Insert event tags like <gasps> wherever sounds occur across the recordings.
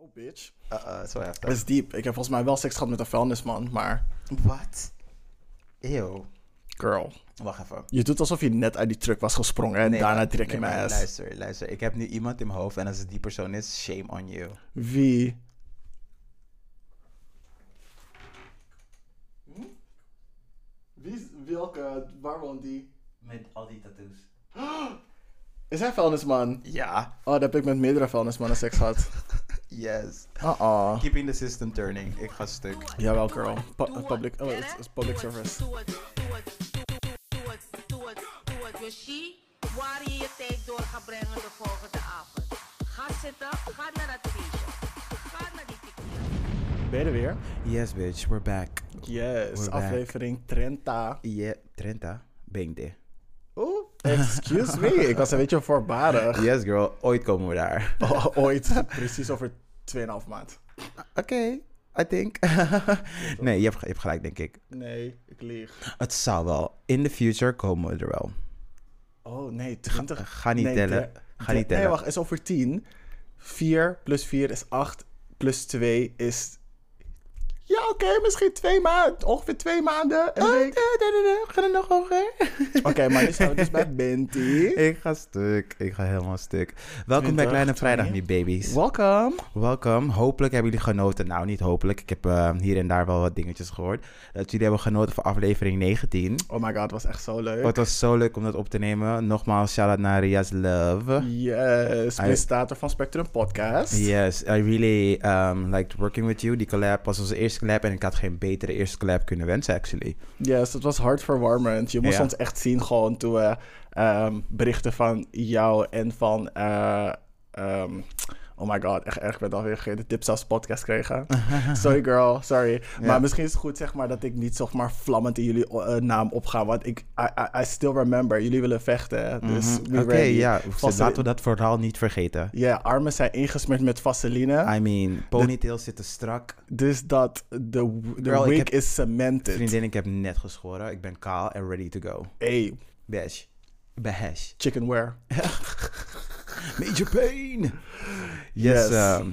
Oh, bitch. Uh-oh, zo Dat heftig. is diep. Ik heb volgens mij wel seks gehad met een vuilnisman, maar Wat? Eeuw. girl. Wacht even. Je doet alsof je net uit die truck was gesprongen en Nee, daarna maar- trek je nee, mijn maar ass. Luister, luister. Ik heb nu iemand in mijn hoofd en als het die persoon is, shame on you. Wie? Hm? Wie, welke, waar woont die? Met al die tattoos. Is hij vuilnisman? Ja. <laughs> Oh, daar heb ik met meerdere vuilnismannen seks gehad. Yes. Uh-oh. Keeping the system turning. Ik ga stuk. Jawel, girl. Pu- uh, public, oh, it's, it's public service. Dus zie waar je je tijd door gaat brengen de volgende avond. Ga zitten, ga naar het feestje. Ga naar die tequila. Ben je er weer? Yes, bitch. We're back. Yes, We're back. aflevering 30. Yeah. Trenta. Bengde. Oeh, excuse me. Ik was een beetje voorbarig. Yes, girl. Ooit komen we daar. O- <laughs> ooit. Precies over 2,5 maand. Oké. I think. <laughs> nee, je hebt, ge- je hebt gelijk, denk ik. Nee, ik lieg. Het zal wel. In the future komen we er wel. Oh nee, 20. Ga niet nee, tellen. drie- Ga drie- niet tellen. Nee, wacht, is over 10. 4 plus 4 is 8. Plus 2 is. Ja, oké, misschien twee maanden. Ongeveer twee maanden. Een week. Ga er nog hoger. Oké, maar nu staan we dus <laughs> bij Binti. <laughs> Ik ga stuk. Ik ga helemaal stuk. Welkom 20, bij Kleine Vrijdag, 20. niet baby's. Welcome. Welkom. Hopelijk hebben jullie genoten. Nou, niet hopelijk. Ik heb eh, hier en daar wel wat dingetjes gehoord. Eh, Dat jullie hebben genoten van aflevering 19. Oh my god, het was echt zo leuk. Oh, het was zo leuk om dat op te nemen. Nogmaals, shout-out naar Ria's Love. Yes, presentator van Spectrum Podcast. Yes, I really um, liked working with you. Die collab was onze eerste collab en ik had geen betere eerste collab kunnen wensen, actually. Yes, het was hartverwarmend. Je moest Ja. ons echt zien gewoon toen we ehm, berichten van jou en van... eh, ehm, oh my god, echt erg. Ik ben alweer vergeten. Dipsaus podcast <laughs> kregen. sorry girl, sorry. Maar misschien is het goed zeg maar dat ik niet zeg maar vlammend in jullie eh, naam opga. Want ik, I, I, I still remember. Jullie willen vechten. Dus we Mhm. Oké, ready. ja. Vaste- Laten we dat vooral niet vergeten. Ja, armen zijn ingesmeerd met vaseline. I mean, ponytails zitten strak. Dus dat de, de Girl, ik wig heb- is cemented. Vriendin, ik heb net geschoren. Ik ben kaal en ready to go. Hey, Bash. Bash. chickenware. Major <laughs> Pain. Yes. Yes. ehm,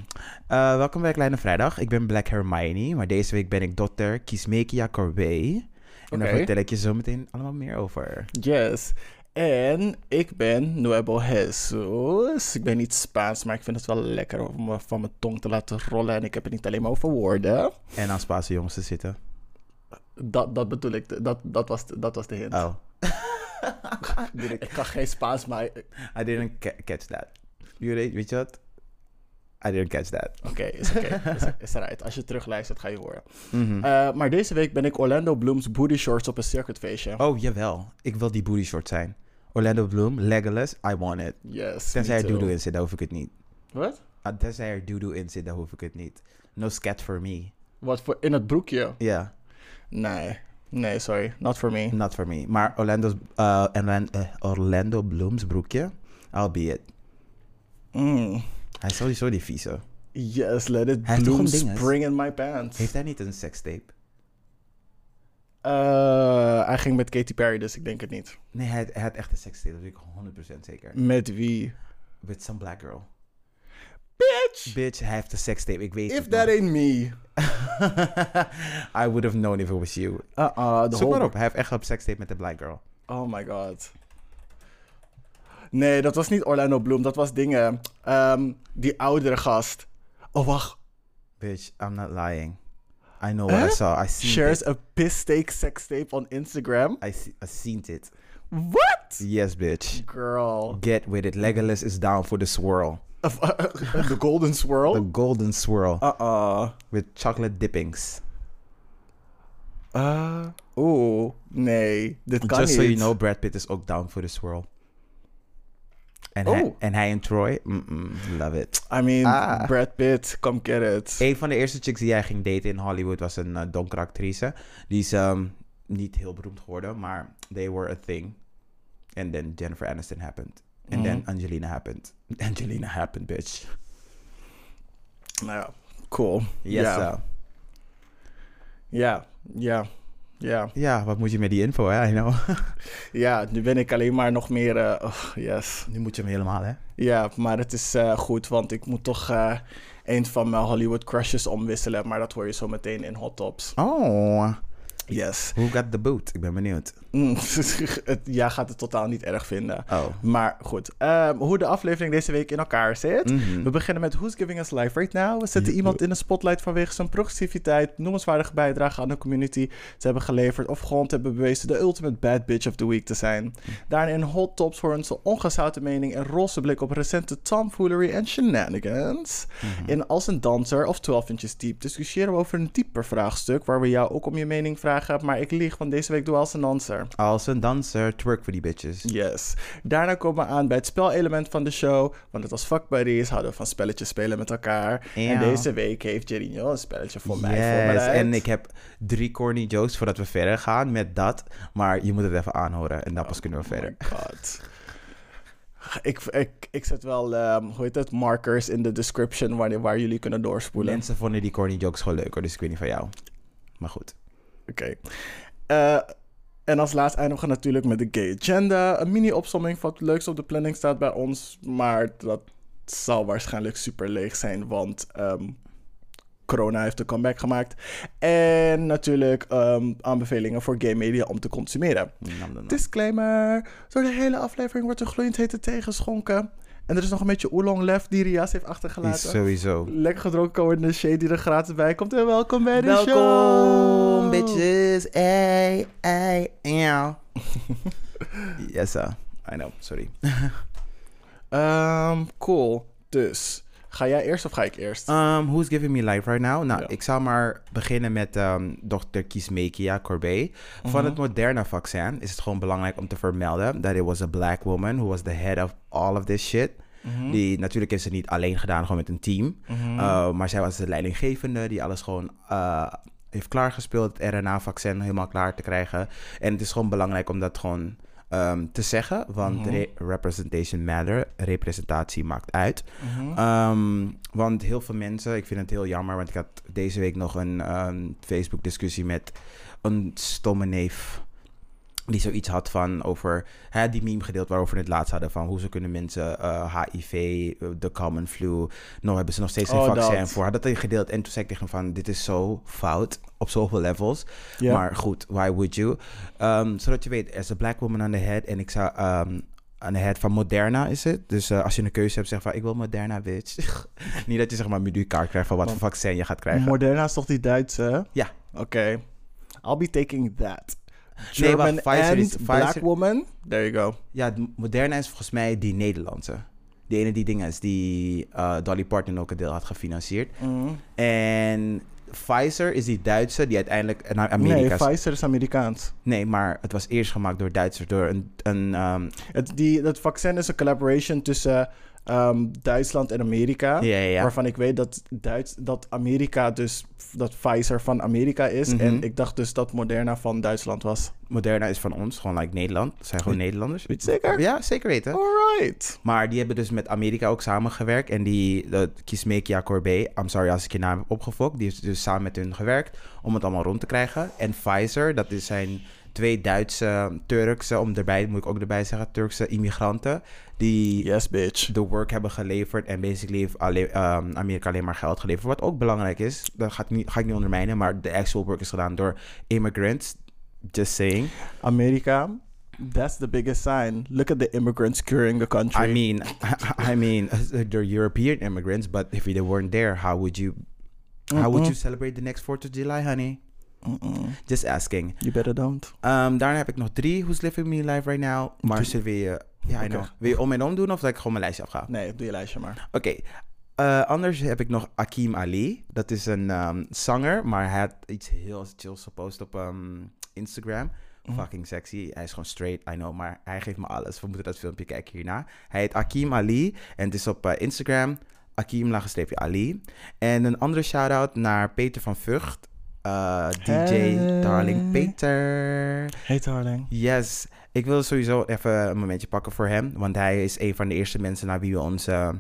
eh, welkom bij Kleine Vrijdag. Ik ben Black Hermione, maar deze week ben ik dokter Kismekia Corvée. En daar Oké. vertel ik je zo meteen allemaal meer over. Yes. En ik ben Nuevo Jesus. Ik ben niet Spaans, maar ik vind het wel lekker om me van mijn tong te laten rollen. En ik heb het niet alleen maar over woorden. En aan Spaanse jongens te zitten. Dat, dat bedoel ik. Dat, dat, was, de- dat was de hint. Oh, Ik kan geen Spaans, maar... Oké, I didn't ca- catch that. Jullie, weet je wat? I didn't catch that. is <laughs> oké. Is, is eruit. Als je terugluistert, ga je horen. Mhm. Eh, maar deze week ben ik Orlando Bloom's booty shorts op een circuitfeestje. Oh, jawel. Ik wil die booty short zijn. Orlando Bloom, Legolas, I want it. Yes, Tenzij me er too. doodoo in zit, dan hoef ik het niet. Wat? Ah, Tenzij er doodoo in zit, dan hoef ik het niet. No scat for me. Ja. Wat voor... In het broekje? Nee. Nee, sorry. Not for me. Not for me. Maar Orlando's, eh, Orlan- eh, Orlando Bloom's broekje, I'll be it. Mm. Hij is sowieso die vieze. Yes, let it Hij heeft toch bloom een ding, hè? spring in my pants. Heeft hij niet een sekstape? Eh, hij ging met Katy Perry, dus ik denk het niet. Nee, hij, hij had echt een sekstape, dat weet ik 100% zeker. Met wie? With some black girl. Bitch! Bitch, hij heeft een sekstape, ik weet If het that nog. ain't me. I would have known if it was you. Uh-uh, de Zoek maar whole... op, hij heeft echt een sekstape met een black girl. Oh my god. Nee, dat was niet Orlando Bloom. Dat was dingen. Ehm, die oudere gast. Oh, wacht. Bitch, I'm not lying. I know what I Huh? saw. I seen it. Shares a piss steak sex tape on Instagram. I, see, I seen it. What? Yes, bitch. Girl. uh, Get with it. Legolas is down for the swirl. The golden The swirl. golden swirl Uh-uh. with chocolate dippings. Uh, Oeh. Nee, dit kan Just niet. so you know, Brad Pitt is ook down for the swirl. En, hij, Oh. en hij en Troy, mm-mm, love it. I mean, Ah. Brad Pitt, come get it. Een van de eerste chicks die jij ging daten in Hollywood was een eh, donkere actrice. Die is ehm, niet heel beroemd geworden, maar they were a thing. And then Jennifer Aniston happened. And then Angelina happened. <laughs> Angelina happened, bitch. Nou ja, cool. Yes, ja. sir. ja, ja. Ja. Ja, wat moet je met die info, hè? I know. <laughs> ja, nu ben ik alleen maar nog meer. eh, oh, yes. Nu moet je hem helemaal, hè? Ja, maar het is eh, goed, want ik moet toch eh, een van mijn Hollywood crushes omwisselen. Maar dat hoor je zo meteen in Hot Tops. Oh, Yes. who got the boot? Ik ben benieuwd. Mm, <laughs> het, jij gaat het totaal niet erg vinden. Oh. Maar goed, ehm, hoe de aflevering deze week in elkaar zit. Mhm. We beginnen met Who's Giving Us Life Right Now. We zetten Ja. iemand in de spotlight vanwege zijn progressiviteit, noemenswaardige bijdrage aan de community te hebben geleverd of gewoon te hebben bewezen de ultimate bad bitch of the week te zijn. Daarna in Hot Tops voor onze ongezouten mening en roze blik op recente tomfoolery en shenanigans. Mhm. In Als een Danser of 12 Inches Deep discussiëren we over een dieper vraagstuk waar we jou ook om je mening vragen, maar ik lieg, want deze week doe Als een Danser. Als een danser, twerk voor die bitches. Yes. Daarna komen we aan bij het spelelement van de show. Want het was Fuck Buddies, hadden we van spelletjes spelen met elkaar. Ja. En deze week heeft Jerinho een spelletje voor mij Yes, voorbereid. en ik heb drie corny jokes voordat we verder gaan met dat. Maar je moet het even aanhoren en dan pas kunnen we Oh my verder. God. Ik, ik, ik zet wel, ehm, hoe heet het, markers in de description waar, waar jullie kunnen doorspoelen. Mensen vonden die corny jokes gewoon leuk hoor, dus ik weet niet van jou. Maar goed. Oké. Eh, en als laatst eindigen we natuurlijk met de gay agenda. Een mini-opsomming van het leukste op de planning staat bij ons. Maar dat zal waarschijnlijk super leeg zijn, want ehm, corona heeft een comeback gemaakt. En natuurlijk ehm, aanbevelingen voor gay media om te consumeren. Nam, nam, nam. Disclaimer, door de hele aflevering wordt er gloeiend hete thee geschonken. En er is nog een beetje oolong left die Rias heeft Is achtergelaten. Sowieso. Lekker gedronken worden, de shade die er gratis bij komt. En welkom bij de show. Welkom, bitches. Hey, hey, yeah. <laughs> yes, sir. I know, sorry. Ehm, cool. Dus, ga jij eerst of ga ik eerst? Um, who's giving me life right now? Nou, Ja. ik zal maar beginnen met ehm dokter Kismekia Corbet. Van het Moderna-vaccin is het gewoon belangrijk om te vermelden dat it was a black woman who was the head of all of this shit. Die natuurlijk heeft ze niet alleen gedaan, gewoon met een team. Uh, maar zij was de leidinggevende die alles gewoon eh, heeft klaargespeeld. Het RNA-vaccin helemaal klaar te krijgen. En het is gewoon belangrijk om dat gewoon ehm, te zeggen. Want Mhm. re- representation matter. Representatie maakt uit. Mhm. Ehm, want heel veel mensen, ik vind het heel jammer, want ik had deze week nog een ehm, Facebook-discussie met een stomme neef. Die zoiets had van over hè, die meme gedeeld waarover we het laatst hadden. Van hoe ze kunnen mensen eh, HIV, eh, de common flu. Nou hebben ze nog steeds een Oh, vaccin dat. voor. Had dat hij gedeeld. En toen zei ik tegen hem van dit is zo fout. Op zoveel levels. Ja. Maar goed, why would you? Ehm, zodat je weet, er is een black woman aan de head. En ik zou ehm aan de head van Moderna is het. Dus eh, als je een keuze hebt, zeg van ik wil Moderna, bitch. <laughs> Niet dat je zeg maar een kaart krijgt van wat voor vaccin je gaat krijgen. Moderna is toch die Duitse? Ja. Oké. I'll be taking that. Nee, German maar Pfizer and is- black Pfizer- woman. There you go. Ja, het Moderna is volgens mij die Nederlandse. Die ene die dingen is die eh, Dolly Parton ook een deel had gefinancierd. Mm. En Pfizer is die Duitse die uiteindelijk naar Nee, Amerika... is- Pfizer is Amerikaans. nee, maar het was eerst gemaakt door Duitsers, door een... een ehm, Het, die, dat vaccin is een collaboration tussen ehm, Duitsland en Amerika. ja, ja, ja. Waarvan ik weet dat, Duits, dat Amerika dus, dat Pfizer van Amerika is. Mhm. En ik dacht dus dat Moderna van Duitsland was. Moderna is van ons, gewoon like Nederland. Het zijn gewoon Nederlanders. Weet je het zeker? Oh. Ja, zeker weten. Alright. Maar die hebben dus met Amerika ook samengewerkt. En die, dat Kismekia Corbet, I'm sorry als ik je naam heb opgefokt, die heeft dus samen met hun gewerkt om het allemaal rond te krijgen. En Pfizer, dat is zijn twee Duitse, Turkse, om erbij, moet ik ook erbij zeggen, Turkse immigranten, die Yes, bitch. de work hebben geleverd en basically heeft alleen, ehm, Amerika alleen maar geld geleverd. Wat ook belangrijk is, dat ga ik niet, ga ik niet ondermijnen, maar de actual work is gedaan door immigrants. Just saying. Amerika, that's the biggest sign. Look at the immigrants curing the country. I mean, <laughs> I mean, <laughs> they're European immigrants, but if they weren't there, how would you, how would you celebrate the next 4th of July, honey? Mm-mm. Just asking. You better don't. Um, daarna heb ik nog drie Who's Living Me Life Right Now. Maar Drie. ze wil je, ja, I Oké. know. Wil je om en om doen of dat ik gewoon mijn lijstje afga? Nee, doe je lijstje maar. Oké. Eh, anders heb ik nog Akim Ali. Dat is een ehm, zanger, maar hij had iets heel chills gepost op ehm, Instagram. Fucking sexy. Hij is gewoon straight, I know, maar hij geeft me alles. We moeten dat filmpje kijken hierna. Hij heet Akim Ali en het is op eh, Instagram. Akim laagstreepje Ali. En een andere shout-out naar Peter van Vught. eh, DJ Hey. Darling Peter. Hey darling. Yes, ik wil sowieso even een momentje pakken voor hem. Want hij is een van de eerste mensen naar wie we onze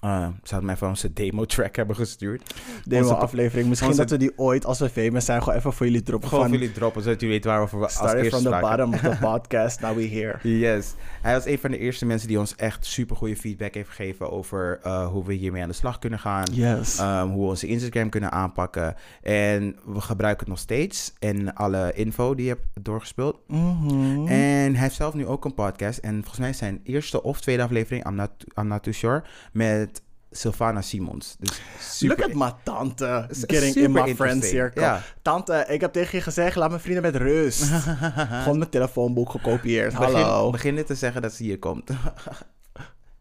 eh, ze had mij van zijn demo track hebben gestuurd. Demo Onze- aflevering. Misschien onze- dat we die ooit, als we famous zijn, gewoon even voor jullie droppen. Gewoon van, voor jullie droppen, zodat jullie weten waarover we als Started eerste from the spraken. bottom of the podcast, now we <laughs> here. Yes. Hij was een van de eerste mensen die ons echt super goede feedback heeft gegeven over eh, hoe we hiermee aan de slag kunnen gaan. Yes. Ehm, hoe we onze Instagram kunnen aanpakken. En we gebruiken het nog steeds. En alle info die je hebt doorgespeeld. Mhm. En hij heeft zelf nu ook een podcast. En volgens mij zijn eerste of tweede aflevering, I'm not, I'm not too sure, met Sylvana Simons. Dus super... Look at my tante S- getting super in my friend interesting, circle. ja. Tante, ik heb tegen je gezegd, laat mijn vrienden met <laughs> rust. Gewoon mijn telefoonboek gekopieerd. Begin- Hallo. Beginnen te zeggen dat ze hier komt. <laughs>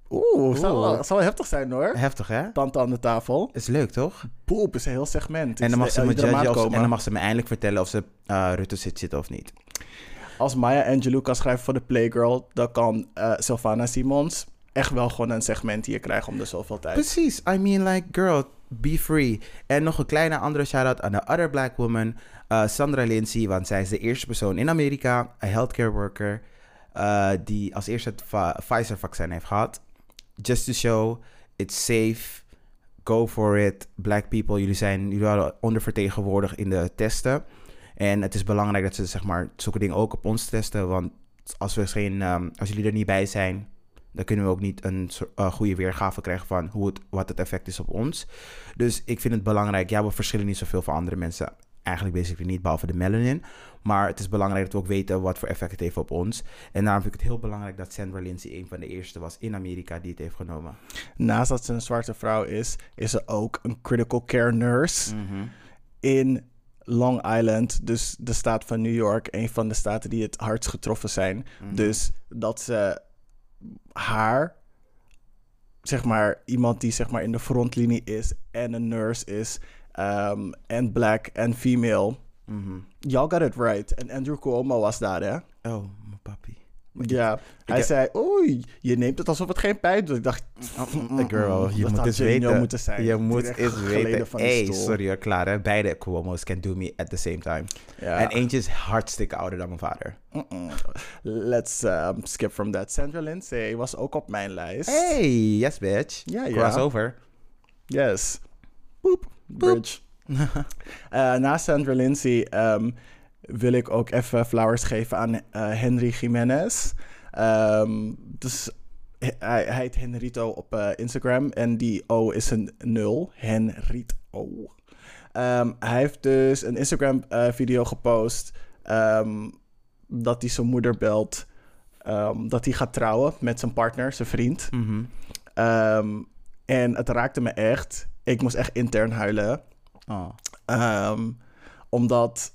Oeh, zou Oeh. wel, zou wel heftig zijn hoor. Heftig, hè? Tante aan de tafel. Is leuk, toch? Poep is een heel segment. En dan, mag Is ze de- me iedere judgen maand of ze- en komen. dan mag ze me eindelijk vertellen of ze eh, Rutte zit zitten of niet. Als Maya Angelou kan schrijven voor de Playgirl, dan kan eh Sylvana Simons echt wel gewoon een segment hier krijgen om de zoveel tijd. Precies. I mean, like, girl, be free. En nog een kleine andere shout-out aan de other black woman, eh, Sandra Lindsay. Want zij is de eerste persoon in Amerika, een healthcare worker, eh, die als eerste het Va- Pfizer-vaccin heeft gehad. Just to show, it's safe. Go for it. Black people, jullie zijn jullie waren ondervertegenwoordigd in de testen. En het is belangrijk dat ze zeg maar, zulke dingen ook op ons testen. Want als, we geen, ehm, als jullie er niet bij zijn, dan kunnen we ook niet een soort- eh, goede weergave krijgen van hoe het, wat het effect is op ons. Dus ik vind het belangrijk. Ja, we verschillen niet zoveel van andere mensen. Eigenlijk basically niet, behalve de melanin. Maar het is belangrijk dat we ook weten wat voor effect het heeft op ons. En daarom vind ik het heel belangrijk dat Sandra Lindsay een van de eerste was in Amerika die het heeft genomen. Naast dat ze een zwarte vrouw is, is ze ook een critical care nurse in Long Island, dus de staat van New York, een van de staten die het hardst getroffen zijn. Dus dat ze haar, zeg maar, iemand die zeg maar in de frontlinie is en een nurse is, ehm, en black en female. Mhm. Y'all got it right. En Andrew Cuomo was daar, hè? Oh, mijn papi. Ja, hij heb- zei, oei, je neemt het alsof het geen pijn doet. Ik dacht, Girl, je Mm, dat moet had eens je niet weten. moeten zijn. Je Direct moet eens geleden weten. van de Hey, stoel. sorry hoor, klaar hè. Beide Cuomo's can do me at the same time. ja. En eentje is hartstikke ouder dan mijn vader. Mm-mm. Let's um, skip from that. Sandra Lindsay was ook op mijn lijst. Hey, yes bitch. Ja, ja. Crossover. Yes. Boep. Bridge. <laughs> Eh, na Sandra Lindsay ehm, wil ik ook even flowers geven aan eh, Henry Jiménez. Ehm, dus hij, hij heet Henrito op eh, Instagram en die O is een nul. Henrito. Ehm, hij heeft dus een Instagram-video gepost ehm, dat hij zijn moeder belt. ehm, dat hij gaat trouwen met zijn partner, zijn vriend. Mhm. Ehm, en het raakte me echt. Ik moest echt intern huilen. Oh. Ehm, omdat,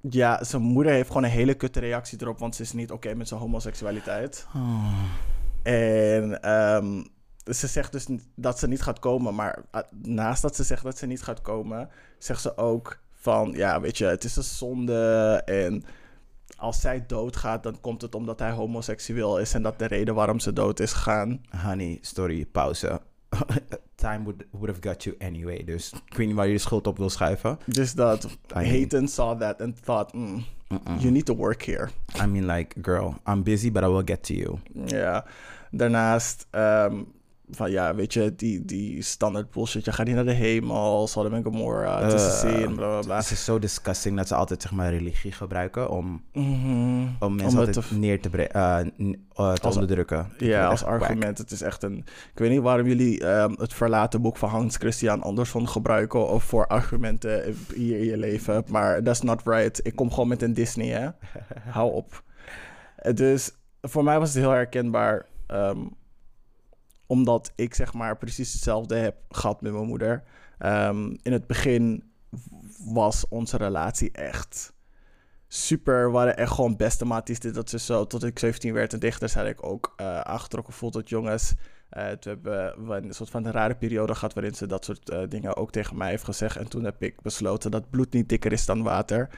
ja, zijn moeder heeft gewoon een hele kutte reactie erop. Want ze is niet oké met zijn homoseksualiteit. En ehm, ze zegt dus niet- dat ze niet gaat komen. Maar ah, naast dat ze zegt dat ze niet gaat komen, zegt ze ook van, ja, weet je, het is een zonde. En als zij doodgaat, dan komt het omdat hij homoseksueel is. En dat de reden waarom ze dood is gegaan. Honey, sorry, pauze. <laughs> Time would, would have got you anyway. Dus ik weet niet waar je de schuld op wil schuiven. Dus dat mean- Hayden saw that and thought, mm, you need to work here. I mean, like, girl, I'm busy, but I will get to you. Ja. Daarnaast, ehm, van ja, weet je, die, die standaard bullshit. Je gaat niet naar de hemel, Sodom en Gomorra, het is een Eh, zin, bla bla bla. Het is zo disgusting dat ze altijd, zeg maar, religie gebruiken om, Mhm. om Om mensen het altijd te- neer te, bre- eh, n- eh, te Als- onderdrukken. Ik vind Ja, het als echt whack. argument. Het is echt een... Ik weet niet waarom jullie ehm, het verlaten boek van Hans Christian Andersen gebruiken... of voor argumenten hier in je leven. Maar that's not right. Ik kom gewoon met een Disney, <laughs> hè. Hou op. Eh, Dus voor mij was het heel herkenbaar... ehm, omdat ik zeg maar precies hetzelfde heb gehad met mijn moeder. Ehm, in het begin was onze relatie echt super. We waren echt gewoon beste maatjes. Dit, dat, ze zo. Tot ik 17 werd en dichter had ik ook eh, aangetrokken voel tot jongens. Eh, toen hebben we een soort van een rare periode gehad waarin ze dat soort eh, dingen ook tegen mij heeft gezegd. En toen heb ik besloten dat bloed niet dikker is dan water.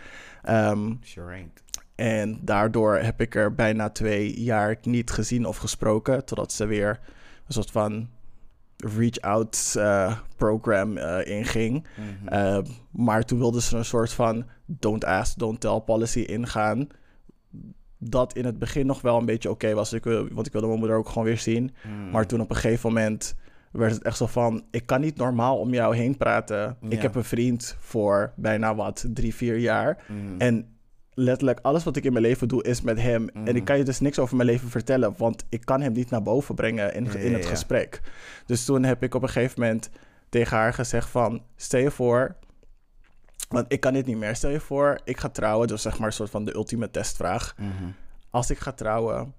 Ehm, Sure ain't. en daardoor heb ik er bijna twee jaar niet gezien of gesproken. Totdat ze weer een soort van reach-out eh, program eh, inging. Eh, maar toen wilden ze een soort van don't ask, don't tell policy ingaan. Dat in het Hmm. begin nog wel een beetje oké was. Ik wil, want ik wilde mijn moeder ook gewoon weer zien. Maar toen op een gegeven moment werd het echt zo van, ik kan niet normaal om jou heen praten. Ja. Ik heb een vriend voor bijna wat, drie, vier jaar. Mm. En letterlijk alles wat ik in mijn leven doe is met hem. En Hmm. ik kan je dus niks over mijn leven vertellen, want ik kan hem niet naar boven brengen in, Ja, in ja, het ja. gesprek. Dus toen heb ik op een gegeven moment tegen haar gezegd van, stel je voor, want ik kan dit niet meer. Stel je voor, ik ga trouwen, dus zeg maar een soort van de ultieme testvraag. Mhm. Als ik ga trouwen,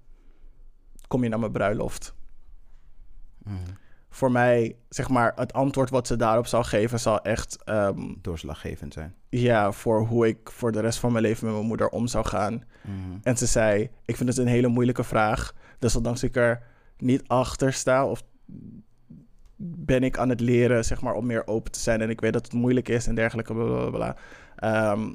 kom je naar mijn bruiloft? Mhm. Voor mij, zeg maar, het antwoord wat ze daarop zal geven, zal echt ehm, Doorslaggevend zijn. ja, voor hoe ik voor de rest van mijn leven met mijn moeder om zou gaan. Mhm. En ze zei: Ik vind het een hele moeilijke vraag. Dus ondanks ik er niet achter sta, of ben ik aan het leren zeg maar, om meer open te zijn. En ik weet dat het moeilijk is en dergelijke. Bla bla, bla, bla. Ehm,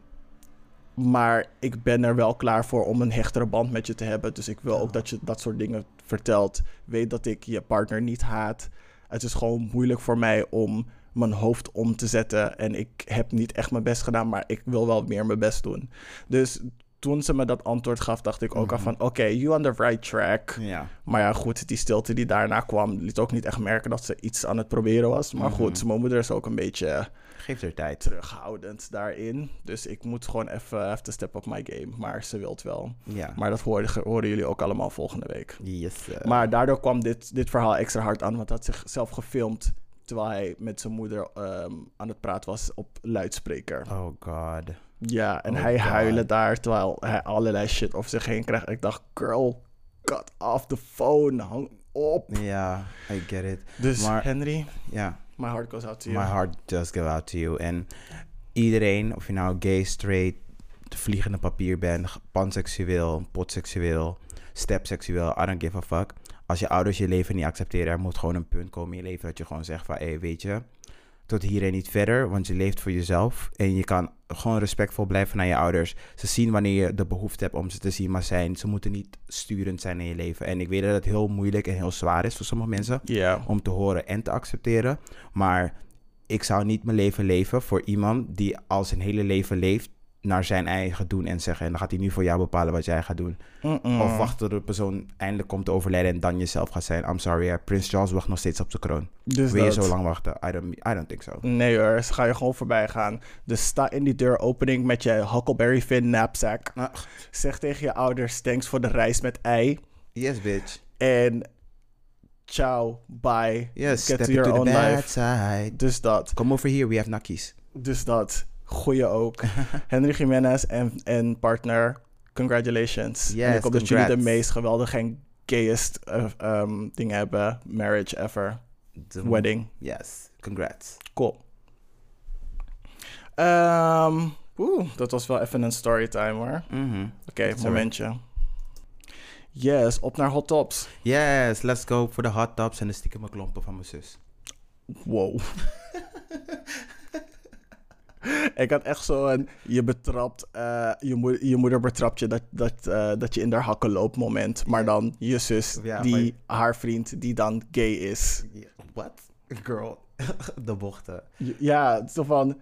maar ik ben er wel klaar voor om een hechtere band met je te hebben. Dus ik wil ook dat je dat soort dingen vertelt. Weet dat ik je partner niet haat. Het is gewoon moeilijk voor mij om mijn hoofd om te zetten. En ik heb niet echt mijn best gedaan, maar ik wil wel meer mijn best doen. Dus toen ze me dat antwoord gaf, dacht ik ook al van... Oké, you on the right track. Ja. Maar ja, goed, die stilte die daarna kwam, liet ook niet echt merken dat ze iets aan het proberen was. Maar Mhm. goed, mijn moeder is ook een beetje Geef er tijd. terughoudend daarin. Dus ik moet gewoon even have to step up my game. Maar ze wilt wel. Ja. Maar dat horen, horen jullie ook allemaal volgende week. Yes. eh. Maar daardoor kwam dit, dit verhaal extra hard aan, want hij had zichzelf gefilmd terwijl hij met zijn moeder ehm, aan het praten was op luidspreker. Oh god. Ja, en Oh hij God. huilen daar terwijl hij allerlei shit over zich heen krijgt. Ik dacht, girl, cut off the phone, hang op. Ja, I get it. Dus Maar- Henry, Ja, my heart goes out to you. my heart does go out to you. En iedereen, of je nou gay, straight, vliegende papier bent, ge- panseksueel, potseksueel, stepseksueel, I don't give a fuck. Als je ouders je leven niet accepteren, er moet gewoon een punt komen in je leven dat je gewoon zegt van, hé, weet je, tot hier en niet verder, want je leeft voor jezelf en je kan gewoon respectvol blijven naar je ouders. Ze zien wanneer je de behoefte hebt om ze te zien, maar zijn, ze moeten niet sturend zijn in je leven. En ik weet dat het heel moeilijk en heel zwaar is voor sommige mensen, Ja, om te horen en te accepteren. Maar ik zou niet mijn leven leven voor iemand die al zijn hele leven leeft naar zijn eigen doen en zeggen. En dan gaat hij nu voor jou bepalen wat jij gaat doen. Mm-mm. Of wachten tot de persoon eindelijk komt te overlijden en dan jezelf gaat zijn. I'm sorry, hè. Prins Charles wacht nog steeds op zijn kroon. Dus Wil je dat. Mm. zo lang wachten? I don't, I don't think so. Nee hoor, ze ga je gewoon voorbij gaan. Dus sta in die deuropening met je Huckleberry Finn knapsack. Ach, Zeg tegen je ouders thanks voor de reis met ei. yes, bitch. En ciao, bye. Yes, step into the bad side. Dus dat, Come over here, we have nakkies. dus dat. Goeie <laughs> ook. Henry Jiménez en, en partner, congratulations. en Yes, ik hoop dat jullie de congrats. meest geweldige en gayest eh, ehm, ding hebben. Marriage ever. The- Wedding. Yes, congrats. Cool. Ehm, Oeh, dat was wel even een storytime hoor. Mhm. Oké, That's alright. momentje. Yes, op naar hot tops. Yes, let's go voor de hot tubs en de stiekeme klompen van mijn zus. Wow. <laughs> Ik had echt zo een, je betrapt, eh, je, moe- je moeder betrapt je dat, dat, eh, dat je in haar hakken loopt moment. Maar dan je zus, Ja, die, maar je- haar vriend, die dan gay is. What? <laughs> Girl. de bochten. J- Ja, het is zo van,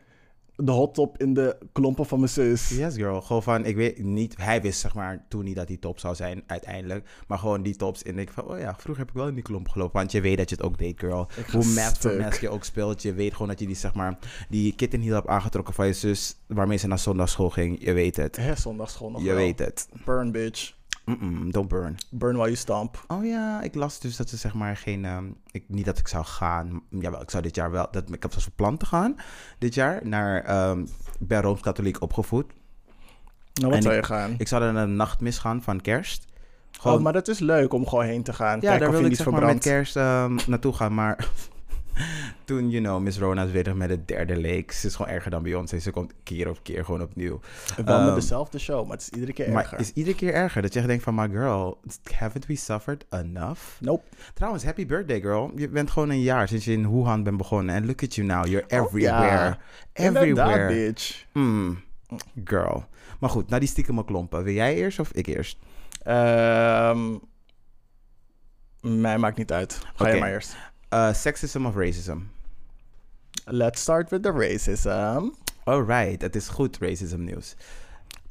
de hot top in de klompen van mijn zus. Yes, girl. Gewoon van, ik weet niet, hij wist zeg maar toen niet dat die top zou zijn uiteindelijk. Maar gewoon die tops. En ik van, oh ja, vroeger heb ik wel in die klomp gelopen. Want je weet dat je het ook deed, girl. Ik ga Hoe mask stuk. voor mask je ook speelt. Je weet gewoon dat je die zeg maar, die kitten heel hebt aangetrokken van je zus. Waarmee ze naar zondagschool ging. Je weet het. Hè, zondagschool nog Je wel. weet het. Burn, bitch. Mm-mm, don't burn. Burn while you stomp. Oh ja, ik las dus dat ze zeg maar geen. ehm, ik, niet dat ik zou gaan. m- Jawel, ik zou dit jaar wel. Dat, ik heb zelfs een plan te gaan. Dit jaar naar. ehm ik ben rooms-katholiek opgevoed. Nou, wat En zou je gaan? Ik zou dan naar een nachtmis gaan van Kerst. Gewoon, Oh, maar dat is leuk om gewoon heen te gaan. ja, Kijken daar of je wil ik niet zeg maar met verbrandt. Kerst ehm, naartoe gaan. Maar <laughs> toen, you know, Miss Rona is weer met het derde leek. Ze is gewoon erger dan Beyoncé. Ze komt keer op keer gewoon opnieuw. Wel met Ehm, dezelfde show, maar het is iedere keer Maar erger. is iedere keer erger. Dat je echt denkt van, my girl, haven't we suffered enough? Nope. Trouwens, happy birthday, girl. Je bent gewoon een jaar sinds je in Wuhan bent begonnen. En look at you now. You're Oh, everywhere. ja. Inderdaad, Everywhere. bitch. Mm, girl. Maar goed, nou die stiekeme klompen. Wil jij eerst of ik eerst? Ehm, mij maakt niet uit. Ga Oké. jij maar eerst. Eh, sexism of racism? Let's start with the racism. Alright, het is goed racism nieuws.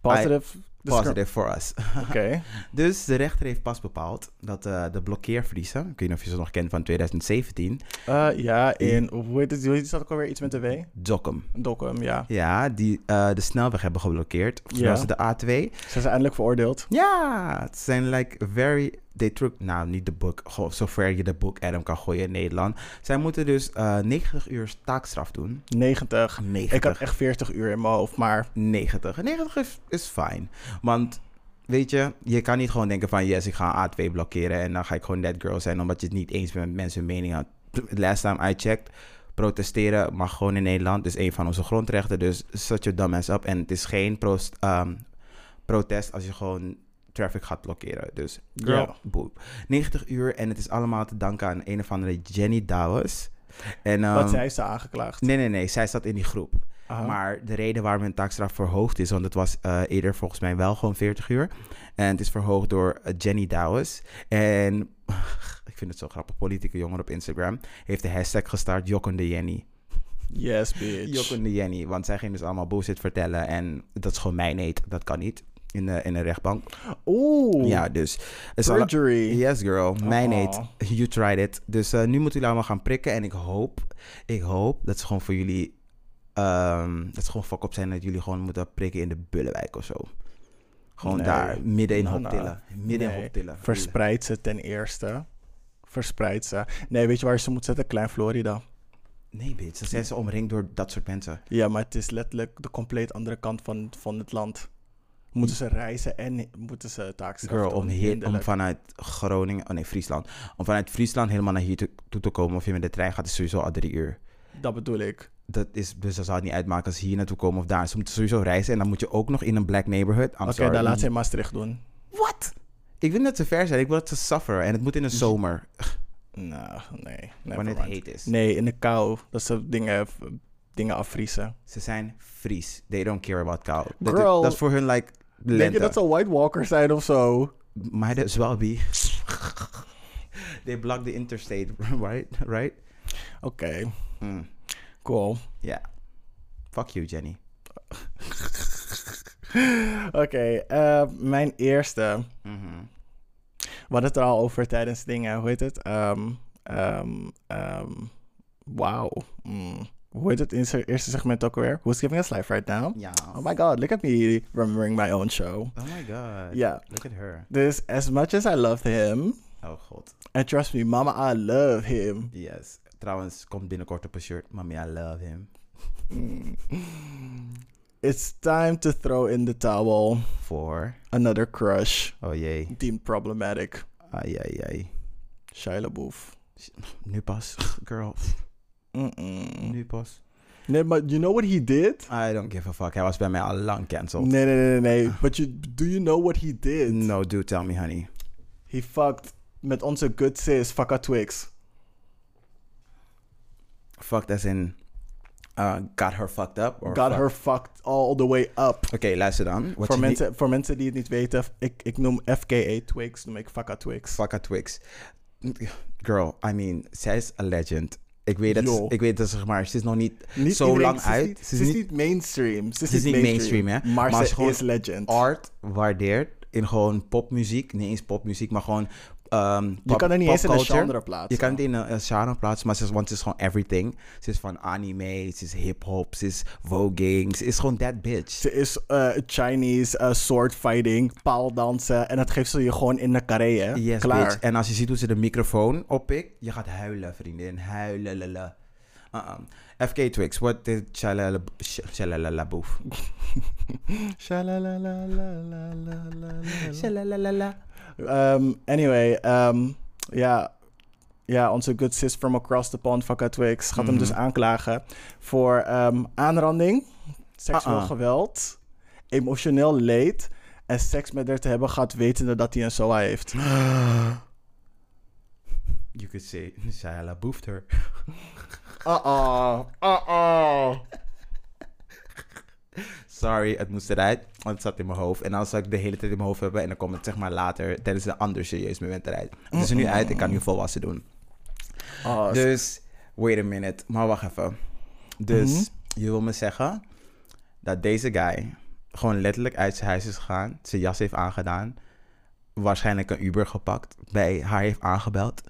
Positive Discrim- positive for us. <laughs> Oké. Dus de rechter heeft pas bepaald dat eh, de blokkeervriezen, ik weet niet of je ze nog kent van 2017, Eh, ja, in... Hoe heet het? Hoe heet het ook alweer? Iets met de W? Dokkum. Dokkum, ja. Ja, die eh, de snelweg hebben geblokkeerd. Volgens mij Ja. was het de A2. Ze zijn eindelijk veroordeeld. Ja, het zijn like very... They took, nou, niet de boek, gewoon zover je de boek Adam kan gooien in Nederland. Zij moeten dus eh, 90 uur taakstraf doen. 90. 90. Ik had echt 40 uur in mijn hoofd, maar... 90. En 90 is, is fijn. Want weet je, je kan niet gewoon denken van yes, ik ga A2 blokkeren en dan ga ik gewoon that girl zijn omdat je het niet eens bent met mensen hun mening. Last time I checked, protesteren mag gewoon in Nederland. Dus een van onze grondrechten. Dus shut your dumb ass up. En het is geen prost- ehm, protest als je gewoon traffic gaat blokkeren. Dus girl, Ja. boep. 90 uur en het is allemaal te danken aan een of andere Jenny Dawes. En, wat ehm, zij is ze aangeklaagd. Nee, nee, nee. Zij zat in die groep. Aha. Maar de reden waarom hun taakstraf verhoogd is, want het was eh, eerder volgens mij wel gewoon 40 uur. En het is verhoogd door eh, Jenny Dawes. En <laughs> ik vind het zo grappig, politieke jongen op Instagram heeft de hashtag gestart Jokkende Jenny. Yes, bitch. Jokkende Jenny, want zij ging dus allemaal bullshit vertellen en dat is gewoon mijn eet, dat kan niet. In de, in de rechtbank. Oeh. Ja, dus. het is alle- Perjury. Yes, girl. Mijn eet. Oh. You tried it. Dus eh, nu moeten jullie allemaal gaan prikken. En ik hoop, ik hoop dat ze gewoon voor jullie, ehm, dat ze gewoon fuck op zijn dat jullie gewoon moeten prikken in de Bullenwijk of zo. Gewoon Nee. daar, midden in Nou, nou. Hoptillen. Midden in Nee. Hoptillen. Verspreid ze ten eerste. Verspreid ze. Nee, weet je waar je ze moet zetten? Klein Florida. Nee, bitch. Dan zijn ze omringd door dat soort mensen. Ja, maar het is letterlijk de compleet andere kant van, van het land. Moeten ze reizen en moeten ze taakstraf Girl, doen, om, hier, om hinderlijk. vanuit Groningen, oh nee, Friesland. Om vanuit Friesland helemaal naar hier toe, toe te komen of je met de trein gaat, is sowieso al drie uur. Dat bedoel ik. Dat is, dus dat zou het niet uitmaken als ze hier naartoe komen of daar. Ze moeten sowieso reizen en dan moet je ook nog in een black neighborhood. I'm Oké, sorry. dan laat ze in Maastricht doen. Wat? Ik wil dat ze ver zijn. Ik wil dat ze sufferen. En het moet in de zomer. Nou, nee. wanneer Never het mind. heet is. Nee, in de kou. Dat ze dingen, eh, dingen afvriezen. Ze zijn Fries. They don't care about kou. Dat, is, Girl. dat is voor hun, like, Denk je lente. dat ze White Walkers zijn of zo? Maar dat is wel wie. <laughs> They block the interstate, <laughs> right? Right? Oké, Mm. cool. Yeah. Fuck you, Jenny. Oké, eh, mijn eerste. Mhm. We hadden het er al over tijdens dingen, hoe heet het? Ehm, ehm, ehm, Wauw. Mm. Hoe heet het in zijn eerste segment ook alweer? Who's giving us life right now? Ja. Oh my god, look at me remembering my own show. Oh my god. Ja. Look at her. Dus as much as I love him, Oh god. and trust me, mama, I love him. Yes. Trouwens, komt binnenkort op een shirt. Mommy, I love him. Mm. It's time to throw in the towel. Voor. Another crush. Oh jee. Deemed problematic. Ai, ai, ai. Shia LaBeouf. Nu pas. Girl. Mm-mm. Nu pas. Nee, maar you know what he did? I don't give a fuck. Hij was bij mij al lang cancelled. Nee, nee, nee, nee. nee. But you, do you know what he did? No, do tell me, honey. He fucked met onze good sis, Faka Twix. Fucked as in... uh, got her fucked up? Or Got fuck- her fucked all the way up. Oké, luister dan. Wat Voor je mensen, voor mensen die het niet weten, ik, ik noem FKA Twix, noem ik Faka Twix. Die, Fucka Twix. Girl, I mean, zij is a legend. Ik weet dat, Yo. ik weet dat zeg maar, ze is nog niet, Niet zo iedereen- lang ze is uit. niet- Ze is, niet mainstream. Ze is, ze is niet mainstream, hè? Maar, Maar ze ze gewoon is legend. art waardeert in gewoon popmuziek. Niet eens popmuziek, maar gewoon ehm Je pop- kan er niet eens in een popculture. genre plaatsen. Je kan het in een, een genre plaatsen, maar ze is, want ze is gewoon everything. Ze is van anime, ze is hip-hop, ze is voguing, ze is gewoon that bitch. Ze is eh, Chinese eh, sword fighting, paaldansen. En dat geeft ze je gewoon in de carré, hè? Yes, Klaar. bitch. En als je ziet hoe ze de microfoon oppikt, je gaat huilen, vriendin. Huilen, lala. Uh-uh. FK Twix, what did Shalala Sh- Shalala <laughs> Labouf? Shalalalalalalalala. Shalalala. Ehm, anyway, ehm, ja, ja, onze good sis from across the pond, Faka Twix, gaat hem dus aanklagen voor ehm, aanranding, seksueel Uh-uh. geweld, emotioneel leed en seks met haar te hebben gehad wetende dat hij een SOA heeft. You could say Shalala boofed her. Uh-oh, uh-oh. Sorry, het moest eruit, want het zat in mijn hoofd. En dan zou ik de hele tijd in mijn hoofd hebben en dan komt het zeg maar later tijdens een ander serieus moment eruit. Het is er nu uit, ik kan nu volwassen doen. Oh, Dus, wait a Mhm. minute. Maar wacht even. Dus, je wil me zeggen dat deze guy gewoon letterlijk uit zijn huis is gegaan, zijn jas heeft aangedaan, waarschijnlijk een Uber gepakt, bij haar heeft aangebeld,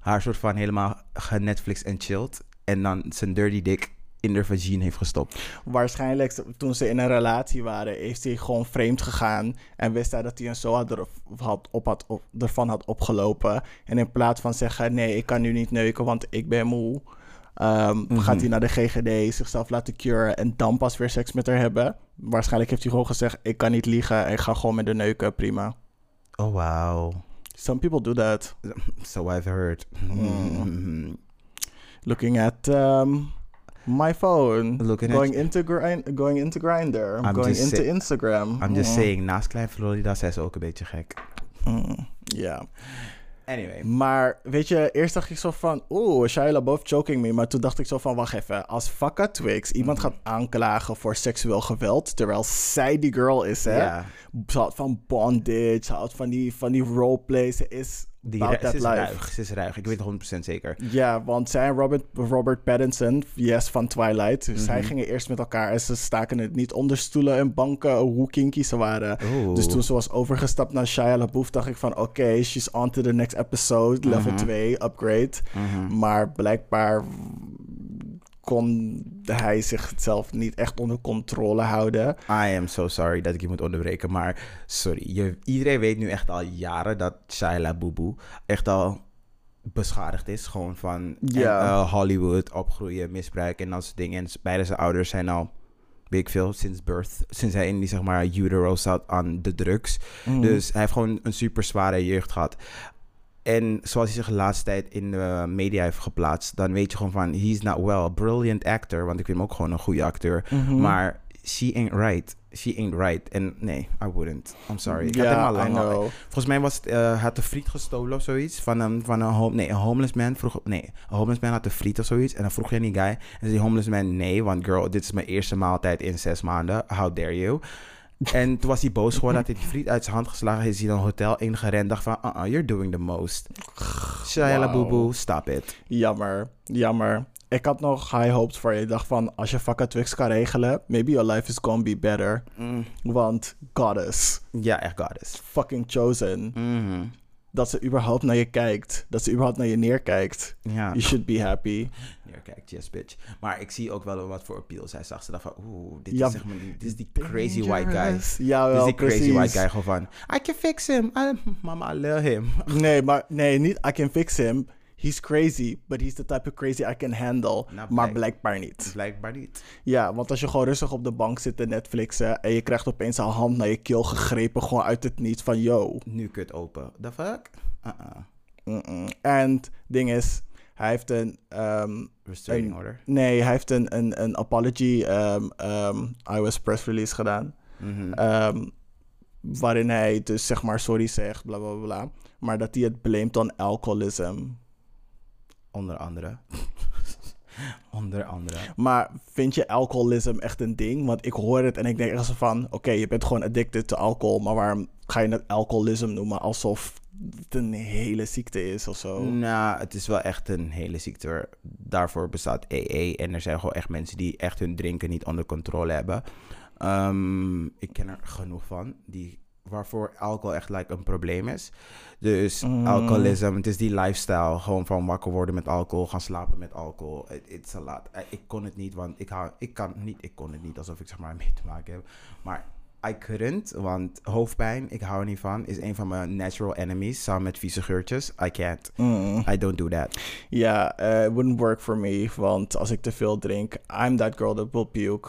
haar soort van helemaal genetflix en chilled en dan zijn dirty dick in haar vagina heeft gestopt. Waarschijnlijk toen ze in een relatie waren, heeft hij gewoon vreemd gegaan. En wist hij dat hij een zo had er- had op had op, ervan had opgelopen. En in plaats van zeggen: nee, ik kan nu niet neuken, want ik ben moe. ehm, Mhm. Gaat hij naar de GGD, zichzelf laten curen en dan pas weer seks met haar hebben? Waarschijnlijk heeft hij gewoon gezegd: ik kan niet liegen, ik ga gewoon met de neuken, prima. Oh wow. Some people do that. So I've heard. Oh. Mm-hmm. Looking at ehm, my phone. Looking at- going, into grind, going into Grinder. I'm going just into say- Instagram. I'm just Mm. saying, naast Klein Florida zijn ze ook een beetje gek. Mm, Ja. Anyway. Maar weet je, eerst dacht ik zo van, oeh, Shia LaBeouf choking me. Maar toen dacht ik zo van, wacht even. Als Fakka Twix iemand Mhm. gaat aanklagen voor seksueel geweld, terwijl zij die girl is, hè. Ja. Ze houdt van bondage, ze houdt van die, van die roleplay. Ze is Die about ru- that ze is life. ruig, ze is ruig. Ik weet het 100% zeker. Ja, want zij en Robert, Robert Pattinson, yes, van Twilight, Mhm. zij gingen eerst met elkaar en ze staken het niet onder stoelen en banken hoe kinky ze waren. Oeh. Dus toen ze was overgestapt naar Shia LaBeouf, dacht ik van oké, she's on to the next episode, Mhm. level 2, upgrade. Maar blijkbaar kon hij zichzelf niet echt onder controle houden. I am so sorry dat ik je moet onderbreken, maar sorry. Je, iedereen weet nu echt al jaren dat Shaila Boeboe echt al beschadigd is. Gewoon van Ja. en, eh, Hollywood, opgroeien, misbruik en dat soort dingen. En s- beide zijn ouders zijn al, weet ik veel, sinds birth. Sinds hij in die, zeg maar, utero zat aan de drugs. Dus hij heeft gewoon een super zware jeugd gehad. En zoals hij zich de laatste tijd in de media heeft geplaatst, dan weet je gewoon van, he's not well. Brilliant actor, want ik vind hem ook gewoon een goede acteur. Mhm. Maar she ain't right. She ain't right. En nee, I wouldn't. I'm sorry. Ik Ja, had helemaal I lang al- know. Volgens mij was het, eh, had een vriend gestolen of zoiets. Van een, van een, home, nee, een homeless man vroeg... Nee, een homeless man had een friet of zoiets. En dan vroeg je aan die guy. En zei die homeless man, nee, want girl, dit is mijn eerste maaltijd in zes maanden. How dare you? En toen was hij boos geworden, had hij die friet uit zijn hand geslagen. Is hij naar een hotel ingerend. Dacht van, uh-uh, you're doing the most. Shia Wauw. LaBeouf, stop it. Jammer, jammer. Ik had nog high hopes voor je. Ik dacht van, als je Fakka Twix kan regelen, maybe your life is gonna be better. Mm. Want goddess, Ja, echt goddess. fucking chosen. Mhm. Dat ze überhaupt naar je kijkt. Dat ze überhaupt naar je neerkijkt. Ja. You should be happy. neerkijkt, yes bitch. Maar ik zie ook wel wat voor appeal zij zag. Ze dacht van, oeh, dit Ja, is zeg maar, die- dit is die crazy white guy. Dit is Jawel, die precies. crazy white guy gewoon van, I can fix him. I, mama, I love him. <laughs> Nee, maar nee, niet I can fix him. He's crazy, but he's the type of crazy I can handle. Nou, maar blijk- blijkbaar niet. Blijkbaar niet. Ja, want als je gewoon rustig op de bank zit te Netflixen... en je krijgt opeens een hand naar je keel gegrepen... gewoon uit het niets van yo. Nu kut open. The fuck? Uh-uh. Mm-mm. En het ding is, hij heeft een... ehm, Restraining Een- order. nee, hij heeft een, een, een apology ehm ehm, iOS press release gedaan... Mhm. Ehm, waarin hij dus zeg maar sorry zegt, bla bla bla, bla. Maar dat hij het blamed on alcoholism. Onder andere. <laughs> Onder andere. Maar vind je alcoholism echt een ding? Want ik hoor het en ik denk echt zo van... Oké, je bent gewoon addicted to alcohol. Maar waarom ga je het alcoholism noemen alsof het een hele ziekte is of zo? Nou, het is wel echt een hele ziekte. Daarvoor bestaat EE. En er zijn gewoon echt mensen die echt hun drinken niet onder controle hebben. Ehm, ik ken er genoeg van. Die, waarvoor alcohol echt like, een probleem is. Dus alcoholisme, het is die lifestyle. Gewoon van wakker worden met alcohol, gaan slapen met alcohol. Het is a lot. Eh, Ik kon het niet, want ik, hou, ik kan het niet. Ik kon het niet, alsof ik zeg maar <laughs> mee te maken heb. Maar I couldn't, want hoofdpijn, ik hou er niet van, is een van mijn natural enemies. Samen met vieze geurtjes. I can't. I don't do that. Ja, eh, it wouldn't work for me. Want als ik te veel drink, I'm that girl that will puke.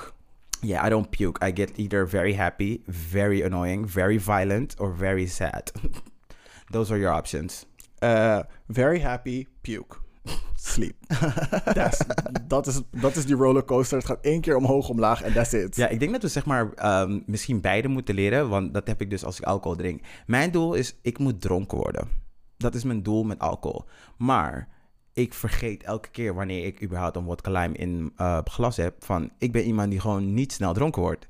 Yeah, I don't puke. I get either very happy, very annoying, very violent, or very sad. <laughs> Those are your options. Eh, very happy, puke. Sleep. That's- Dat is, dat is die rollercoaster. Het gaat één keer omhoog, omlaag en that's it. Ja, ik denk dat we zeg maar ehm, misschien beide moeten leren, want dat heb ik dus als ik alcohol drink. Mijn doel is, ik moet dronken worden. Dat is mijn doel met alcohol. Maar ik vergeet elke keer wanneer ik überhaupt een vodka lime in eh, glas heb, van ik ben iemand die gewoon niet snel dronken wordt.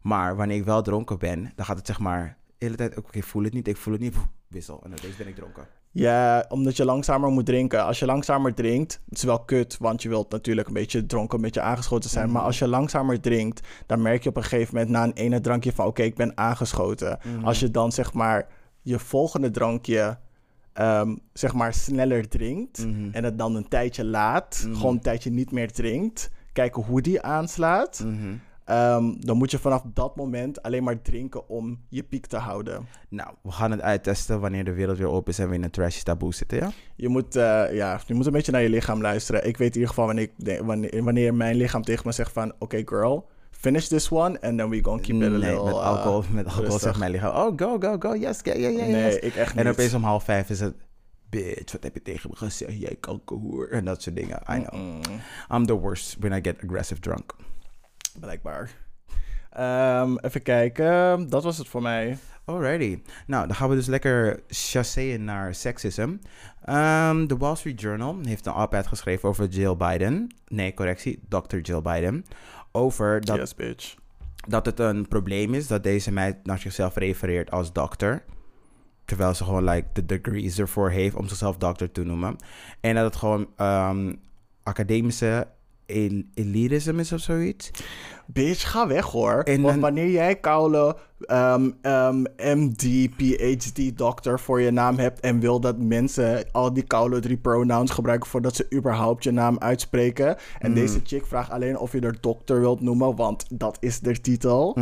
Maar wanneer ik wel dronken ben, dan gaat het zeg maar de hele tijd, oké, ik voel het niet, ik voel het niet, wissel. En dan ben ik dronken. Ja, omdat je langzamer moet drinken. Als je langzamer drinkt, het is wel kut, want je wilt natuurlijk een beetje dronken, een beetje aangeschoten zijn. Maar als je langzamer drinkt, dan merk je op een gegeven moment na een ene drankje van, oké, ik ben aangeschoten. Als je dan zeg maar je volgende drankje ehm, zeg maar sneller drinkt en het dan een tijdje laat, gewoon een tijdje niet meer drinkt, kijken hoe die aanslaat. Mhm. ehm, dan moet je vanaf dat moment alleen maar drinken om je piek te houden. Nou, we gaan het uittesten wanneer de wereld weer open is en we in een trash taboe zitten, ja? Je moet, eh, ja, je moet een beetje naar je lichaam luisteren. Ik weet in ieder geval wanneer, ik denk- wanneer, wanneer mijn lichaam tegen me zegt van... Oké, girl, finish this one and then we gonna keep it a nee, little... met eh, alcohol, met alcohol rustig. zegt mijn lichaam, oh, go, go, go, yes, yeah, yeah, yeah, Nee, yes. ik echt En niet. opeens om half vijf is het, bitch, wat heb je tegen me gezegd? Jij kankerhoer en dat soort dingen. I know. I'm the worst when I get aggressive drunk. Blijkbaar. Ehm, even kijken, dat was het voor mij. Alrighty. Nou, dan gaan we dus lekker chasseën naar seksisme. Ehm, De Wall Street Journal heeft een op-ed geschreven over Jill Biden. Nee, correctie, Dr. Jill Biden. Over dat, yes, bitch. dat het een probleem is dat deze meid naar zichzelf refereert als dokter. Terwijl ze gewoon like, de degrees ervoor heeft om zichzelf dokter te noemen. En dat het gewoon ehm, academische el- elitisme is of zoiets. Bitch, ga weg hoor. En Want dan- wanneer jij koude ehm, ehm, MD, PhD, dokter voor je naam hebt... en wil dat mensen al die koude drie pronouns gebruiken... voordat ze überhaupt je naam uitspreken... en deze chick vraagt alleen of je er dokter wilt noemen... want dat is de titel...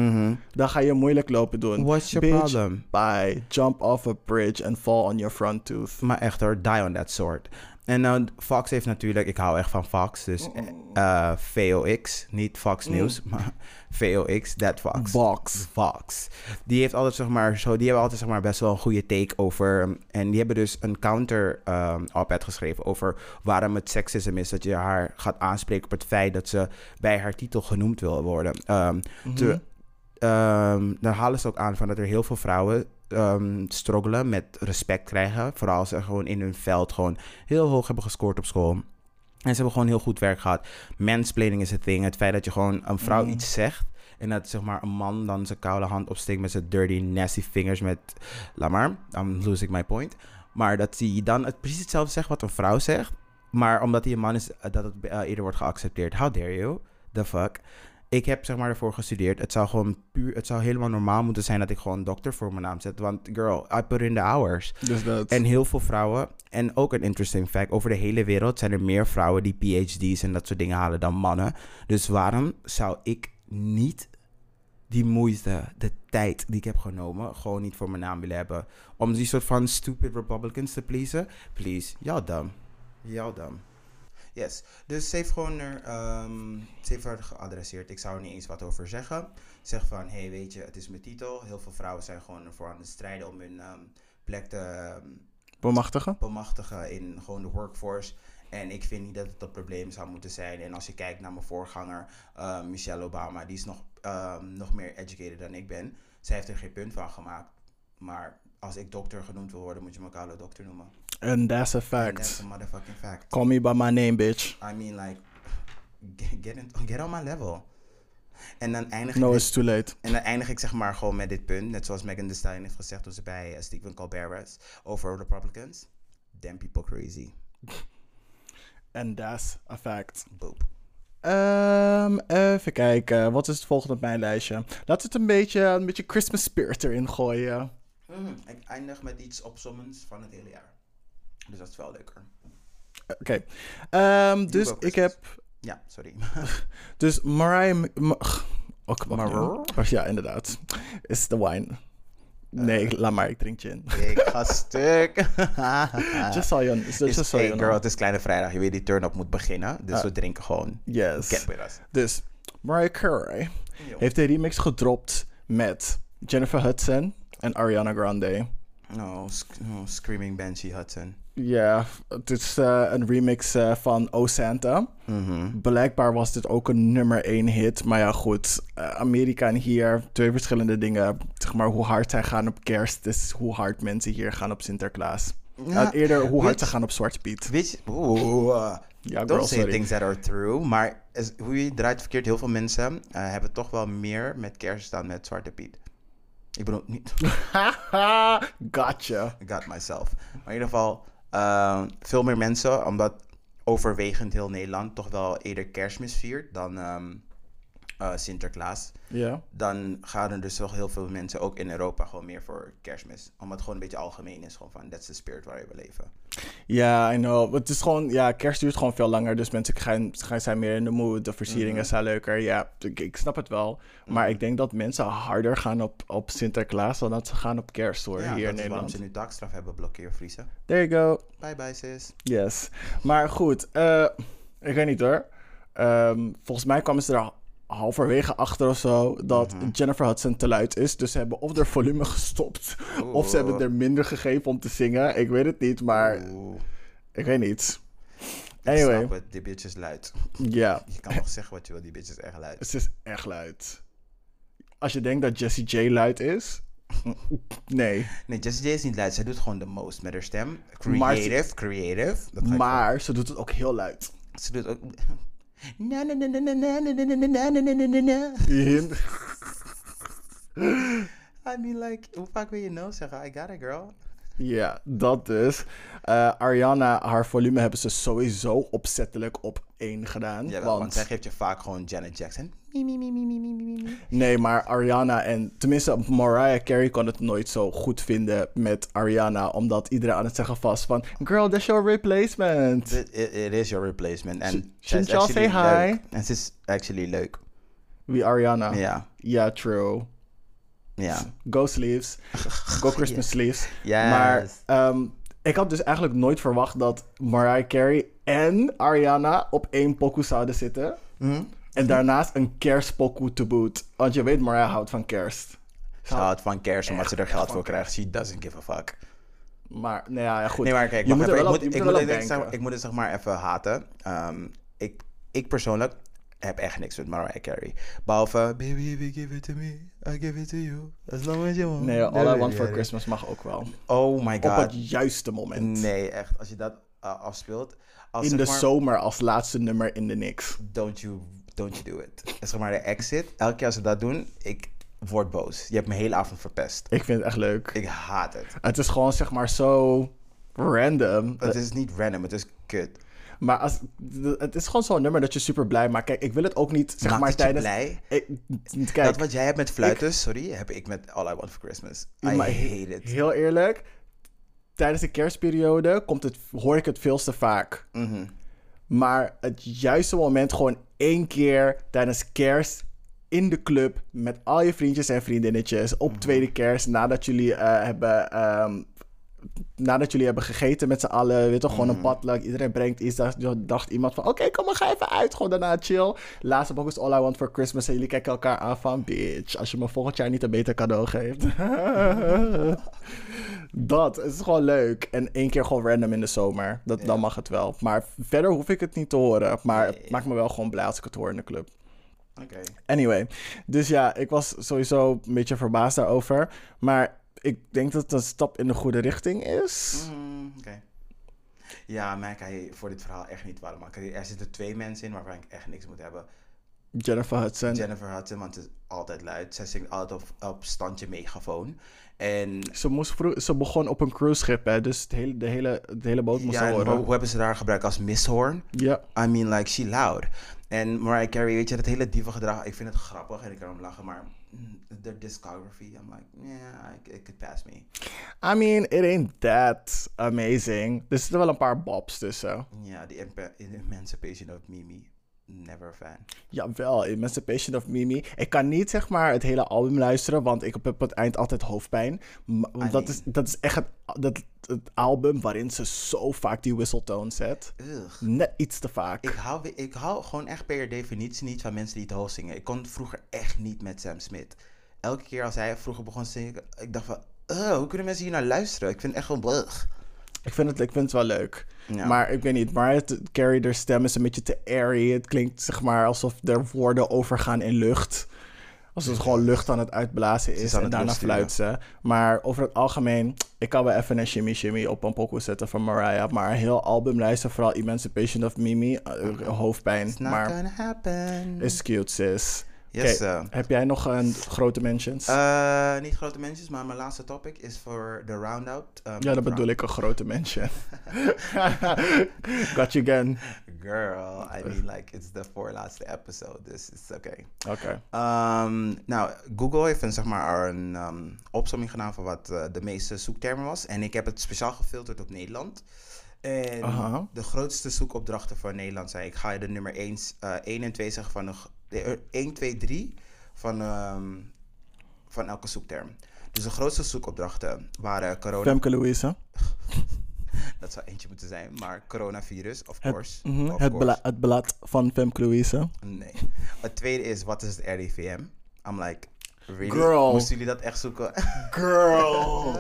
dan ga je moeilijk lopen doen. What's your Bitch, problem? Bye. Jump off a bridge and fall on your front tooth. Maar echt hoor, die on that sort. En nou, Fox heeft natuurlijk, ik hou echt van Fox, dus eh, VOX, niet Fox News, <laughs> maar VOX, that Fox. Box. Fox. Die heeft altijd zeg maar zo, die hebben altijd zeg maar best wel een goede take over. um, En die hebben dus een counter um, op-ed geschreven over waarom het seksisme is dat je haar gaat aanspreken op het feit dat ze bij haar titel genoemd wil worden. Um, te- um, daar halen ze ook aan van dat er heel veel vrouwen um, struggelen met respect krijgen, vooral als ze gewoon in hun veld gewoon heel hoog hebben gescoord op school. En ze hebben gewoon heel goed werk gehad. Mansplaining is het ding. Het feit dat je gewoon een vrouw iets zegt. En dat zeg maar een man dan zijn koude hand opsteekt met zijn dirty, nasty fingers met... Laat maar, I'm losing my point. Maar dat hij dan het, precies hetzelfde zegt wat een vrouw zegt. Maar omdat hij een man is, eh, dat het eh, eerder wordt geaccepteerd. How dare you? The fuck? Ik heb zeg maar ervoor gestudeerd. Het zou gewoon puur... Het zou helemaal normaal moeten zijn dat ik gewoon dokter voor mijn naam zet. Want girl, I put in the hours. Dus dat. En heel veel vrouwen, en ook een interesting fact, over de hele wereld zijn er meer vrouwen die PhD's en dat soort dingen halen dan mannen. Dus waarom zou ik niet die moeite, de tijd die ik heb genomen, gewoon niet voor mijn naam willen hebben? Om die soort van stupid Republicans te pleasen? Please, y'all dumb. Y'all dumb. Yes, dus ze heeft gewoon er, ehm, ze heeft haar geadresseerd. Ik zou er niet eens wat over zeggen. Zeg van, hey, weet je, het is mijn titel. Heel veel vrouwen zijn gewoon ervoor aan het strijden om hun ehm, plek te ehm, Bemachtigen? bemachtigen in gewoon de workforce. En ik vind niet dat het een probleem zou moeten zijn. En als je kijkt naar mijn voorganger, eh, Michelle Obama, die is nog, ehm, nog meer educated dan ik ben. Zij heeft er geen punt van gemaakt. Maar als ik dokter genoemd wil worden, moet je me koude dokter noemen. And that's a And That's fact. a motherfucking fact. Call me by my name, bitch. I mean, like, get, get, in- get on my level. En dan eindig ik No, dit- it's too late. en dan eindig ik zeg maar gewoon met dit punt. Net zoals Megan Thee Stallion heeft gezegd toen ze bij eh, Stephen Colbert was. Over Republicans. Damn people crazy. And that's a fact. Boop. Ehm, even kijken. Wat is het volgende op mijn lijstje? Laten we het een beetje, een beetje Christmas spirit erin gooien. Mm. Mhm. Ik eindig met iets opzommends van het hele jaar. Dus dat is wel leuker. Oké. Ehm, dus wel ik Christmas. heb... Ja, <laughs> sorry. Dus Mariah... Mc- Ma- Ugh, Ook wat Mariah? nu. Ja, inderdaad. Is de wine. Eh. Nee, ik- laat maar. Ik drink <laughs> gin. ik ga <laughs> stuk. just so you, just, Is- just so hey, you know. girl, het is Kleine Vrijdag. Je weet, die turn-up moet beginnen. Ah. Dus we drinken gewoon. Yes. Get with us. Dus Mariah Carey Yo. heeft een remix gedropt met Jennifer Hudson en Ariana Grande. Oh, sc- oh, Screaming Banshee Hudson. Ja, het is eh, een remix eh, van O Santa. Mm-hmm. Blijkbaar was dit ook een nummer 1 hit. Maar ja, goed. eh, Amerika en hier, twee verschillende dingen. Zeg maar hoe hard zij gaan op kerst is hoe hard mensen hier gaan op Sinterklaas. Ja, Eh, eerder hoe hard weet- ze gaan op Zwarte <laughs> Piet. Weet je, oeh, eh, Ja, girl, don't say sorry. things that are true. Maar is, hoe je het draait verkeerd, heel veel mensen eh, hebben toch wel meer met kerst dan met Zwarte Piet. Ik bedoel, niet. Haha, gotcha. I got myself. Maar in ieder geval, ehm, veel meer mensen, omdat overwegend heel Nederland toch wel eerder kerstmis viert dan ehm, eh, Sinterklaas. Ja. Dan gaan er dus toch heel veel mensen, ook in Europa, gewoon meer voor kerstmis. Omdat het gewoon een beetje algemeen is, gewoon van, that's the spirit waarin we leven. Ja, I know. Het is gewoon, ja, kerst duurt gewoon veel langer. Dus mensen gaan, gaan zijn meer in de mood. De Mhm. versieringen zijn leuker. Ja, ik, ik snap het wel. Maar ik denk dat mensen harder gaan op, op Sinterklaas dan dat ze gaan op kerst hoor. Ja, hier in dat is waarom Nederland. ze nu taakstraf hebben, blokkeervriezen. There you go. Bye bye sis. Yes. Maar goed, eh, ik weet niet hoor. Ehm, volgens mij kwamen ze er halverwege achter of zo dat Mhm. Jennifer Hudson te luid is. Dus ze hebben of er volume gestopt, of ze hebben er minder gegeven om te zingen. Ik weet het niet, maar Oeh, ik weet niet. ik snap Anyway, het, die bitch is luid. ja, Je kan nog zeggen wat je wil, die bitch is echt luid. ze is echt luid. Als je denkt dat Jessie J luid is, <laughs> nee. Nee, Jessie J is niet luid, zij doet gewoon de most met haar stem. Maar ze- Creative, creative. Dat ga ik Maar ze doet het ook heel luid. Ze doet ook. <laughs> Na, na, na, na, na, na, na, na, na, na, na, na, na, na, na. I mean, like, hoe vaak wil je no zeggen? I got it, girl. <laughs> Ja, dat dus. Eh, Ariana, haar volume hebben ze sowieso opzettelijk op één gedaan. Jawel, want... want, zij geeft je vaak gewoon Janet Jackson. Mie, mie, mie, mie, mie, mie, mie, mie. Nee, maar Ariana en... Tenminste, Mariah Carey kon het nooit zo goed vinden met Ariana. Omdat iedereen aan het zeggen was van... Girl, that's your replacement. <laughs> It, it, it is your replacement. En Sh- zij is shouldn't y'all actually say hi? leuk. En ze is actually leuk. Wie Ariana? Ja, Ja, true. ja. Go <laughs> sleeves. Go Christmas sleeves. Yes. Maar ehm, ik had dus eigenlijk nooit verwacht dat Mariah Carey en Ariana op één pokoe zouden zitten. Mhm. En daarnaast een kerstpokoe te boot. Want je weet, Mariah houdt van kerst. Ze houdt van kerst omdat ze er geld van voor krijgt. She doesn't give a fuck. Maar, nou ja, ja, goed. Nee, maar kijk, je wacht moet er even. wel Ik op- moet- je moet ik er moet wel op het echt zeg- denken. ik moet het zeg maar even haten. Ehm, ik, ik persoonlijk heb echt niks met Mariah Carey. Behalve, baby, baby, give it to me, I give it to you, as long as you want. Nee, All I Want for Ja, Christmas mag ook wel. Oh my Op god. het juiste moment. Nee, echt, als je dat eh, afspeelt. Als In zeg de maar, zomer als laatste nummer in de niks. Don't you, don't you do it. Zeg maar de exit. Elke keer als ze dat doen, ik word boos. Je hebt me hele avond verpest. Ik vind het echt leuk. Ik haat het. Het is gewoon zeg maar zo random. Het is niet random, het is kut. Maar als, d- het is gewoon zo'n nummer dat je super blij maakt. Kijk, ik wil het ook niet, zeg Maakt maar, het je tijdens... blij? Ik, kijk, dat wat jij hebt met fluiten, sorry, heb ik met All I Want for Christmas. I maar he- hate it. heel eerlijk, tijdens de kerstperiode komt het, hoor ik het veel te vaak. Mhm. Maar het juiste moment gewoon één keer tijdens kerst in de club met al je vriendjes en vriendinnetjes Mhm. op tweede kerst nadat jullie eh, hebben ehm, nadat jullie hebben gegeten met z'n allen, weet toch, gewoon een padlak. Iedereen brengt iets. Daar dacht iemand van, oké, kom maar, ga even uit. Gewoon daarna chill. Laatste boek is All I Want For Christmas. En jullie kijken elkaar aan van, bitch, als je me volgend jaar niet een beter cadeau geeft. <laughs> dat, het is gewoon leuk. En één keer gewoon random in de zomer. Dat, Dan mag het wel. Maar verder hoef ik het niet te horen. Maar het maakt me wel gewoon blij als ik het hoor in de club. Oké. Anyway, dus ja, ik was sowieso een beetje verbaasd daarover. Maar ik denk dat het een stap in de goede richting is. Mm, oké. Ja, maar ik kan je voor dit verhaal echt niet warm maken. Er zitten twee mensen in waarvan ik echt niks moet hebben. Jennifer Hudson. Jennifer Hudson, want ze is altijd luid. Zij zingt altijd op, op standje megafoon. En ze, moest vroeg- ze begon op een cruiseschip, hè, dus het hele, de, hele, de hele boot moest ja, ze en horen. hoe, hoe hebben ze daar gebruikt als mishoorn? Ja, I mean, like, she loud. En Mariah Carey, weet je, dat hele dieve gedrag, ik vind het grappig en ik kan om lachen, maar mm, de discography, I'm like, yeah, it, it could pass me. I mean, it ain't that amazing. Er zitten wel een paar bobs tussen. Ja, die empe- Emancipation of Mimi. Never a fan. Jawel, Emancipation of Mimi. Ik kan niet zeg maar het hele album luisteren, want ik heb op het eind altijd hoofdpijn. Maar- Want dat mean- is, dat is echt het, dat, het album waarin ze zo vaak die whistletoon zet. Ugh. Net iets te vaak. Ik hou, we- ik hou gewoon echt per definitie niet van mensen die te hoog zingen. Ik kon vroeger echt niet met Sam Smith. Elke keer als hij vroeger begon te zingen, ik dacht van... "Ugh, hoe kunnen mensen hier naar luisteren? Ik vind het echt wel blug. Ik vind het, ik vind het wel leuk. Ja. Maar ik weet niet, Mariah t- Carey, haar stem is een beetje te airy. Het klinkt zeg maar alsof er woorden overgaan in lucht. Alsof het gewoon lucht aan het uitblazen is aan en het daarna lusten, ja. fluit ze. Maar over het algemeen, ik kan wel even een shimmy shimmy op een pokoe zetten van Mariah. Maar een heel album luisteren, vooral Emancipation of Mimi, eh, hoofdpijn. It's not Maar gonna happen. is cute, sis. Yes. Oké, eh, Heb jij nog een grote mentions? eh, niet grote mentions, maar mijn laatste topic is voor de round-out. eh, ja, dat bedoel ik, een grote <laughs> mention. Got you again. Girl, Eh. I mean like it's the voorlaatste episode, dus it's okay. Oké. Ehm, nou, Google heeft een, zeg maar, een ehm, opsomming gedaan van wat eh, de meeste zoektermen was. En ik heb het speciaal gefilterd op Nederland. En Aha. de grootste zoekopdrachten voor Nederland zijn... Ik ga je de nummer 1, eh 1 en 2 zeggen van... De, g- de- eh, 1, 2, 3 van, ehm, van elke zoekterm. Dus de grootste zoekopdrachten waren corona... Femke Louise. Dat zou eentje moeten zijn, maar coronavirus, of Het, course. mhm, of het, course. bla- het blad van Femke Louise. Nee. Het tweede is, wat is het RIVM? I'm like, really? Girl. Moesten jullie dat echt zoeken? <laughs> Girl! <laughs>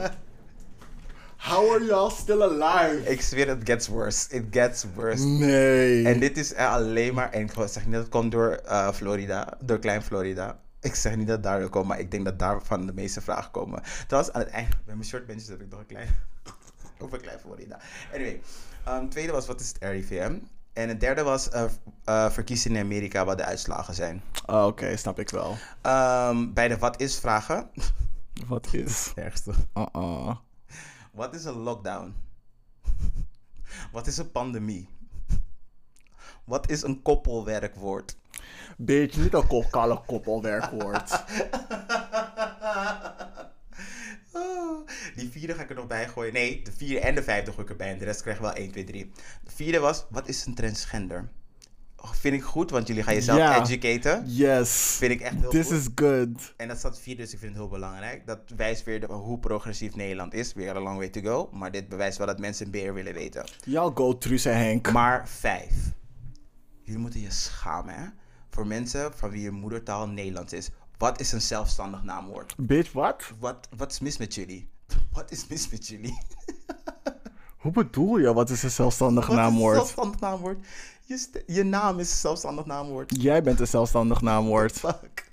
How are y'all still alive? ik zweer, het gets worse. It gets worse. Nee. En dit is er alleen maar, en ik zeg niet dat het komt door eh, Florida, door Klein Florida. Ik zeg niet dat daar komt, maar ik denk dat daarvan de meeste vragen komen. Trouwens, aan het eind, bij mijn short benches heb ik nog een klein, <laughs> over Klein Florida. Anyway, ehm, tweede was, wat is het RIVM? En het derde was eh, eh, verkiezingen in Amerika, wat de uitslagen zijn. Ah, Oké, snap ik wel. Ehm, bij de wat is vragen, <laughs> Wat is? ergste. Uh-uh. Wat is een lockdown? <laughs> Wat is een pandemie? <laughs> Wat is een koppelwerkwoord? <laughs> Bitch, niet een kokkalle koppelwerkwoord. Oh, Die vierde ga ik er nog bij gooien. Nee, de vierde en de vijfde gooi ik erbij. En de rest krijg je wel 1, 2, 3. De vierde was, wat is een transgender? Oh, Vind ik goed, want jullie gaan jezelf Ja. educaten. Yes. Vind ik echt heel This goed. is good. En dat staat vier, dus ik vind het heel belangrijk. Dat wijst weer de- hoe progressief Nederland is. Weer a long way to go. Maar dit bewijst wel dat mensen meer willen weten. Y'all go Truus en Henk. Maar vijf. Jullie moeten je schamen, hè? Voor mensen van wie je moedertaal Nederlands is. Wat is een zelfstandig naamwoord? Bitch, wat? Wat, wat is mis met jullie? <laughs> Wat is mis met jullie? Hoe bedoel je? Wat is een zelfstandig Wat is een naamwoord? zelfstandig naamwoord? Je, st- je naam is een zelfstandig naamwoord. Jij bent een zelfstandig naamwoord. Fuck.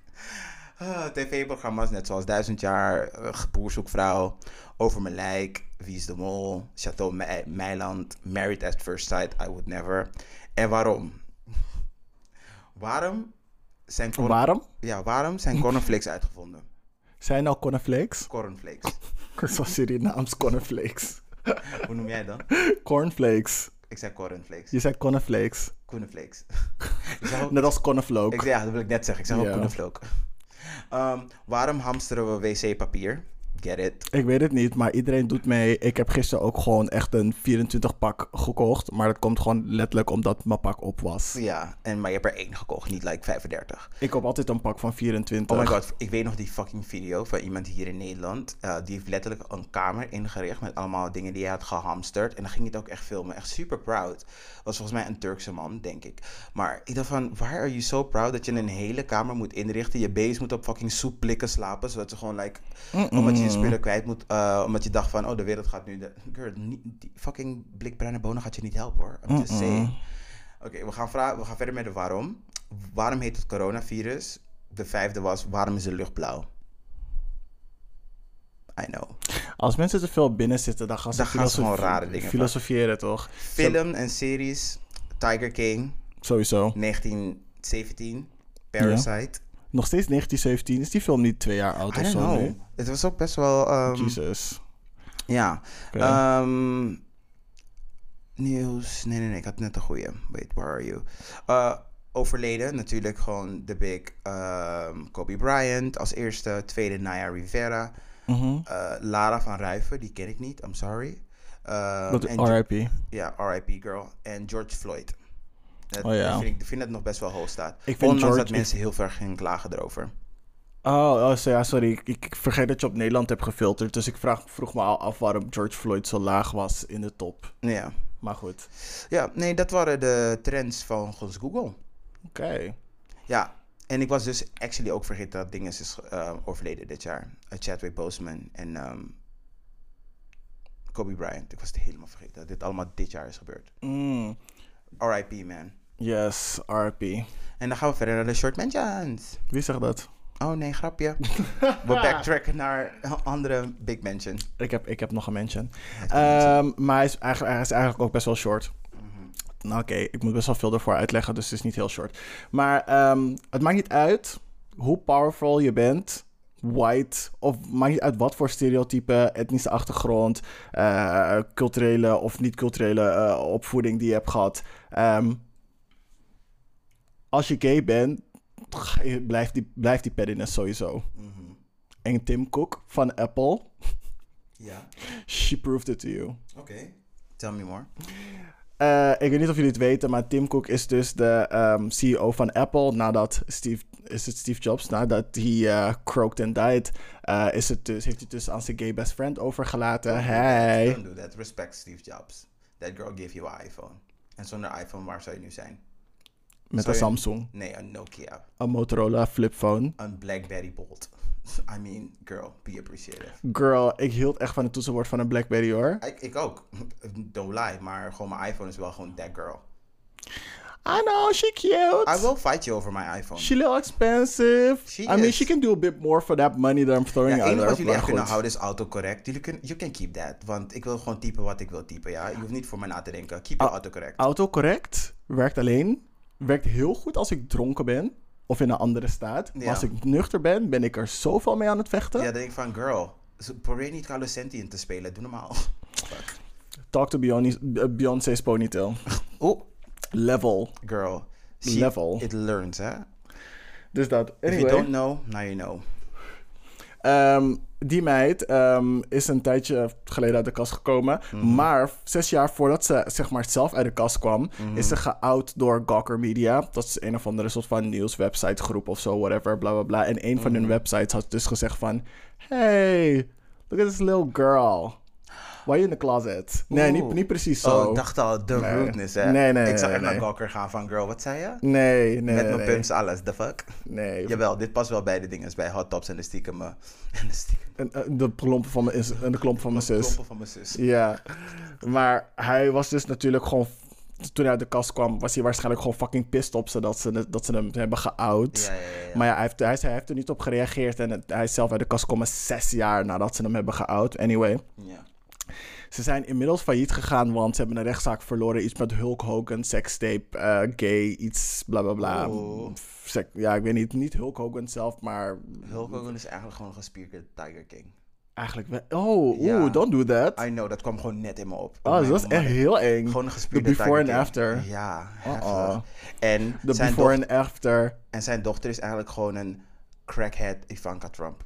Ah, TV-programma's net zoals Duizend Jaar, eh, Boerzoekvrouw, Over Mijn Lijk, Wie is de Mol, Chateau Me- Meiland, Married at First Sight, I Would Never. En waarom? Waarom zijn, corn- Waarom? ja, waarom zijn cornflakes uitgevonden? Zijn al cornflakes? <laughs> Cornflakes. Zoals Surinaams cornflakes. Hoe noem jij dan? Cornflakes. Ik zei cornflakes. Je zei cornflakes. Cornflakes. Ik zeg ook- Net als cornfloak. Ik, ja, dat wil ik net zeggen. Ik zeg ook Ja. cornflake. Ehm, waarom hamsteren we wc-papier? Get it. Ik weet het niet, maar iedereen doet mee. Ik heb gisteren ook gewoon echt een 24 pak gekocht. Maar dat komt gewoon letterlijk omdat mijn pak op was. Ja, en, maar je hebt er één gekocht, niet like 35. Ik koop altijd een pak van 24. Oh my god, ik weet nog die fucking video van iemand hier in Nederland. Eh, die heeft letterlijk een kamer ingericht met allemaal dingen die hij had gehamsterd. En dan ging hij het ook echt filmen. Echt super proud. Was volgens mij een Turkse man, denk ik. Maar ik dacht van, why are you so proud dat je een hele kamer moet inrichten? Je baby's moet op fucking soepblikken slapen. Zodat ze gewoon like, omdat je je spullen kwijt moet. eh, omdat je dacht van, oh de wereld gaat nu. De, girl, niet- die fucking blik bruine bonen gaat je niet helpen hoor. I'm just saying. Oké, we, gaan vra- we gaan verder met de waarom. Waarom heet het coronavirus? De vijfde was, waarom is de lucht blauw? I know. Als mensen te veel binnen zitten, dan gaan ze Dan gaan ze filosof- gewoon rare dingen filosoferen, toch? Film en series, Tiger King, Sowieso. 1917, Parasite. Nog steeds 1917. Is die film niet twee jaar oud of I don't zo know. nu? Het was ook best wel... ehm, Jesus. ja. Oké. Ehm, nieuws. Nee, nee, nee. Ik had net een goede. Wait, where are you? Eh, overleden. Natuurlijk gewoon de big ehm, Kobe Bryant als eerste. Tweede Naya Rivera. Mhm. Eh, Lara van Ruiven, die ken ik niet, I'm sorry. Ehm, Dat- en Jo- RIP. Ja, RIP girl. En George Floyd. Dat Oh ja. vind ik vind dat nog best wel hoog staat. vind Ondanks George- dat ik- mensen heel ver gingen klagen erover. Oh, oh so- ja, sorry. Ik, ik vergeet dat je op Nederland hebt gefilterd. Dus ik vraag, vroeg me al af waarom George Floyd zo laag was in de top. Ja. Maar goed. ja, nee, dat waren de trends volgens Google. Oké. Ja, en ik was dus actually ook vergeten dat Dinges is eh, overleden dit jaar. Eh, Chadwick Boseman en ehm, Kobe Bryant. Ik was het helemaal vergeten dat dit allemaal dit jaar is gebeurd. Mm. RIP, man. Yes, RIP. En dan gaan we verder naar de short mentions. Wie zegt dat? Oh nee, <laughs> grapje. We backtracken naar een andere Big Mansion. Ik heb, ik heb nog een mention. Ehm, maar hij is, eigenlijk, hij is eigenlijk ook best wel short. Nou, Oké, ik moet best wel veel ervoor uitleggen, dus het is niet heel short. Maar ehm, het maakt niet uit hoe powerful je bent, white, of maakt niet uit wat voor stereotype, etnische achtergrond, eh, culturele of niet-culturele eh, opvoeding die je hebt gehad. ehm, als je gay bent, ga je- blijft die, blijft die pettiness sowieso. En Tim Cook van Apple, Ja, she proved it to you. oké. Tell me more. Eh, ik weet niet of jullie het weten, maar Tim Cook is dus de ehm, CEO van Apple. Nadat Steve, is het Steve Jobs, nadat hij eh, croaked and died, eh, is het dus, heeft hij het dus aan zijn gay best friend overgelaten. Hey! Don't do that. Respect Steve Jobs. That girl gave you an iPhone. En zonder iPhone, waar zou je nu zijn? Met een Sorry. Samsung, Nee, een Nokia. een Motorola flipphone. Een Blackberry Bolt. <laughs> I mean, girl, be appreciative. Girl, ik hield echt van het toetsenbord van een Blackberry hoor. Ik, ik ook. <laughs> Don't lie, maar gewoon mijn iPhone is wel gewoon that girl. I know, she cute. I will fight you over my iPhone. She little expensive. She I mean, is. she can do a bit more for that money that I'm throwing Ja, at het enige her. wat jullie maar echt kunnen goed. houden is autocorrect. Jullie kunnen, you can keep that. Want ik wil gewoon typen wat ik wil typen, ja. Je hoeft niet voor mij na te denken. Keep Ah. your autocorrect. Autocorrect werkt alleen. Werkt heel goed als ik dronken ben. Of in een andere staat. Maar Ja. als ik nuchter ben, ben ik er zoveel mee aan het vechten. Ja, dan denk ik van, girl, zo- probeer niet Carlos Senti in te spelen. Doe <laughs> normaal. Fuck. Talk to Beyoncé- eh, Beyoncé's ponytail. Oh, Level. girl. Level. It learns, hè. Dus dat. If you Anyway, don't know, now you know. ehm, die meid ehm, is een tijdje geleden uit de kast gekomen. Mhm. Maar zes jaar voordat ze zeg maar, zelf uit de kast kwam, Mhm. is ze geout door Gawker Media. Dat is een of andere soort van nieuwswebsite groep of zo, whatever, bla bla bla. En een van Mhm. hun websites had dus gezegd van... Hey, look at this little girl. Why you in the closet? Nee, niet, Oeh. niet precies zo. Oh, ik dacht al, de Nee. rudeness, hè. Nee, nee, Ik zou nee, echt naar nee. Gawker gaan van, girl, wat zei je? Nee, nee, Met mijn nee. pumps, alles, the fuck? Nee. Jawel, dit past wel bij de dingen. Bij hot tops en de stiekem... eh, <laughs> En de stiekem... En, eh, de klompen van mijn, is- en de klompen van mijn zus. klompen van mijn zus. Dus- Ja, maar hij was dus natuurlijk gewoon. Toen hij uit de kast kwam, was hij waarschijnlijk gewoon fucking pissed op ze dat ze, dat ze hem hebben geout. Ja, ja, ja, ja. Maar ja, hij heeft, hij, hij heeft er niet op gereageerd en het- hij is zelf uit de kast gekomen zes jaar nadat ze hem hebben geout. Anyway, Ja. ze zijn inmiddels failliet gegaan, want ze hebben een rechtszaak verloren. Iets met Hulk Hogan, sekstape, eh, gay, iets bla bla bla. Oh. Sek- ja, ik weet niet, niet Hulk Hogan zelf, maar Hulk Hogan is eigenlijk gewoon een gespierde Tiger King. eigenlijk wel. Oh, Ja. oeh, don't do that. I know, dat kwam gewoon net in me op. Oh, dat is mijn echt man. heel eng. Gewoon een gespierde The before Tiger and King. after. Ja, Uh-oh. heftig. En, The zijn before doch- and after. en zijn dochter is eigenlijk gewoon een crackhead Ivanka Trump.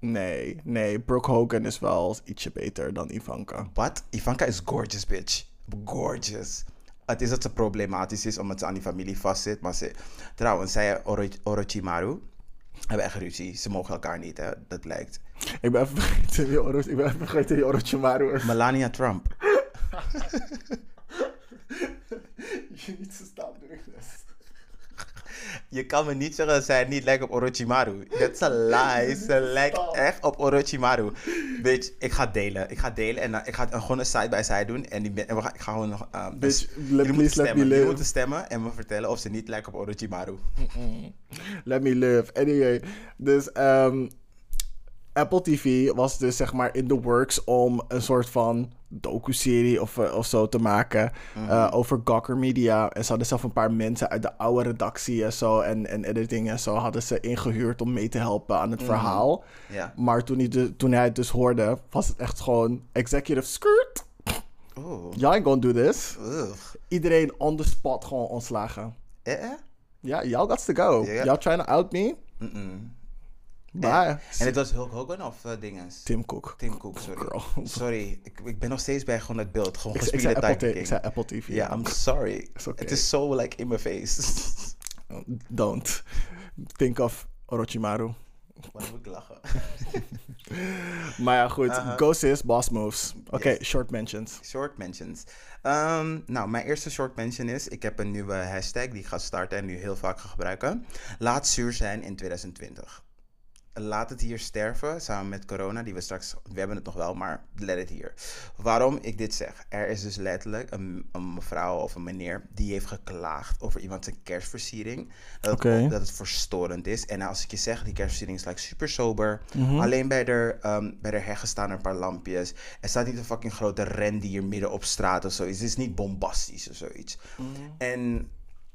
Nee, nee. Brooke Hogan is wel ietsje beter dan Ivanka. Wat? Ivanka is gorgeous, bitch. Gorgeous. Het is dat ze problematisch is omdat ze aan die familie vastzit. Maar ze... Trouwens, zij en Oro- Orochimaru hebben echt ruzie. Ze mogen elkaar niet, hè. Dat lijkt. Ik ben even vergeten wie Oro- ik ben even vergeten wie Orochimaru is. <laughs> Melania Trump. Je niet zo staan doen, dus. Je kan me niet zeggen dat zij niet lijkt op Orochimaru. That's a lie. Ze lijkt echt op Orochimaru. Bitch, ik ga het delen. Ik ga het delen en dan- ik ga het gewoon een side by side doen. En, die, men- en we gaan, ik ga gewoon nog... ehm, Bitch, dus let- jullie please moeten let me stemmen. Jullie live. moeten stemmen en me vertellen of ze niet lijkt op Orochimaru. Let me live. Anyway, dus ehm, Apple TV was dus zeg maar in the works om een soort van docu-serie of, eh, of zo te maken eh, over Gawker Media. En ze hadden zelf een paar mensen uit de oude redactie en zo en, en editing en zo hadden ze ingehuurd om mee te helpen aan het verhaal. Ja. Maar toen hij, de- toen hij het dus hoorde, was het echt gewoon executive skirt. Oeh. Y'all ain't gonna do this. Oh. Ugh. Iedereen on the spot gewoon ontslagen. Eh, eh? Ja, y'all got to go. Ja. Y'all trying to out me? Mm-mm. Bye. En het was Hulk Hogan of eh, dinges? Tim Cook. Tim Cook, sorry. Girl. Sorry, ik, ik ben nog steeds bij gewoon het beeld. Gewoon Ik, ik, zei gespierde Apple TV, Tiger ik King. zei Apple TV. Ja, I'm sorry. It's okay. Het is zo like in my face. <laughs> Don't. Think of Orochimaru. Waarom moet ik lachen? <laughs> Maar ja, goed. Aha. Go sis, boss moves. Oké, Yes. short mentions. Short mentions. Ehm, nou, mijn eerste short mention is: ik heb een nieuwe hashtag die ik ga starten en nu heel vaak ga gebruiken. Laat zuur zijn in 2020. Laat het hier sterven samen met corona, die we straks. We hebben het nog wel, maar let het hier. Waarom ik dit zeg? Er is dus letterlijk een, een mevrouw of een meneer die heeft geklaagd over iemand zijn kerstversiering. Dat, het- Oké. dat het verstorend is. En als ik je zeg, die kerstversiering is like super sober. Alleen bij de, ehm bij de heggen staan er een paar lampjes. Er staat niet een fucking grote rendier midden op straat of zoiets. Het is niet bombastisch of zoiets. En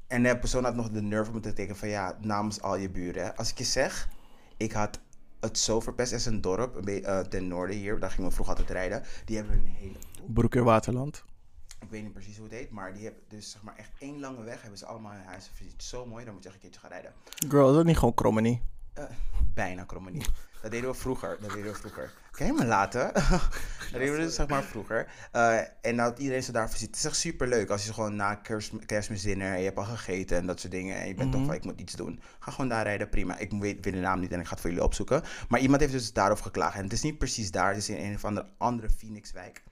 En de persoon had nog de nerve om te tekenen van ja, namens al je buren. hè. Als ik je zeg, ik had het zo verpest. Er is een dorp een be- eh, ten noorden hier, daar gingen we vroeg altijd rijden. Die hebben een hele, Broek in Waterland. ik weet niet precies hoe het heet, maar die hebben dus zeg maar echt één lange weg. Hebben ze allemaal hun huizen versierd. Zo mooi, dan moet je echt een keertje gaan rijden. Girl, is dat niet gewoon Krommenie? Eh, bijna Krommenie. Dat deden we vroeger. Dat deden we vroeger. Kan je me laten? <laughs> dat deden we dus, zeg maar vroeger. Eh, en dat iedereen ze daar ziet. Het is echt super leuk als je gewoon na kerst, kerstmis dinner en je hebt al gegeten en dat soort dingen. En je bent toch van ik moet iets doen. Ga gewoon daar rijden, prima. Ik weet, weet de naam niet en ik ga het voor jullie opzoeken. Maar iemand heeft dus daarover geklaagd. En het is niet precies daar. Het is in een of andere, andere Phoenixwijk.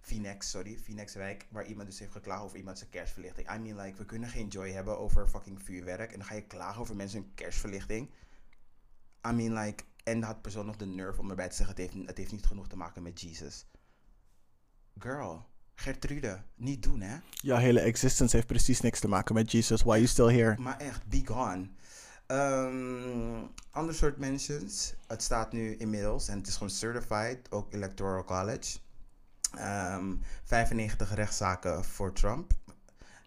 Phoenix, sorry, Phoenixwijk, waar iemand dus heeft geklaagd over iemand zijn kerstverlichting. I mean, like, we kunnen geen joy hebben over fucking vuurwerk. En dan ga je klagen over mensen hun kerstverlichting. I mean, like, en had persoon nog de nerve om erbij te zeggen: het heeft, het heeft niet genoeg te maken met Jesus. Girl, Gertrude, niet doen hè? Jouw hele existence heeft precies niks te maken met Jesus. Why you still here? Maar echt, be gone. Ehm, ander soort mentions. Het staat nu inmiddels en het is gewoon certified, ook Electoral College. Ehm, 95 rechtszaken voor Trump,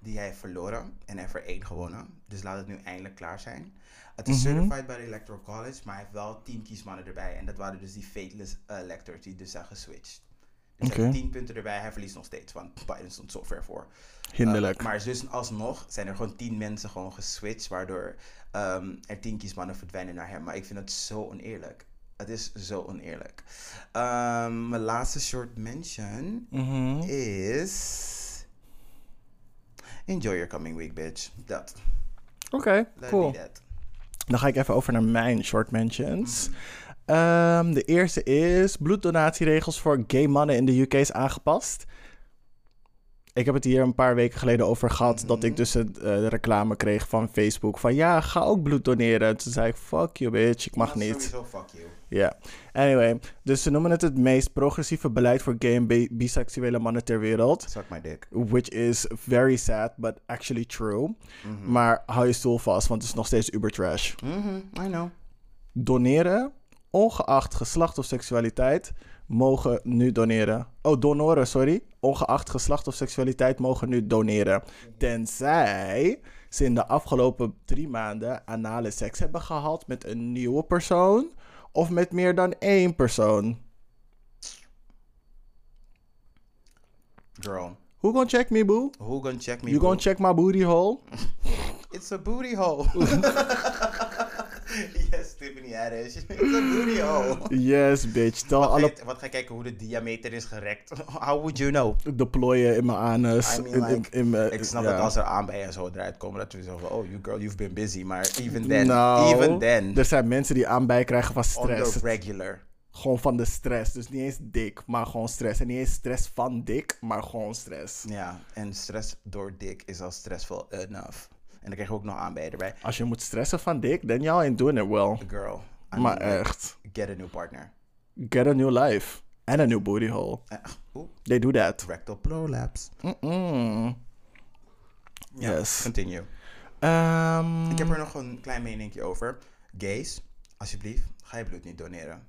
die hij heeft verloren en hij heeft er één gewonnen. Dus laat het nu eindelijk klaar zijn. Het is certified bij de Electoral College, maar hij heeft wel 10 kiesmannen erbij. En dat waren dus die fateless electors die dus zijn geswitcht. Dus hij heeft Oké. 10 punten erbij, hij verliest nog steeds, want Biden stond zo ver voor. Hinderlijk. Uh, maar dus alsnog zijn er gewoon tien mensen gewoon geswitcht, waardoor ehm, er tien kiesmannen verdwijnen naar hem. Maar ik vind het zo oneerlijk. Het is zo oneerlijk. Ehm, mijn laatste short mention Mhm. is... Enjoy your coming week, bitch. Dat. Oké, Let cool. me that. Dan ga ik even over naar mijn short mentions. Ehm, de eerste is: bloeddonatieregels voor gay mannen in de UK is aangepast. Ik heb het hier een paar weken geleden over gehad. Dat ik dus het, eh, de reclame kreeg van Facebook. Van ja, ga ook bloed doneren. Toen zei ik: Fuck you, bitch. Ik mag Dat is niet. Sowieso fuck you. Ja. Anyway, dus ze noemen het het meest progressieve beleid voor gay en bi- biseksuele mannen ter wereld. Suck my dick. Which is very sad, but actually true. Maar hou je stoel vast, want het is nog steeds uber trash. Mhm, I know. Doneren, ongeacht geslacht of seksualiteit, mogen nu doneren. Oh, donoren, sorry. Ongeacht geslacht of seksualiteit mogen nu doneren. Tenzij ze in de afgelopen drie maanden anale seks hebben gehad met een nieuwe persoon of met meer dan één persoon. Girl, Who gonna check me, boo? who gonna check me? You gonna boo? check my booty hole? It's a booty hole. <laughs> <laughs> yes, Tiffany Haddish. It's a booty hole. Yes, bitch. Tel Wat, alle ga je- wat ga je kijken hoe de diameter is gerekt? <laughs> How would you know? de plooien in mijn anus. I mean, in- in- like, in mijn- Ik snap ja. dat als er aan bij en zo eruit komen, dat we zeggen: van, Oh, you girl, you've been busy. Maar even then, Nou, even then, Er zijn mensen die aanbij krijgen van on stress. the regular. Gewoon van de stress. Dus niet eens dik, maar gewoon stress. En niet eens stress van dik, maar gewoon stress. Ja, en stress door dik is al stressful enough. En dan krijg je ook nog aan bij erbij. Als je moet stressen van dik, then y'all ain't doing it well. Girl, I Maar eh, mean, like, echt. get a new partner. Get a new life. And a new booty hole. Eh, Oeh, They do that. Mm. rectal prolapse. Mm-mm. Yes. Continue. Ehm, Ik heb er nog een klein meninkje over. Gays, alsjeblieft, ga je bloed niet doneren.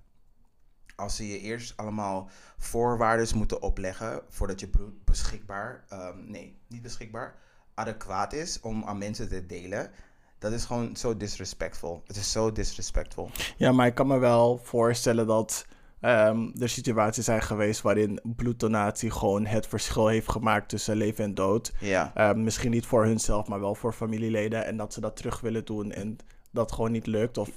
Als ze je eerst allemaal voorwaarden moeten opleggen voordat je bloed beschikbaar, ehm, nee, niet beschikbaar, adequaat is om aan mensen te delen. Dat is gewoon zo disrespectful. Het is zo disrespectful. Ja, maar ik kan me wel voorstellen dat ehm, er situaties zijn geweest waarin bloeddonatie gewoon het verschil heeft gemaakt tussen leven en dood. Ja. Ehm, misschien niet voor hunzelf, maar wel voor familieleden. En dat ze dat terug willen doen en dat gewoon niet lukt. Of,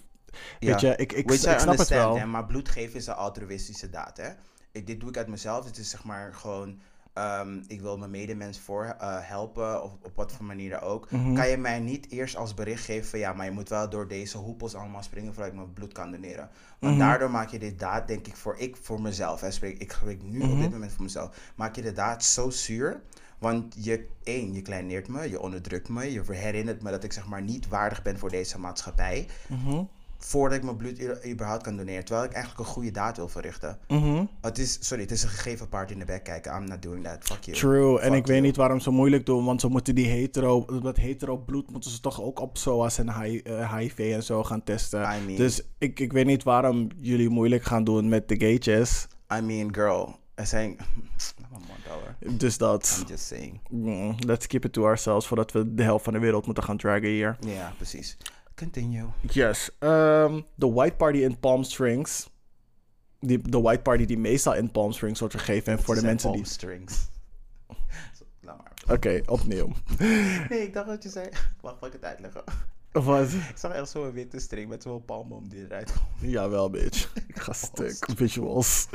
Weet je, ik, ik, Which I ik snap het understand, wel. Hè, maar bloed geven is een altruïstische daad. Hè? Ik, dit doe ik uit mezelf. Het is zeg maar gewoon. ehm, ik wil mijn medemens voor eh, helpen, of op wat voor manier dan ook. Mhm. Kan je mij niet eerst als bericht geven van ja, maar je moet wel door deze hoepels allemaal springen voordat ik mijn bloed kan doneren? Want Mhm. daardoor maak je dit daad, denk ik, voor, ik, voor mezelf. Hè, spreek, ik spreek nu Mhm. op dit moment voor mezelf. Maak je de daad zo zuur, want je, één, je kleineert me, je onderdrukt me, je herinnert me dat ik zeg maar niet waardig ben voor deze maatschappij Mhm. voordat ik mijn bloed i- überhaupt kan doneren. Terwijl ik eigenlijk een goede daad wil verrichten. Mm-hmm. Het is, sorry, het is een gegeven paard in de bek kijken. I'm not doing that. Fuck you. True, en Fuck ik weet you. niet waarom ze moeilijk doen, want ze moeten die hetero, dat hetero bloed moeten ze toch ook op SOAS en hi- eh, HIV en zo gaan testen. I mean- Dus ik, ik weet niet waarom jullie moeilijk gaan doen met de gaytjes. I mean, girl. Er zijn... <laughs> Laat maar mond houden. Dus dat. Just saying. Mm, let's keep it to ourselves voordat we de helft van de wereld moeten gaan draggen hier. Ja, precies. Continue. Yes. ehm, de White Party in Palm Springs. Die, de White Party die meestal in Palm Springs wordt gegeven. En voor de mensen die. strings. <laughs> Laat maar. Oké, opnieuw. Nee, ik dacht dat je zei... Wacht, laat ik het uitleggen. Wat? Ik zag echt zo'n witte string met zo'n palmen om die eruit. Jawel, <laughs> bitch. Ik ga stuk. Visuals.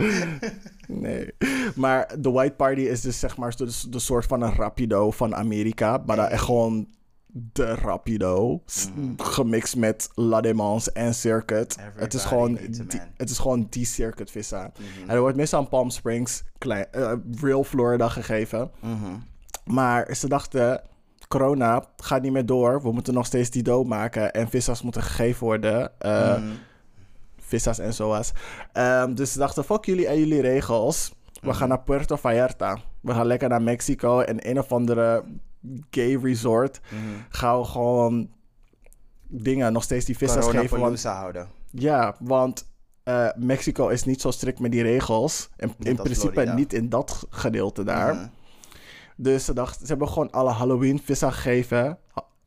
Nee. Maar de White Party is dus zeg maar de, de soort van een rapido van Amerika. Maar dan echt gewoon de rapido. S- Gemixt met La Demance en Circuit. Het is, Mhm. Everybody gewoon needs a die, man. Mhm. het is gewoon die Circuit vissa. En er wordt meestal aan Palm Springs, klein, eh, real Florida gegeven. Mhm. Maar ze dachten, corona gaat niet meer door. We moeten nog steeds die dood maken. En vissa's moeten gegeven worden. eh, Mhm. Vissa's en zoas. Ehm, dus ze dachten, fuck jullie en jullie regels. Mhm. We gaan naar Puerto Vallarta. We gaan lekker naar Mexico en een of andere gay resort. Mhm. Gaan we gewoon dingen, nog steeds die vissa's geven. Want, Corona houden. ja, want eh, Mexico is niet zo strikt met die regels. En in als principe Florida. niet in dat gedeelte daar. Mhm. Dus ze dachten, ze hebben gewoon alle Halloween vissa gegeven.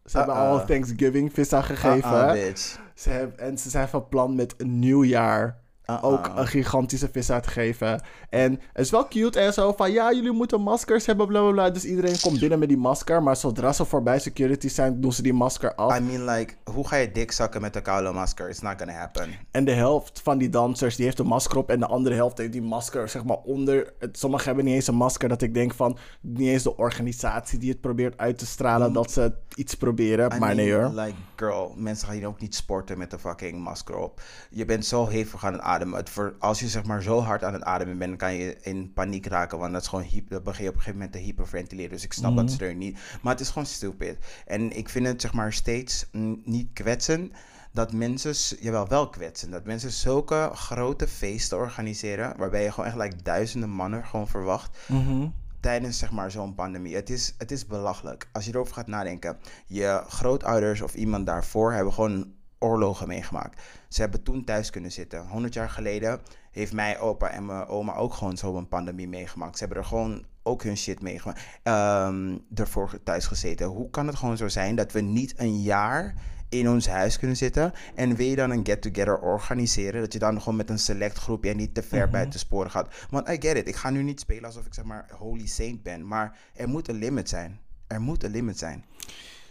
Ze hebben Uh-uh. al Thanksgiving vissa gegeven. Geven. Uh bitch. Ze hebben, en ze zijn van plan met een nieuw jaar eh, Uh-uh. ook een gigantische vis uit te geven. En het is wel cute en zo van ja, jullie moeten maskers hebben, bla bla bla. Dus iedereen komt binnen met die masker. Maar zodra ze voorbij security zijn, doen ze die masker af. I mean, like, hoe ga je dik zakken met een koude masker? It's not gonna happen. En de helft van die dansers die heeft een masker op. En de andere helft heeft die masker zeg maar onder. het- Sommigen hebben niet eens een masker. Dat ik denk van niet eens de organisatie die het probeert uit te stralen dat ze iets proberen. Mm. I maar nee mean, hoor. Like, girl, mensen gaan hier ook niet sporten met een fucking masker op. Je bent zo hevig aan het ademen. Het ver- als je zeg maar zo hard aan het ademen bent, kan je in paniek raken. Want dat is gewoon hyp- dat begin je op een gegeven moment te hyperventileren. Dus ik snap Mhm. dat ze er niet. Maar het is gewoon stupid. En ik vind het zeg maar steeds mm, niet kwetsen. Dat mensen, s- jawel wel kwetsen, dat mensen zulke grote feesten organiseren. waarbij je gewoon echt like, duizenden mannen gewoon verwacht Mhm. tijdens zeg maar zo'n pandemie. Het is, het is belachelijk. Als je erover gaat nadenken. Je grootouders of iemand daarvoor hebben gewoon oorlogen meegemaakt. Ze hebben toen thuis kunnen zitten. 100 jaar geleden heeft mijn opa en mijn oma ook gewoon zo'n pandemie meegemaakt. Ze hebben er gewoon ook hun shit meegemaakt. ehm ervoor thuis gezeten. Hoe kan het gewoon zo zijn dat we niet een jaar in ons huis kunnen zitten. En wil je dan een get-together organiseren? Dat je dan gewoon met een select groepje en niet te ver Mhm. buiten sporen gaat. Want I get it. Ik ga nu niet spelen alsof ik zeg maar holy saint ben. Maar er moet een limit zijn. Er moet een limit zijn.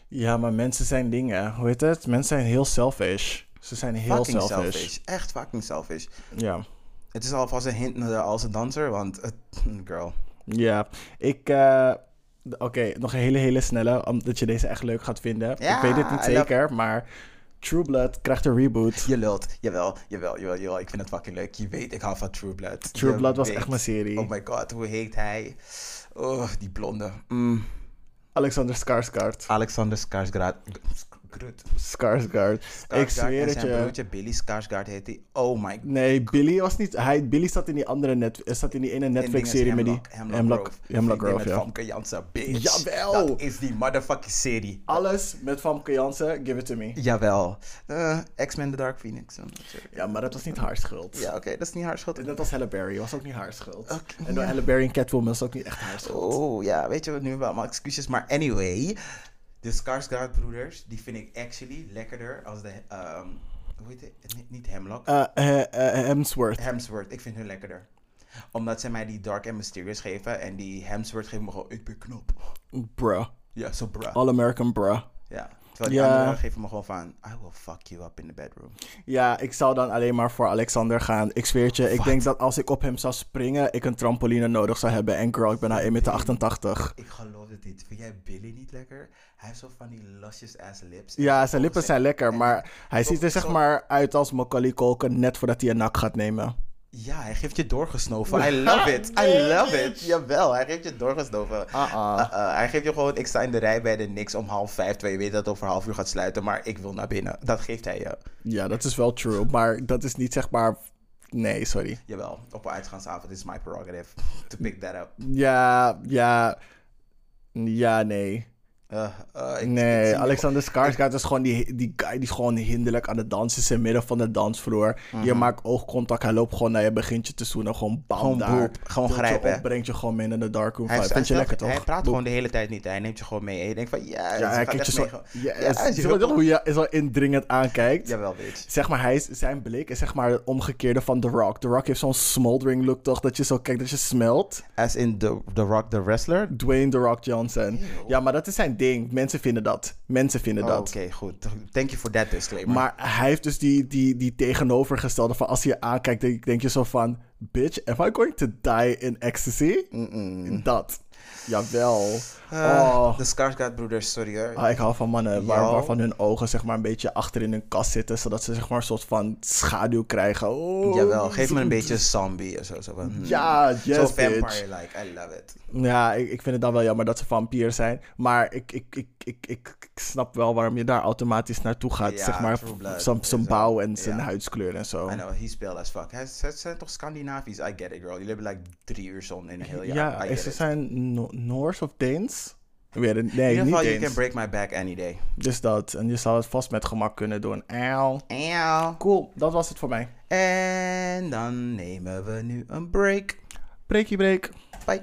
Ja, maar mensen zijn dingen. Hoe heet het? Mensen zijn heel selfish. Ze zijn heel fucking selfish. selfish. Echt fucking selfish. Ja. Het is alvast een hint naar de als een danser. Want, het- <laughs> girl. Ja, ik. eh, d- Oké, nog een hele, hele snelle. Omdat je deze echt leuk gaat vinden. Ja, ik weet het niet I love- zeker, maar. True Blood krijgt een reboot. Je lult. Jawel, jawel, jawel, jawel. Ik vind het fucking leuk. Je weet, ik hou van True Blood. True Je Blood was weet. echt mijn serie. Oh my god, hoe heet hij? Oh, die blonde. Mm. Alexander Skarsgård. Alexander Skarsgård. Groot. Skarsgård. Ik zweer en het zijn je. broertje Billy Skarsgård heet hij. Oh my god. Nee, Billy was niet. Hij, Billy zat in die andere net, zat in die ene Netflix-serie met die. Hemlock, Grove. Hemlock Vriendin Grove, met ja. Famke Janssen, bitch. Jawel! Dat is die motherfucking serie. Alles met Famke Jansen, give it to me. Jawel. Eh, X-Men The Dark Phoenix. dan natuurlijk. Ja, maar dat was niet haar schuld. Ja, oké, dat is niet haar schuld. Net als Halle Berry, was ook niet haar schuld. Oké, en door ja. Halle Berry en Catwoman was ook niet echt haar schuld. Oh ja, weet je wat nu wel, maar excuses. Maar anyway, de Skarsgård broeders, die vind ik actually lekkerder als de, ehm, hoe heet het? Niet- Niet Hemlock. Eh, eh, eh, Hemsworth. Hemsworth, ik vind hun lekkerder. Omdat ze mij die Dark and Mysterious geven en die Hemsworth geeft me gewoon, ik ben knap. Bruh. Ja, zo bra. All-American bruh. Ja. Terwijl die Oh, Ja. anderen geven me gewoon van, I will fuck you up in the bedroom. Ja, ik zou dan alleen maar voor Alexander gaan. Ik zweer het je, ik denk dat als ik op hem zou springen, ik een trampoline nodig zou hebben. En girl, ik ben nou 1,88 meter. Ik geloof dat dit. Vind jij Billy niet lekker? Hij heeft zo van die luscious ass lips. Ja, zijn lippen zijn lekker, maar hij ziet er zeg zo- maar uit als Macaulay Culkin net voordat hij een nak gaat nemen. Ja, hij geeft je doorgesnoven. I love it. <laughs> I love it. Jawel, hij geeft je doorgesnoven. Uh-uh. Uh-uh. Hij geeft je gewoon, ik sta in de rij bij de niks om half vijf. Terwijl je weet dat het over half uur gaat sluiten, maar ik wil naar binnen. Dat geeft hij je. Ja, dat is wel true, maar dat is niet zeg maar... Nee, sorry. Jawel, op een uitgaansavond is my prerogative to pick that up. Ja, ja... Ja, nee. Eh, eh, ik- ik Nee, zie- Alexander Skarsgård is gewoon die, die guy die gewoon hinderlijk aan het dansen is in het midden van de dansvloer. Je maakt oogcontact, hij loopt gewoon naar je, begint je te zoenen, gewoon bam Mhm. Gewoon daar. boep, gewoon Tilt je grijpen. op, brengt je gewoon mee naar de darkroom Hij, vibe. hij Vind je stelt- lekker toch? hij praat Boep. gewoon de hele tijd niet. Hij neemt je gewoon mee. En je denkt van, ja, Ja, ze hij gaat kijkt je echt zo... mee gewoon- Yes. Ja, hij is Zie je wel heel- hoe je is wel indringend aankijkt? Jawel, bitch. Zeg maar, hij, is- zijn blik is zeg maar het omgekeerde van The Rock. The Rock heeft zo'n smoldering look toch, dat je zo kijkt, dat je smelt. As in The, the Rock, The Wrestler? Dwayne The Rock Johnson. Ja, maar dat is zijn ding. Mensen vinden dat. Mensen vinden Oh, dat. Oké, goed. Thank you for that disclaimer. Maar hij heeft dus die, die, die tegenovergestelde van als hij je aankijkt, denk, denk je zo van... Bitch, am I going to die in ecstasy? Dat. Jawel. Eh, oh. De Skarsgård broeders, sorry hoor. Ah, ik hou van mannen waar, Ja. waarvan hun ogen zeg maar een beetje achter in hun kast zitten. Zodat ze zeg maar een soort van schaduw krijgen. Oh. Jawel, geef me een beetje zombie of zo. zo van, hmm. Ja, yes, Zo bitch. vampire-like, I love it. Ja, ik, ik vind het dan wel jammer dat ze vampier zijn. Maar ik, ik, ik, ik, ik, ik snap wel waarom je daar automatisch naartoe gaat. Ja, zeg maar True Blood zijn- en zijn zo. bouw en zijn Ja. huidskleur en zo. I know, he's pale as fuck. Hij, ze zijn toch Scandinavisch? I get it, girl. Jullie hebben like drie uur zon in een heel jaar. Ja, is I get ze it. zijn No- Noors of Deens? Ik weet het- in nee, ieder niet geval, you can Deens. break my back any day. Dus dat. En je zou het vast met gemak kunnen doen. Auw. Eeuw. Cool, dat was het voor mij. En dan nemen we nu een break. Breakie break. Bye.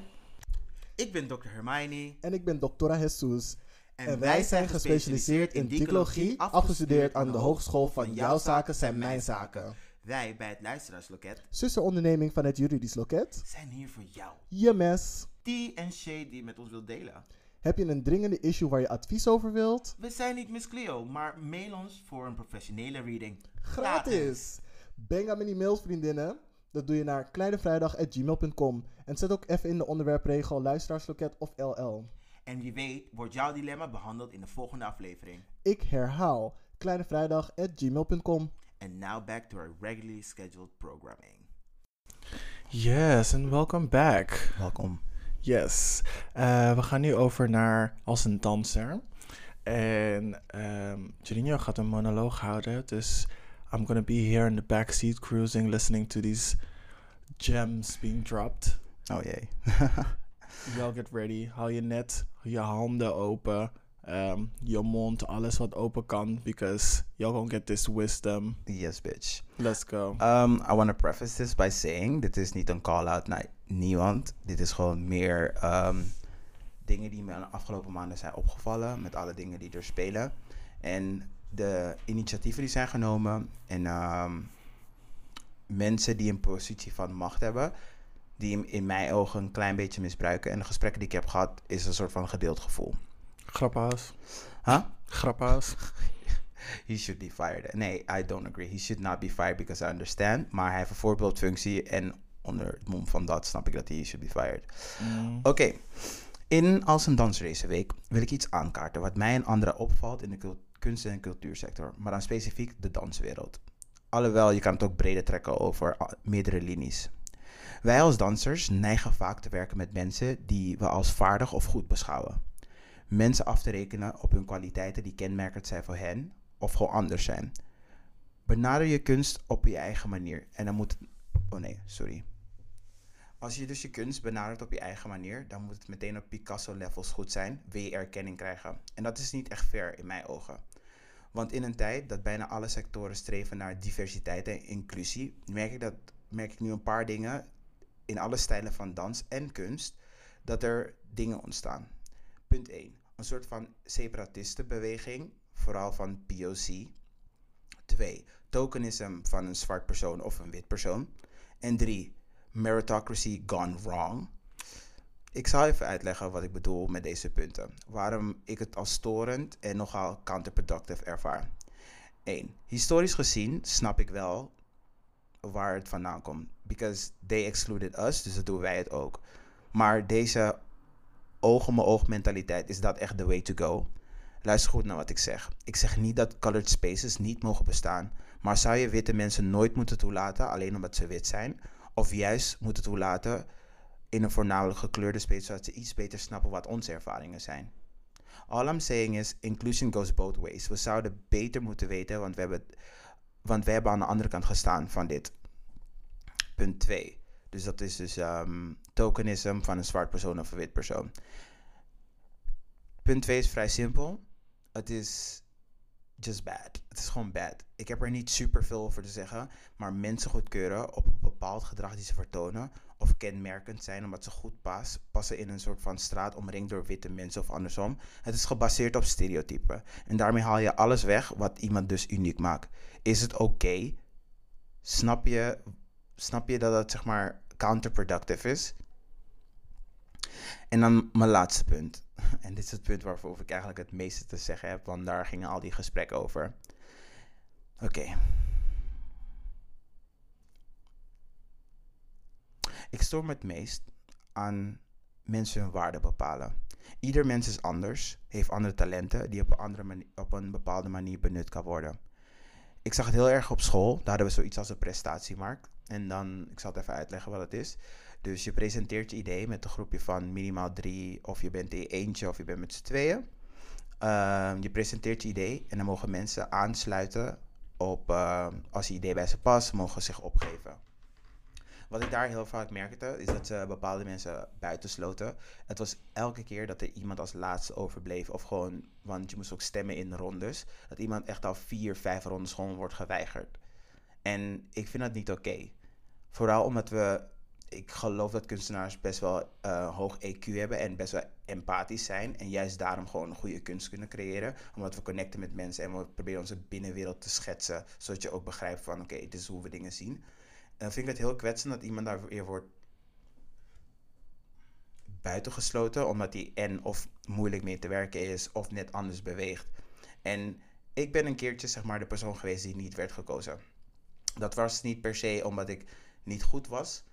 Ik ben Dr. Hermione. En ik ben Doctora Jesus. En, En wij zijn gespecialiseerd in dicologie, psychologie, afgestudeerd aan de Hogeschool van Jouw Zaken zijn Mijn Zaken. Wij bij het Luisteraarsloket Zusteronderneming van het Juridisch Loket. zijn hier voor jou. Je mes. Die en Shay die met ons wil delen. Heb je een dringende issue waar je advies over wilt? We zijn niet Miss Cleo, maar mail ons voor een professionele reading. Gratis! Bang aan mijn e-mails, vriendinnen. Dat doe je naar kleinevrijdag.gmail.com. En zet ook even in de onderwerpregel luisteraarsloket of LL. En wie weet wordt jouw dilemma behandeld in de volgende aflevering. Ik herhaal, kleinevrijdag.gmail.com. And now back to our regularly scheduled programming. Yes, and welcome back. Welkom. Yes. Eh, we gaan nu over naar Als een danser. En ehm Juninho gaat een monoloog houden. Dus I'm gonna be here in the backseat cruising, listening to these gems being dropped. Oh jee. <laughs> Wel get ready. Hou je net je handen open. ehm, je mond, alles wat open kan. Because you're gonna get this wisdom. yes, bitch. Let's go. Um, I want to preface this by saying: dit is niet een call-out naar niemand. Dit is gewoon meer um, dingen die me de afgelopen maanden zijn opgevallen. Met alle dingen die er spelen. En de initiatieven die zijn genomen. En um, mensen die een positie van macht hebben. Die hem in mijn ogen een klein beetje misbruiken. En de gesprekken die ik heb gehad, is een soort van gedeeld gevoel. Grappenhuis. Huh? Grappenhuis. He should be fired. Nee, I don't agree. He should not be fired because I understand. Maar hij heeft een voorbeeldfunctie en onder het mom van dat snap ik dat hij should be fired. Oké. In Als een Danser deze week wil ik iets aankaarten wat mij en anderen opvalt in de cul- kunst- en cultuursector, maar dan specifiek de danswereld. Alhoewel, je kan het ook breder trekken over a- meerdere linies. Wij als dansers neigen vaak te werken met mensen die we als vaardig of goed beschouwen. Mensen af te rekenen op hun kwaliteiten die kenmerkend zijn voor hen of gewoon anders zijn. Benader je kunst op je eigen manier en dan moet. Oh nee, sorry. Als je dus je kunst benadert op je eigen manier, dan moet het meteen op Picasso-levels goed zijn, wil je erkenning krijgen. En dat is niet echt fair in mijn ogen. Want in een tijd dat bijna alle sectoren streven naar diversiteit en inclusie, merk ik, dat, merk ik nu een paar dingen in alle stijlen van dans en kunst, dat er dingen ontstaan. Punt 1. Een soort van separatistenbeweging, vooral van POC. 2. Tokenism van een zwart persoon of een wit persoon. En 3. Meritocracy gone wrong. Ik zal even uitleggen wat ik bedoel met deze punten. Waarom ik het als storend en nogal counterproductive ervaar. 1. Historisch gezien snap ik wel waar het vandaan komt. Because they excluded us, dus dat doen wij het ook. Maar deze oog om oog mentaliteit, is dat echt the way to go? Luister goed naar wat ik zeg. Ik zeg niet dat colored spaces niet mogen bestaan, maar zou je witte mensen nooit moeten toelaten alleen omdat ze wit zijn? Of juist moeten toelaten in een voornamelijk gekleurde space zodat ze iets beter snappen wat onze ervaringen zijn? All I'm saying is, inclusion goes both ways. We zouden beter moeten weten, want we hebben, want we hebben aan de andere kant gestaan van dit. Punt 2. Dus dat is dus ehm, tokenism van een zwart persoon of een wit persoon. Punt 2 is vrij simpel. Het is just bad. Het is gewoon bad. Ik heb er niet super veel over te zeggen, maar mensen goedkeuren op een bepaald gedrag die ze vertonen of kenmerkend zijn omdat ze goed pas, passen in een soort van straat omringd door witte mensen of andersom. Het is gebaseerd op stereotypen en daarmee haal je alles weg wat iemand dus uniek maakt. Is het oké? Snap je snap je dat dat zeg maar counterproductive is? En dan mijn laatste punt. En dit is het punt waarover ik eigenlijk het meeste te zeggen heb, want daar gingen al die gesprekken over. Oké. Ik stoor me het meest aan mensen hun waarde bepalen. Ieder mens is anders, heeft andere talenten die op een, andere mani- op een bepaalde manier benut kan worden. Ik zag het heel erg op school. Daar hadden we zoiets als een prestatiemarkt. En dan, ik zal het even uitleggen wat het is. Dus je presenteert je idee met een groepje van minimaal drie, of je bent in eentje of je bent met z'n tweeën. Ehm, je presenteert je idee en dan mogen mensen aansluiten op, ehm, als je idee bij ze past, mogen zich opgeven. Wat ik daar heel vaak merkte, is dat ze bepaalde mensen buitensloten. Het was elke keer dat er iemand als laatste overbleef. Of gewoon, want je moest ook stemmen in rondes. Dat iemand echt al vier, vijf rondes gewoon wordt geweigerd. En ik vind dat niet oké. Vooral omdat we, ik geloof dat kunstenaars best wel eh, hoog EQ hebben en best wel empathisch zijn. En juist daarom gewoon goede kunst kunnen creëren. Omdat we connecten met mensen en we proberen onze binnenwereld te schetsen. Zodat je ook begrijpt van oké, dit is hoe we dingen zien. En dan vind ik het heel kwetsend dat iemand daar weer wordt buitengesloten, omdat hij en of moeilijk mee te werken is of net anders beweegt. En ik ben een keertje zeg maar de persoon geweest die niet werd gekozen. Dat was niet per se omdat ik niet goed was.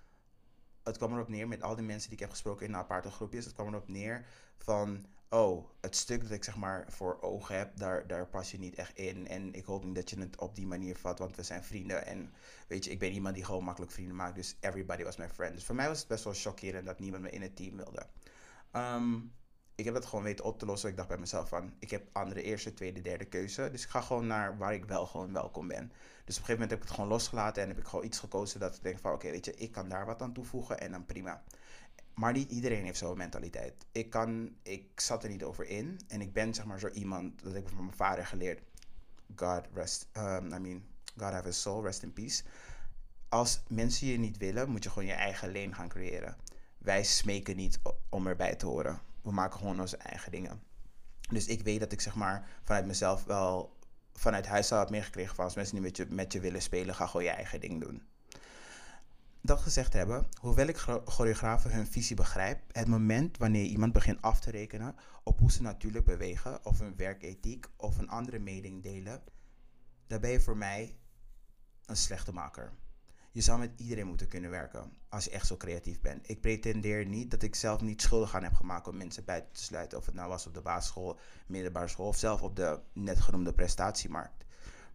Het kwam erop neer met al die mensen die ik heb gesproken in aparte groepjes. Het kwam erop neer van, oh, het stuk dat ik zeg maar voor ogen heb, daar, daar pas je niet echt in. En ik hoop niet dat je het op die manier vat, want we zijn vrienden. En weet je, ik ben iemand die gewoon makkelijk vrienden maakt. Dus everybody was my friend. Dus voor mij was het best wel chockerend dat niemand me in het team wilde. Ehm, ik heb dat gewoon weten op te lossen. Ik dacht bij mezelf van, ik heb andere eerste, tweede, derde keuze. Dus ik ga gewoon naar waar ik wel gewoon welkom ben. Dus op een gegeven moment heb ik het gewoon losgelaten en heb ik gewoon iets gekozen dat ik denk van, oké, weet je, ik kan daar wat aan toevoegen en dan prima. Maar niet iedereen heeft zo'n mentaliteit. Ik kan, ik zat er niet over in en ik ben zeg maar zo iemand, dat heb ik van mijn vader geleerd. God rest, um, I mean, God have his soul, rest in peace. Als mensen je niet willen, moet je gewoon je eigen leen gaan creëren. Wij smeken niet o- om erbij te horen. We maken gewoon onze eigen dingen. Dus ik weet dat ik zeg maar vanuit mezelf wel vanuit huis al had meegekregen van als mensen niet met je, met je willen spelen, ga gewoon je eigen ding doen. Dat gezegd hebben, hoewel ik chore- choreografen hun visie begrijp, het moment wanneer iemand begint af te rekenen op hoe ze natuurlijk bewegen of hun werkethiek of een andere mening delen, dan ben je voor mij een slechte maker. Je zou met iedereen moeten kunnen werken als je echt zo creatief bent. Ik pretendeer niet dat ik zelf niet schuldig aan heb gemaakt om mensen buiten te sluiten. Of het nou was op de basisschool, middelbare school of zelf op de net genoemde prestatiemarkt.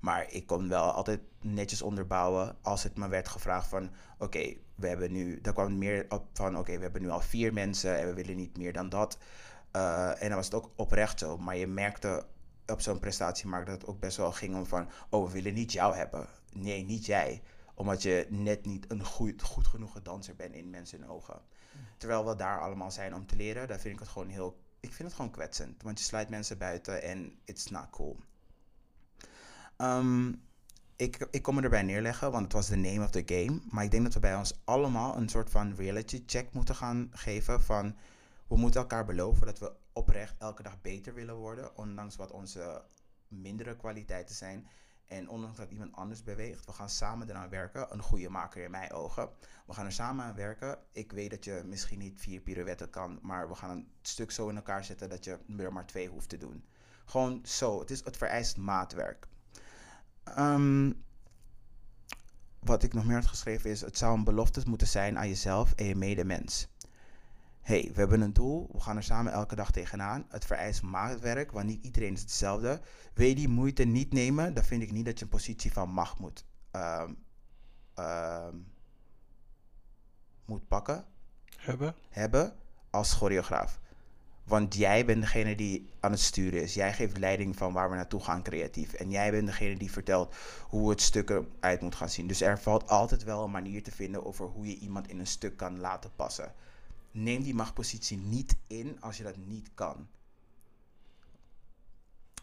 Maar ik kon wel altijd netjes onderbouwen als het me werd gevraagd van... Oké, we hebben nu... Daar kwam meer op van... Oké, we hebben nu al vier mensen en we willen niet meer dan dat. Eh, en dan was het ook oprecht zo. Maar je merkte op zo'n prestatiemarkt dat het ook best wel ging om van... Oh, we willen niet jou hebben. Nee, niet jij. Omdat je net niet een goed, goed genoeg danser bent in mensen hun ogen. Terwijl we daar allemaal zijn om te leren. Daar vind ik het gewoon heel... Ik vind het gewoon kwetsend. Want je sluit mensen buiten en it's not cool. Ehm, ik, ik kom me erbij neerleggen, want het was de name of the game. Maar ik denk dat we bij ons allemaal een soort van reality check moeten gaan geven. Van we moeten elkaar beloven dat we oprecht elke dag beter willen worden. Ondanks wat onze mindere kwaliteiten zijn. En ondanks dat iemand anders beweegt, we gaan samen eraan werken. Een goede maker in mijn ogen. We gaan er samen aan werken. Ik weet dat je misschien niet vier pirouetten kan, maar we gaan een stuk zo in elkaar zetten dat je er maar twee hoeft te doen. Gewoon zo. Het, is, het vereist maatwerk. Ehm, wat ik nog meer had geschreven is: het zou een belofte moeten zijn aan jezelf en je medemens. Hé, hey, we hebben een doel, we gaan er samen elke dag tegenaan. Het vereist maatwerk, want niet iedereen is hetzelfde. Wil je die moeite niet nemen, dan vind ik niet dat je een positie van macht moet, ehm, ehm, moet pakken Hebben? hebben als choreograaf. Want jij bent degene die aan het sturen is. Jij geeft leiding van waar we naartoe gaan creatief. En jij bent degene die vertelt hoe het stuk eruit moet gaan zien. Dus er valt altijd wel een manier te vinden over hoe je iemand in een stuk kan laten passen. Neem die machtpositie niet in als je dat niet kan.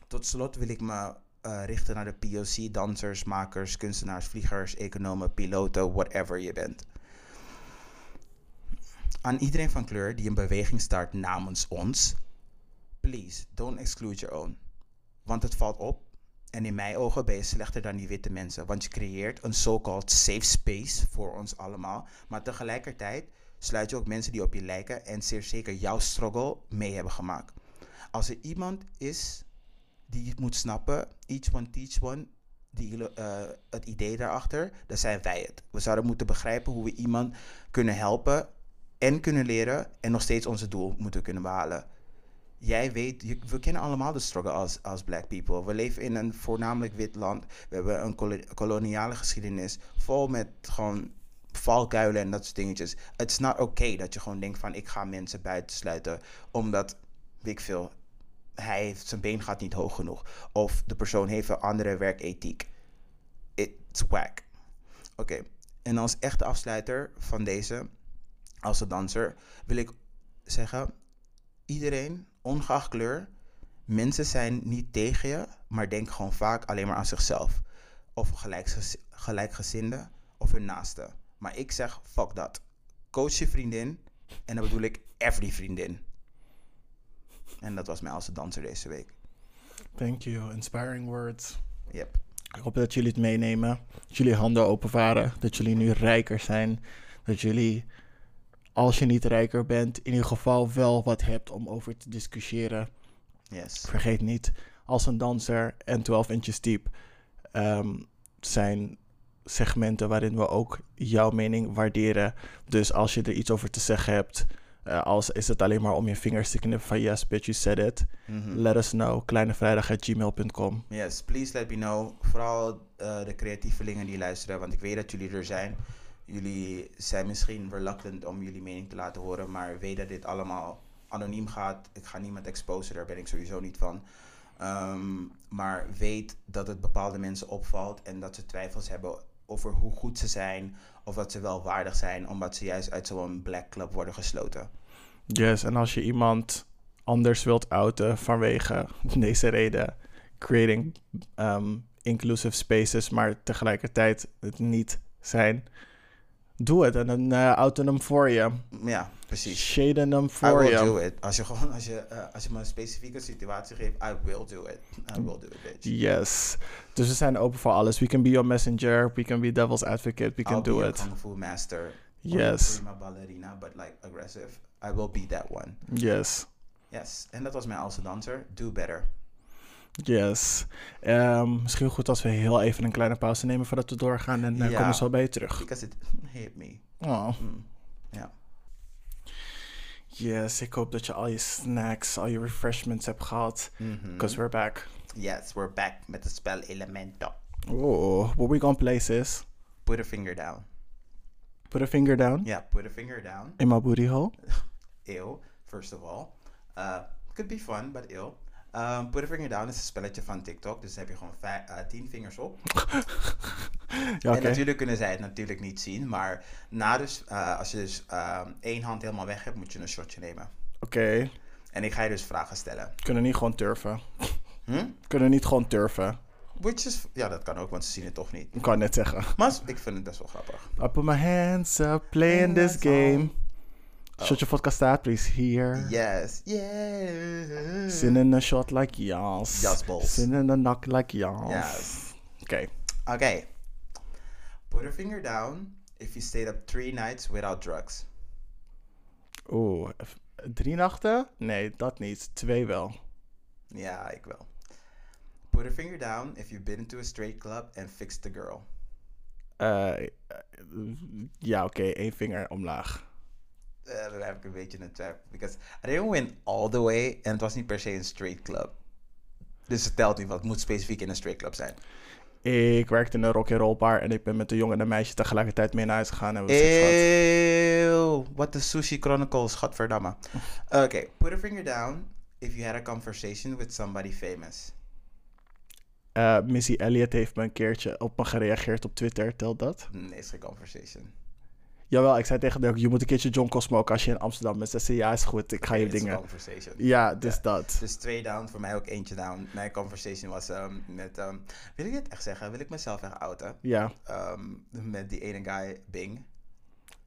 Tot slot wil ik me eh, richten naar de POC, dansers, makers, kunstenaars, vliegers, economen, piloten, whatever je bent. Aan iedereen van kleur die een beweging start namens ons, please don't exclude your own. Want het valt op en in mijn ogen ben je slechter dan die witte mensen. Want je creëert een so-called safe space voor ons allemaal. Maar tegelijkertijd sluit je ook mensen die op je lijken en zeer zeker jouw struggle mee hebben gemaakt. Als er iemand is die het moet snappen, each one teach one, die, ilo- eh, het idee daarachter, dan zijn wij het. We zouden moeten begrijpen hoe we iemand kunnen helpen en kunnen leren en nog steeds onze doel moeten kunnen behalen jij weet, je- we kennen allemaal de struggle als, als black people. We leven in een voornamelijk wit land. We hebben een kolo- koloniale geschiedenis vol met gewoon valkuilen en dat soort dingetjes. Het is not okay dat je gewoon denkt van ik ga mensen buitensluiten omdat, weet ik veel, hij heeft, zijn been gaat niet hoog genoeg. Of de persoon heeft een andere werkethiek. It's whack. Oké, en als echte afsluiter van deze, als een danser, wil ik zeggen iedereen, ongeacht kleur, mensen zijn niet tegen je, maar denken gewoon vaak alleen maar aan zichzelf. Of gelijkgez- gelijkgezinden of hun naasten. Maar ik zeg, fuck dat. Coach je vriendin en dan bedoel ik every vriendin. En dat was mij als danser deze week. Thank you. Inspiring words. Yep. Ik hoop dat jullie het meenemen. Dat jullie handen openvaren. Dat jullie nu rijker zijn. Dat jullie, als je niet rijker bent, in ieder geval wel wat hebt om over te discussiëren. Yes. Vergeet niet, als een danser en 12 inches diep ehm, zijn segmenten waarin we ook jouw mening waarderen. Dus als je er iets over te zeggen hebt, eh, als is het alleen maar om je vingers te knippen van yes, bitch, you said it. Mhm. Let us know, kleinevrijdag.gmail.com. Yes, please let me know. Vooral eh, de creatievelingen die luisteren, want ik weet dat jullie er zijn. Jullie zijn misschien reluctant om jullie mening te laten horen, maar weet dat dit allemaal anoniem gaat. Ik ga niemand exposen, daar ben ik sowieso niet van. Ehm, maar weet dat het bepaalde mensen opvalt en dat ze twijfels hebben over hoe goed ze zijn of dat ze wel waardig zijn, omdat ze juist uit zo'n black club worden gesloten. Yes, en als je iemand anders wilt outen vanwege <laughs> deze reden, creating um, inclusive spaces, maar tegelijkertijd het niet zijn, doe het en dan eh outen hem voor je. Ja, precies. Shaden hem I voor will je. do it. Als je gewoon, als je, eh, als je me een specifieke situatie geeft, I will do it. I will do it, bitch. Yes. Dus we zijn open voor alles. We can be your messenger. We can be devil's advocate. We can I'll do be a it. kung fu master. Or Yes. prima ballerina, but like aggressive. I will be that one. Yes. Yes. En dat was mijn oudste danser. Do better. Yes. Ehm, misschien goed als we heel even een kleine pauze nemen voordat we doorgaan. En eh, dan Ja. komen we zo bij je terug. Because it <laughs> hit me. Oh. Mm. Ja. Yes, ik hoop dat je al je snacks, al je refreshments hebt gehad. Mhm. Because we're back. Yes, we're back met het spel Elemento. Oh, what we gonna place is Put a finger down. put a finger down Ja, put a finger down. in my booty hole. eeuw, first of all. Uh, could be fun, but eeuw. Um, put a finger down is een spelletje van TikTok. Dus dan heb je gewoon vij- eh, tien vingers op. Ja, Oké. En natuurlijk kunnen zij het natuurlijk niet zien, maar na dus, eh, als je dus eh, één hand helemaal weg hebt, moet je een shotje nemen. Oké, En ik ga je dus vragen stellen. kunnen niet gewoon turven. Hm? Kunnen niet gewoon turven. Which is, ja, dat kan ook, want ze zien het toch niet. Ik kan net zeggen. Maar ik vind het best wel grappig. I put my hands up, playing this game. Oh. Shot your vodka staat, please. Here. Yes, yeah. Sin in a shot like yes. Yes, balls. Sin in a knock like yes. Yes. Oké. Oké. Put a finger down if you stayed up three nights without drugs. Oeh, f- drie nachten? Nee, dat niet. Twee wel. Ja, ik wel. Put a finger down if you've been to a straight club and fixed the girl. Eh, eh, ja, oké, één vinger omlaag. Eh, daar heb ik een beetje een twijfel. Because I didn't win all the way. En het was niet per se een straight club. Dus het telt niet, want het moet specifiek in een straight club zijn. Ik werkte in een rock and roll bar en ik ben met een jongen en een meisje tegelijkertijd mee naar huis gegaan en we hebben seks gehad. Eeuw, what the Sushi Chronicles, <laughs> godverdamme. Oké, put a finger down if you had a conversation with somebody famous. Eh, Missy Elliott heeft me een keertje op me gereageerd op Twitter, telt dat? Nee, is geen conversation. Jawel, ik zei tegen Dirk, je moet een keertje John Cosmo ook als je in Amsterdam bent. Ze zei, ja, is goed, ik ga je It's dingen... conversation. Ja, dus Ja. dat. Dus twee down, voor mij ook eentje down. Mijn conversation was ehm, met, ehm, wil ik dit echt zeggen? Wil ik mezelf echt outen? Ja. Ehm, met die ene guy, Bing.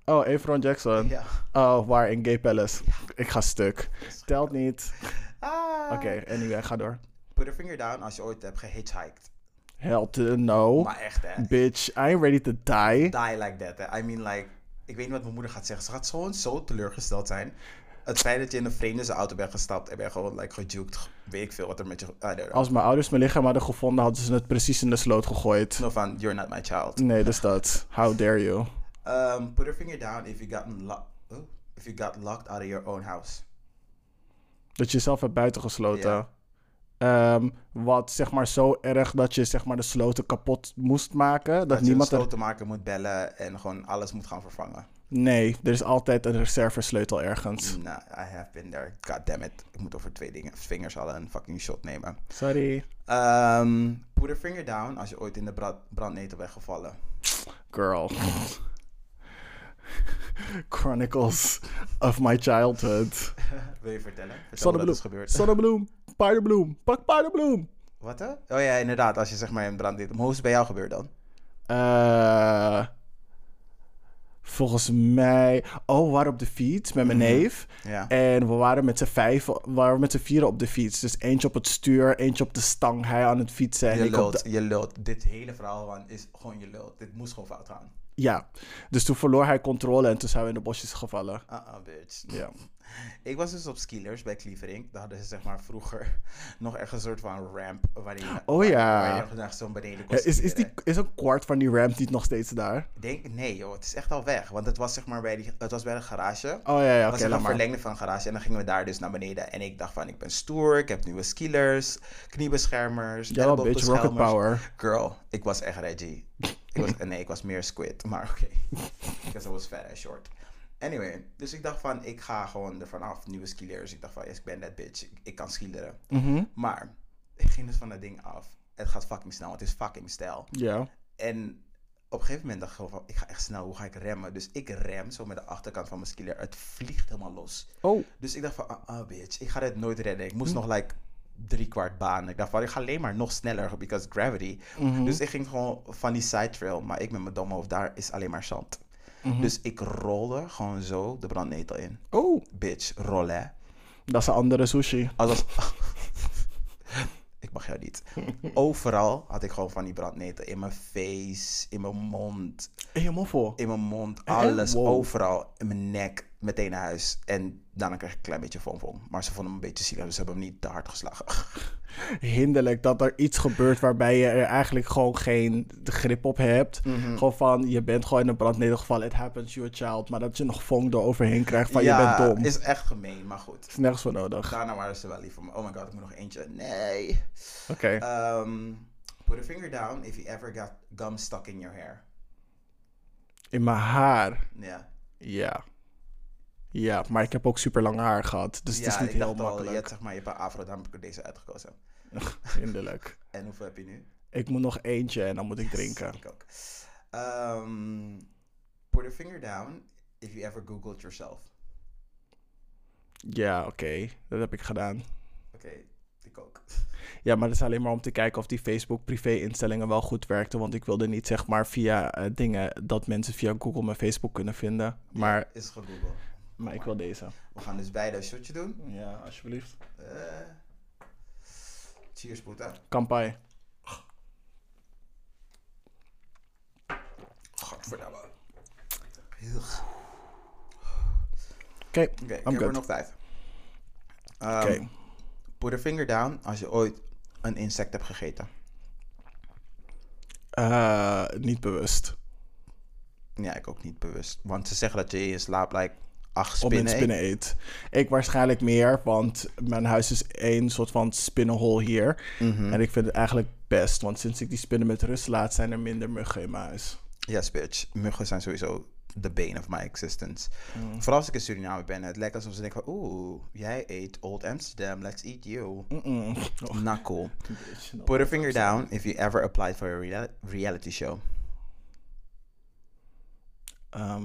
Oh, Efron Jackson. Ja. Oh, waar in Gay Palace. Ik ga stuk. Telt niet. Ah. Oké, anyway, ga door. Put a finger down als je ooit hebt gehitchhiked. Help to no. Maar echt hè. Bitch, I ain't ready to die. Die like that hè. I mean like, ik weet niet wat mijn moeder gaat zeggen. Ze gaat gewoon zo teleurgesteld zijn. Het feit dat je in een vreemde zijn auto bent gestapt en ben gewoon like gejukt. Weet ik veel wat er met je... I don't know. Als mijn ouders mijn lichaam hadden gevonden, hadden ze het precies in de sloot gegooid. Zo van, you're not my child. Nee, dus dat. How dare you? Um, put a finger down if you got lo- oh, if you got locked out of your own house. Dat je jezelf hebt buitengesloten. Ja. Ehm, wat zeg maar zo erg dat je zeg maar de sloten kapot moest maken. Dat, Dat, niemand je een er... slotenmaker moet bellen en gewoon alles moet gaan vervangen. Nee, er is altijd een reservesleutel ergens. Nou, I have been there. God damn it. Ik moet over twee dingen, vingers al een fucking shot nemen. Sorry. Ehm, put a finger down als je ooit in de bra- brandnetel bent gevallen. Girl. <laughs> Chronicles of my childhood. Wil je vertellen? Vertel me wat Zonnebloem. is gebeurd. Zonnebloem. Paardenbloem. Pak paardenbloem. Wat hè? Oh ja, inderdaad. Als je zeg maar in brandnetel... Maar Hoe is het bij jou gebeurd dan? Eh, volgens mij. Oh, we waren op de fiets met mijn neef. Mhm. Ja. En we waren met z'n vijf, we waren met z'n vieren op de fiets. Dus eentje op het stuur, eentje op de stang, hij aan het fietsen. En Je ik op de- lult, je lult. Dit hele verhaal man, is gewoon je lult. Dit moest gewoon fout gaan. ja, dus toen verloor hij controle en toen zijn we in de bosjes gevallen. Uh-uh, bitch. Ja. <laughs> Ik was dus op Skilers bij Clevering. Daar hadden ze zeg maar vroeger <laughs> nog echt een soort van ramp. Waar je, Oh waar- ja. Waar je naar zo'n beneden kon Ja, is, is, skileren. die, is een kwart van die ramp niet nog steeds daar? Ik Denk, nee joh, het is echt al weg. Want het was zeg maar bij, die, het was bij de garage. Oh ja, ja Het oké, was echt laat een maar. verlengde van een garage. En dan gingen we daar dus naar beneden. En ik dacht van, ik ben stoer. Ik heb nieuwe skilers, kniebeschermers, Ja, bitch, rocket ellebogbeschermers. power. Girl, ik was echt Reggie. Ik was, <laughs> nee, ik was meer Squid, maar <laughs> oké. Because I was fat and short. Anyway, dus ik dacht van, ik ga gewoon ervan af. Nieuwe skilers. Ik dacht van, yes, ik ben dat bitch. Ik, ik kan skileren. Mhm. Maar, ik ging dus van dat ding af. Het gaat fucking snel. Het is fucking stijl. Ja. En op een gegeven moment dacht ik gewoon van, ik ga echt snel. Hoe ga ik remmen? Dus ik rem zo met de achterkant van mijn skiller. Het vliegt helemaal los. Oh, Dus ik dacht van, ah, ah, bitch, ik ga dit nooit redden. Ik moest nog, like, drie kwart baan. Ik dacht van, ik ga alleen maar nog sneller, because gravity. Dus ik ging gewoon van die side trail, maar ik met mijn domme hoofd, daar is alleen maar zand. Dus ik rolde gewoon zo de brandnetel in. oh. Bitch, rollen. Dat is een andere sushi. Alsof... <laughs> ik mag jou niet. Overal had ik gewoon van die brandnetel. In mijn face, in mijn mond, En je moffel. in mijn mond, Eh, alles, wow. overal, in mijn nek, meteen naar huis. En daarna kreeg ik een klein beetje vonvon. Maar ze vonden hem een beetje zielig, dus ze hebben hem niet te hard geslagen. <laughs> hinderlijk dat er iets gebeurt waarbij je er eigenlijk gewoon geen grip op hebt. Mhm. Gewoon van, je bent gewoon in een brandnetel gevallen, it happens, you're a child. Maar dat je nog vonk er overheen krijgt van, je bent dom. Is... is echt gemeen, maar goed. nergens voor nodig. Daarna waren ze wel lief voor me. Oh my god, ik moet nog eentje. Nee. Oké. Ehm, put a finger down if you ever got gum stuck in your hair. in mijn haar, Ja. ja. Ja, maar ik heb ook super lang haar gehad, dus het is ja, niet ik heel dacht al, je makkelijk. hebt zeg maar, je hebt een afro, daarom heb ik deze uitgekozen. <laughs> Hinderlijk. En hoeveel heb je nu? Ik moet nog eentje en dan moet ik drinken. Ik ook. Ehm, put a finger down if you ever googled yourself. Ja, oké. Dat heb ik gedaan. Oké, ik ook. Ja, maar dat is alleen maar om te kijken of die Facebook privé-instellingen wel goed werkten. Want ik wilde niet, zeg maar, via eh, dingen dat mensen via Google mijn Facebook kunnen vinden. Maar, Is gegoogeld. maar ik wil deze. We gaan dus beide een shotje doen. Ja, alsjeblieft. Eh, cheers, Boeta. Kampai. Godverdamme. Ugh. Oké, Oké, ik I'm heb er good. nog vijf. Ehm, Oké. Put a finger down als je ooit een insect hebt gegeten. Eh, niet bewust. Ja, ik ook niet bewust. Want ze zeggen dat je in je slaap like acht Om spinnen een eet. spinnen eet. Ik waarschijnlijk meer, want mijn huis is één soort van spinnenhol hier. En ik vind het eigenlijk best, want sinds ik die spinnen met rust laat, zijn er minder muggen in mijn huis. Yes, bitch. Muggen zijn sowieso the bane of my existence. Mm. Vooral als ik in Suriname ben. Het lijkt alsof ze denken van... Oeh, jij eet Old Amsterdam. Let's eat you. Mm-mm. Oh, <laughs> Not cool. bitch, no. Put a finger down if you ever applied for a reali- reality show. Ehm,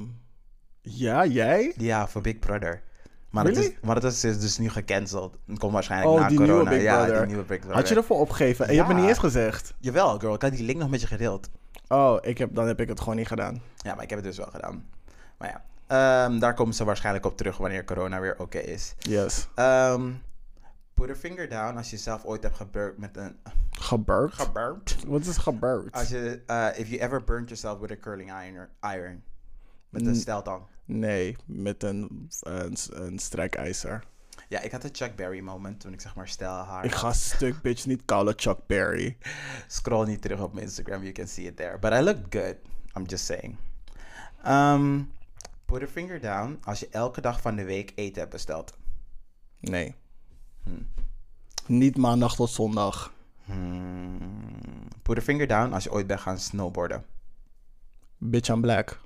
Ja, jij? Ja, voor Big Brother. Maar, dat, Really? is, maar dat is dus- dus nu gecanceld. Het komt waarschijnlijk Oh, na die nieuwe corona. Big ja, Brother. die nieuwe Big Brother. Had je ervoor opgegeven? En je hebt me Ja. niet eens gezegd. Jawel, girl. Ik had die link nog met je gedeeld. Oh, ik heb, dan heb ik het gewoon niet gedaan. Ja, maar ik heb het dus wel gedaan. Maar ja, ehm, daar komen ze waarschijnlijk op terug wanneer corona weer oké is. Yes. Ehm, put a finger down als je zelf ooit hebt gebeurd met een... <laughs> Gebeurd? Gebeurd? Wat is gebeurd? Als je, eh, if you ever burnt yourself with a curling iron. iron. Met een Mm. steltang. Nee, met een, een, een strijkijzer. Ja, ik had een Chuck Berry moment toen ik zeg maar stel haar. Ik ga stuk bitch niet koude Chuck Berry. Scroll niet terug op mijn Instagram, you can see it there. But I looked good, I'm just saying. Ehm, put a finger down als je elke dag van de week eten hebt besteld. Nee. Niet maandag tot zondag. Hmm. Put a finger down als je ooit bent gaan snowboarden. Bitch on black.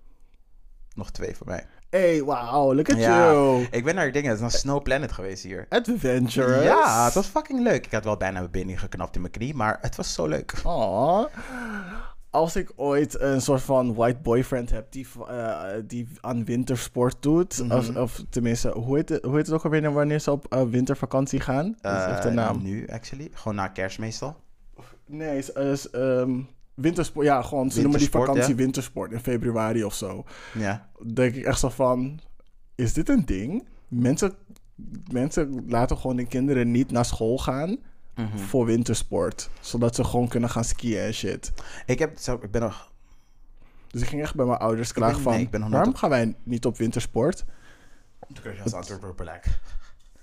Nog twee voor mij. Hey, wow, look at you. ik ben naar dingen, het is nog Snow Planet geweest hier. Adventurous. Ja, het was fucking leuk. Ik had wel bijna mijn binding geknapt in mijn knie, maar het was zo leuk. Aw. Oh. Als ik ooit een soort van white boyfriend heb die, eh, die aan wintersport doet. of, Mhm. of tenminste, hoe heet, het, hoe heet het ook alweer wanneer ze op eh, wintervakantie gaan? Dat is echt de Eh, naam. Nu, actually. Gewoon na kerst meestal. Nee, is, is, ehm, wintersport. Ja, gewoon. Ze noemen die Wintersport, vakantie ja. wintersport in februari of zo. Ja. Denk ik echt zo van: is dit een ding? Mensen, mensen laten gewoon de kinderen niet naar school gaan Mhm. voor wintersport, zodat ze gewoon kunnen gaan skiën en shit. Ik, heb, zo, ik ben nog Dus ik ging echt bij mijn ouders klagen ben- van: nee, ik ben nog nooit waarom op- gaan wij niet op wintersport? Toen kreeg je als antwoord op plek.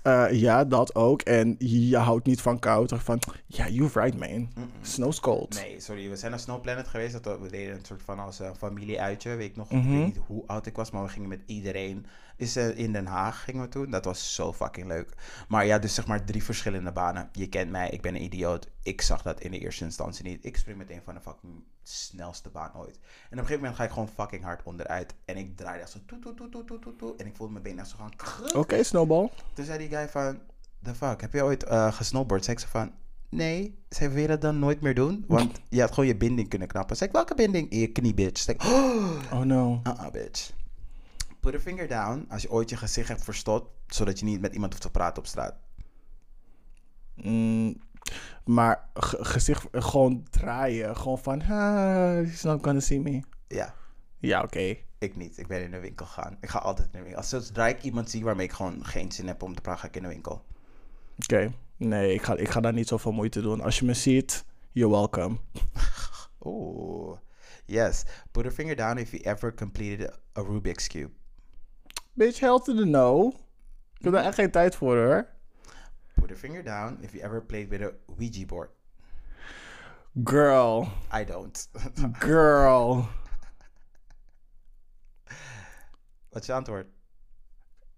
Eh, ja, dat ook. En je houdt niet van koud. Of van, ja, you're right, man. Snow's cold. Nee, sorry. We zijn naar Snow Planet geweest. Dat we, we deden een soort van als eh, familieuitje. Weet ik nog Mhm. ik weet niet hoe oud ik was, maar we gingen met iedereen. Is eh, in Den Haag gingen we toen. Dat was zo fucking leuk. Maar ja, dus zeg maar drie verschillende banen. Je kent mij, ik ben een idioot. Ik zag dat in de eerste instantie niet. Ik spring meteen van de fucking snelste baan ooit. En op een gegeven moment ga ik gewoon fucking hard onderuit. En ik draaide echt zo toe, toe, toe, toe, toe, toe, toe. En ik voelde mijn benen echt zo gaan kruk. Oké, Snowball. Toen zei die guy van, the fuck, heb je ooit eh gesnowboard? Zei ik zo van, nee. Zei, wil je dat dan nooit meer doen? Want je had gewoon je binding kunnen knappen. Zei ik, welke binding? In je knie, bitch. Zei ik, oh, Oh no. uh-uh, bitch. Put a finger down als je ooit je gezicht hebt verstopt, zodat je niet met iemand hoeft te praten op straat. Mm, maar ge- gezicht eh, gewoon draaien. Gewoon van, ah, he's not gonna see me. Ja, Ja, oké. ik niet. Ik ben in de winkel gaan. Ik ga altijd in de winkel. Als zodra ik iemand zie waarmee ik gewoon geen zin heb om te praten, ga ik in de winkel. Oké. Nee, ik ga, ik ga daar niet zoveel moeite doen. Als je me ziet, you're welcome. Oeh, yes. Put a finger down if you ever completed a Rubik's Cube. Bitch, hell to the no. Ik heb daar echt geen tijd voor, hoor. Put a finger down if you ever played with a Ouija board. Girl. I don't. <laughs> Girl. Wat is je antwoord?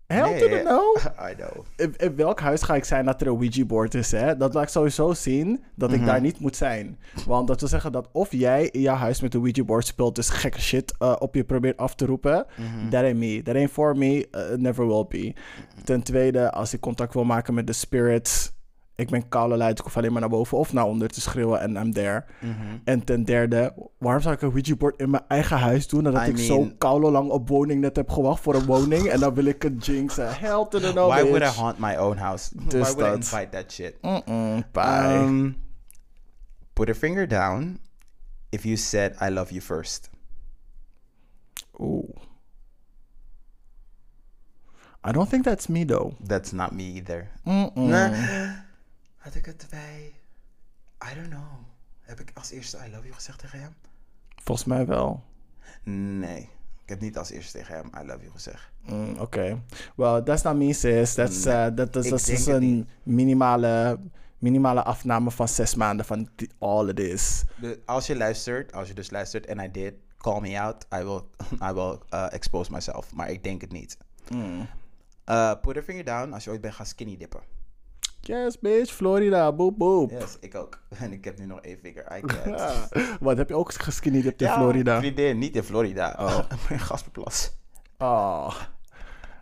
Hell Nee, to the eh, no. <laughs> I know. In, in welk huis ga ik zijn dat er een Ouija-board is, hè? Dat laat ik sowieso zien dat Mhm. ik daar niet moet zijn. Want dat wil zeggen dat of jij in jouw huis met een Ouija-board speelt... dus gekke shit eh, op je probeert af te roepen... Mhm. that ain't me. That ain't for me. eh, never will be. Ten tweede, als ik contact wil maken met de spirits... ik ben koude luid, ik hoef alleen maar naar boven of naar onder te schreeuwen... en I'm there. Mhm. En ten derde, waarom zou ik een Ouija-board in mijn eigen huis doen... nadat I ik zo mean- koude lang op woning net heb gewacht voor een woning... en dan wil ik het jinxen. Hell to the no, Why would I bitch. haunt my own house? Dus <laughs> Why would I dat. invite that shit? Mm-mm, Um, put a finger down if you said I love you first. Ooh. I don't think that's me though. That's not me either. Mm-mm. Nah. Had ik het bij... I don't know. Heb ik als eerste I love you gezegd tegen hem? Volgens mij wel. Nee. Ik heb niet als eerste tegen hem I love you gezegd. Mm, Oké. Well, that's not me sis. That's, eh, dat is, ik dat is denk het een minimale, minimale afname van zes maanden van die- all it is. De- als je luistert, als je dus luistert en I did, call me out. I will, <laughs> I will uh, expose myself. Maar ik denk het niet. Hmm. Uh, put a finger down als je ooit bent gaan skinny dippen. Yes bitch, Florida, boep boep. Yes, ik ook. <laughs> En ik heb nu nog één vinger. <laughs> I can't. Ah. Wat, heb je ook geskinny dipped in Florida? Vriendin, niet in Florida. <laughs> Oh. in Gasperplas. Oh.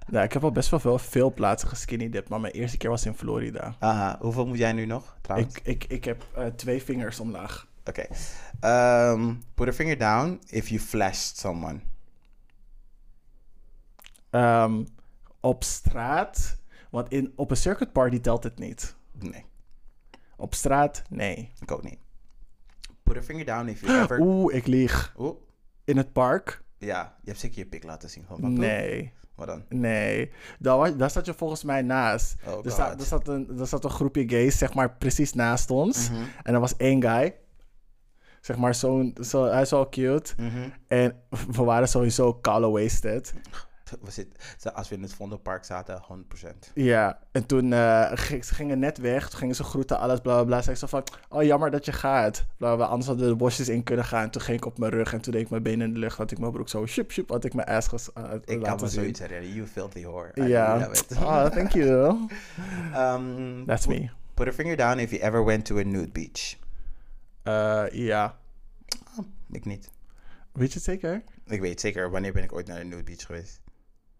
Nou, ik heb al best wel veel, veel plaatsen geskinny dipped, maar mijn eerste keer was in Florida. Aha, hoeveel moet jij nu nog, trouwens? Ik, ik, ik heb eh, twee vingers omlaag. Oké. Ehm, put a finger down if you flashed someone. ehm, op straat. Want in, op een circuit party telt het niet. Nee, Op straat, nee. ik ook niet. Put a finger down <gasps> if you ever... Oeh, ik lieg. Oeh. In het park? Ja, je hebt zeker je pik laten zien. Gewoon, wat- Nee. Wat dan? Nee, daar, wa- daar zat je volgens mij naast. Oh, er, sta- God. er zat een, er zat een groepje gays, zeg maar, precies naast ons. En er was één guy. Zeg maar, zo'n, zo, hij is wel cute. En we waren sowieso kale wasted. <laughs> We zit, als we in het Vondelpark zaten, 100%. Ja, en toen eh, ging- ze gingen net weg. Toen gingen ze groeten, alles, bla, bla, bla. Zei ik zo van, oh, jammer dat je gaat. Bla, bla, anders hadden we de bosjes in kunnen gaan. Toen ging ik op mijn rug en toen deed ik mijn benen in de lucht. Had ik mijn broek zo, shup, shup, had ik mijn ass ges, eh, Ik kan laten me zien. zoiets herinneren. You filthy whore. I Ja, Ah. love it. oh, thank you. <laughs> Um, That's put- me. Put a finger down if you ever went to a nude beach. Eh, ja, Ik niet. weet je het zeker? Ik weet zeker, wanneer ben ik ooit naar een nude beach geweest?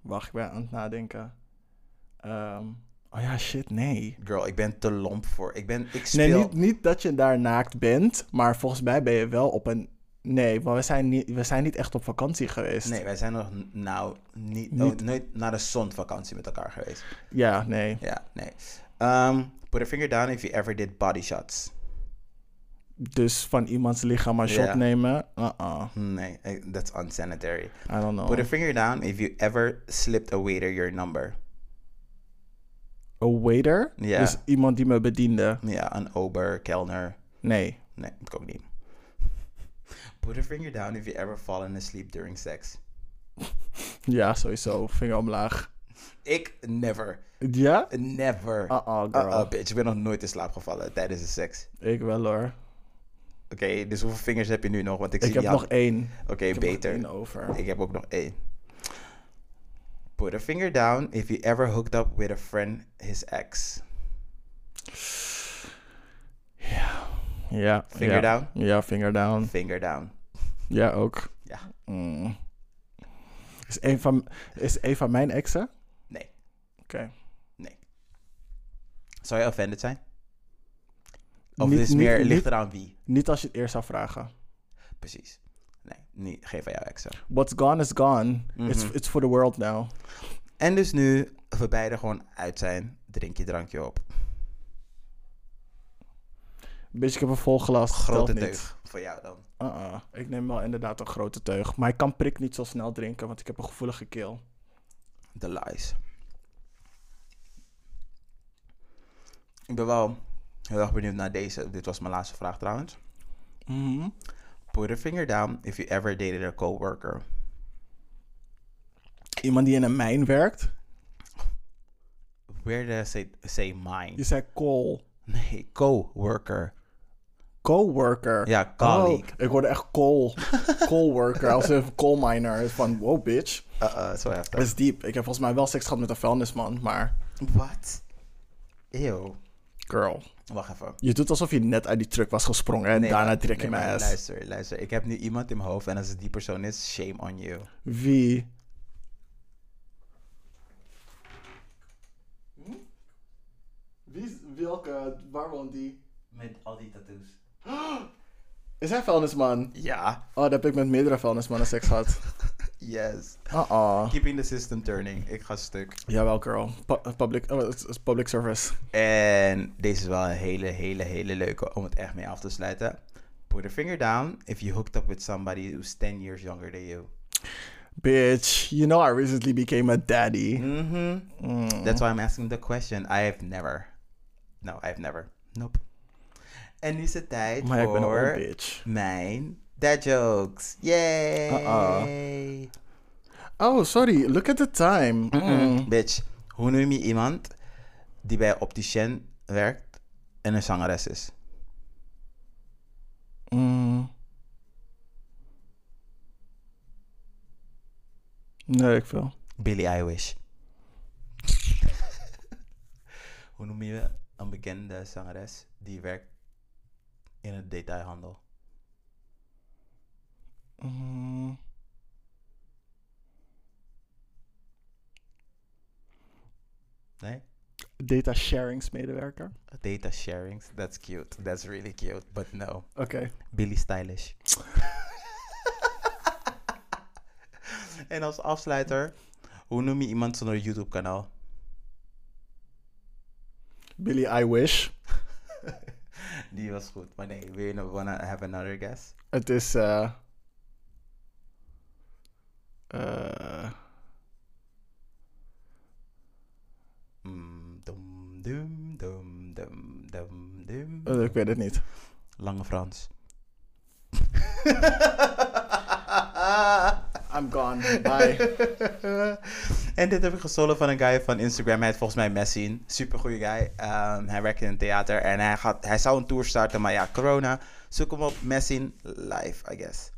Wacht, ik ben aan het nadenken. Ehm, oh ja, shit, nee. Girl, ik ben te lomp voor. Ik ben, ik speel... Nee, niet, niet dat je daar naakt bent, maar volgens mij ben je wel op een... Nee, maar we zijn niet, we zijn niet echt op vakantie geweest. Nee, wij zijn nog n- nou niet, oh, Niet- nooit naar de zonvakantie met elkaar geweest. Ja, nee. Ja, nee. Um, put a finger down if you ever did body shots. Dus van iemands lichaam een Ja. shot nemen? Uh-uh, Nee, eh, that's unsanitary. I don't know. Put a finger down if you ever slipped a waiter your number. Een waiter? Ja. Dus iemand die me bediende? Ja, een ober, kelner. Nee. Nee, ik ook niet. Put a finger down if you ever fallen asleep during sex. Ja, sowieso. Vinger omlaag. Ik never, Ja? never. Uh-uh, girl. Uh-uh, bitch, ik ben nog nooit in slaap gevallen tijdens de seks. Ik wel hoor. Oké, dus hoeveel vingers heb je nu nog? Want ik, Ik zie heb die nog hand- één. Oké, Ik heb nog beter. één over. Ik heb ook nog één. Put a finger down if you ever hooked up with a friend, his ex. Ja. ja. Finger down? Ja, finger down. Finger down. Ja, ook. Ja. Mm. Is, een van, is een van mijn exen? Oké. Nee, zou je offended zijn? Of Niet- is niet- meer, ligt niet- eraan wie? Niet als je het eerst zou vragen. Precies. Nee, niet, geen van jouw exen. What's gone is gone. it's, Mhm. it's for the world now. En dus nu we beide gewoon uit zijn, drink je drankje op. Bitch, ik heb een vol glas. Grote telt teug Niet. voor jou dan. Uh-uh. Ik neem wel inderdaad een grote teug. Maar ik kan prik niet zo snel drinken, want ik heb een gevoelige keel. The lies. Ik ben wel heel erg benieuwd naar deze. Dit was mijn laatste vraag trouwens. Mhm. Put a finger down if you ever dated a coworker. Iemand die in een mijn werkt. Where did I say, say Je mine? zei call. Nee, coworker. Coworker. Ja, Oh, colleague. ik hoorde echt <laughs> coal. Coalworker. als een coal miner. Van, wow, bitch. Uh, uh, zo heftig. Dat is diep. Ik heb volgens mij wel seks gehad met een vuilnisman, maar... What? Ew. Girl. Wacht even. Je doet alsof je net uit die truck was gesprongen en Nee, daarna maar- trek je nee, mijn maar ass. Luister, luister. Ik heb nu iemand in mijn hoofd en als het die persoon is, shame on you. Wie? Hm? Wie, welke, waar woont die? Met al die tattoos. Is hij vuilnisman? Ja. Oh, daar heb ik met meerdere vuilnismannen seks gehad. Yes. Uh-oh. Keeping the system turning. Ik ga stuk. Jawel, girl. Pu- public, oh, het is- het is public service. En deze is wel een hele, hele, hele leuke om het echt mee af te sluiten. Put a finger down if you hooked up with somebody who's 10 years younger than you. Bitch, you know I recently became a daddy. Mhm. That's why I'm asking the question. I have never. No, I have never. Nope. En nu is het tijd Maar ik ben een old voor bitch. mijn dad jokes. Yay! Oh, sorry. Look at the time. Mm. Bitch, hoe noem je iemand die bij een opticien werkt en een zangeres is? Mm. Nee, ik wil. Billy Eilish. <laughs> Hoe noem je een bekende zangeres die werkt in het detailhandel? Mm. Nee? Data sharings medewerker. Data sharings, that's cute. That's really cute, but no. Oké. Billy Stylish. <laughs> en als afsluiter, Hoe noem je iemand zonder YouTube-kanaal? Billy, I wish. Die was goed. Maar nee, wil je nog wanna have another guess? Het is. eh, eh, Mm, dum, dum, dum, dum, dum, dum. eh, ik weet het niet. Lange Frans. I'm gone. Bye. <laughs> <laughs> en dit heb ik gestolen van een guy van Instagram. Hij heet volgens mij Messin. Super goede guy. Ehm, hij werkt in het theater en hij, gaat, hij zou een tour starten, maar ja, corona. Zoek hem op Messin live, I guess.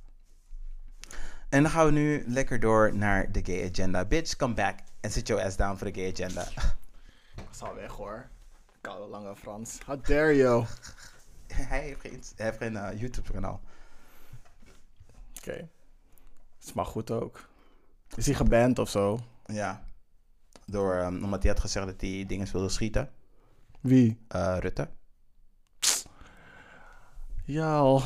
En dan gaan we nu lekker door naar de gay agenda. Bitch, come back en sit your ass down voor de gay agenda. <laughs> Dat is al weg hoor. Koude lange Frans. How dare you? Oké. <laughs> hij heeft geen, hij heeft geen eh, YouTube-kanaal. Is maar goed ook. Is hij geband of zo? Ja. Door, ehm, omdat hij had gezegd dat hij dingen wilde schieten. Wie? Eh, Rutte. Ja. al.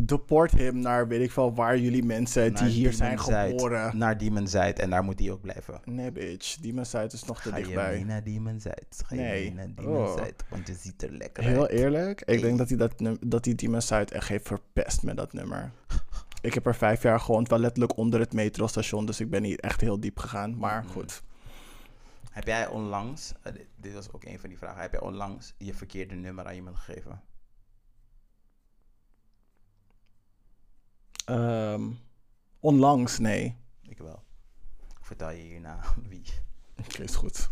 Deport hem naar weet ik wel waar jullie mensen Naar die hier zijn Demon Zuid. geboren. Naar Demon Zuid en daar moet hij ook blijven. Nee, bitch. Die mensheid is nog te Ga je dichtbij. mee naar Demon Zuid? Ga je Nee. mee naar Demon Oh. Zuid? Want je ziet er lekker Heel e- uit. eerlijk, ik Hey. denk dat hij, dat, num- dat hij Demon Side echt heeft verpest met dat nummer. Ik heb er vijf jaar gewoond, wel letterlijk onder het metrostation, dus ik ben niet echt heel diep gegaan. Maar Mhm. goed, Heb jij onlangs, eh, dit, dit was ook een van die vragen, heb jij onlangs je verkeerde nummer aan iemand gegeven? ehm, onlangs, nee. Ik wel. Ik vertel je hierna <laughs> wie. Oké, is goed.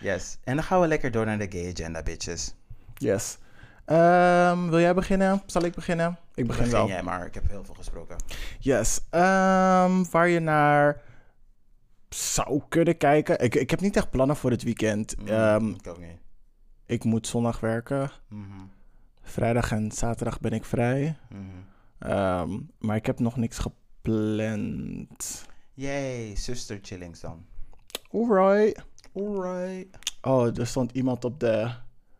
Yes. En dan gaan we lekker door naar de gay agenda, bitches. Yes. Ehm, wil jij beginnen? Zal ik beginnen? Ik begin, Begin wel. jij maar, ik heb heel veel gesproken. Yes. Ehm, waar je naar zou kunnen kijken. Ik, ik heb niet echt plannen voor het weekend. Mm, Ehm, ik ook niet. ik moet zondag werken. Mhm, Vrijdag en zaterdag ben ik vrij. mhm. Ehm, maar ik heb nog niks gepland. Yay, zuster chillings dan. Alright. Alright. Oh, er stond iemand op de,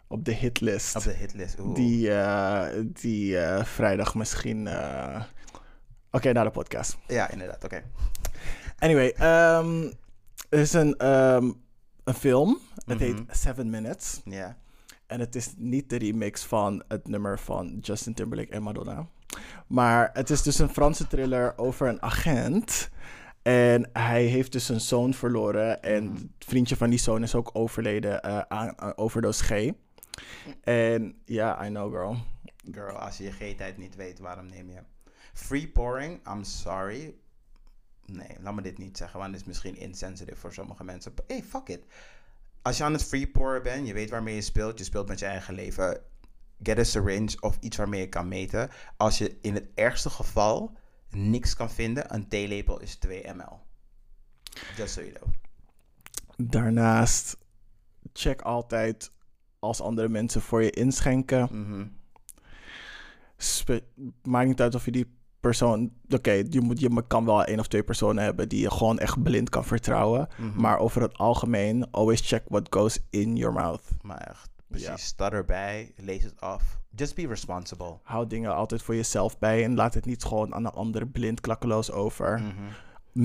op de hitlist. Op de hitlist. Oeh. Die, eh, die eh, vrijdag misschien. eh, Oké, naar de podcast. Ja, inderdaad. Oké. Anyway, ehm, er is een, ehm, een film. Het Mhm. heet Seven Minutes. Ja. En het is niet de remix van het nummer van Justin Timberlake en Madonna. Maar het is dus een Franse thriller over een agent. En hij heeft dus een zoon verloren. En het vriendje van die zoon is ook overleden eh, aan aan overdose G. En ja, I know girl. Girl, als je je G-tijd niet weet, waarom neem je hem? Free pouring, I'm sorry. Nee, laat me dit niet zeggen, want het is misschien insensitive voor sommige mensen. But hey, fuck it. Als je aan het free pouren bent, je weet waarmee je speelt, je speelt met je eigen leven. Get a syringe of iets waarmee je kan meten. Als je in het ergste geval niks kan vinden, een theelepel is 2 ml. Just so you know. Daarnaast, check altijd als andere mensen voor je inschenken. Mhm. Spe- maakt niet uit of je die persoon... Oké, je, moet- je kan wel één of twee personen hebben die je gewoon echt blind kan vertrouwen. Mhm. Maar over het algemeen, always check what goes in your mouth. Maar echt, precies, sta erbij, lees het af. Just be responsible. Houd dingen altijd voor jezelf bij en laat het niet gewoon aan de ander blind klakkeloos over. Mhm.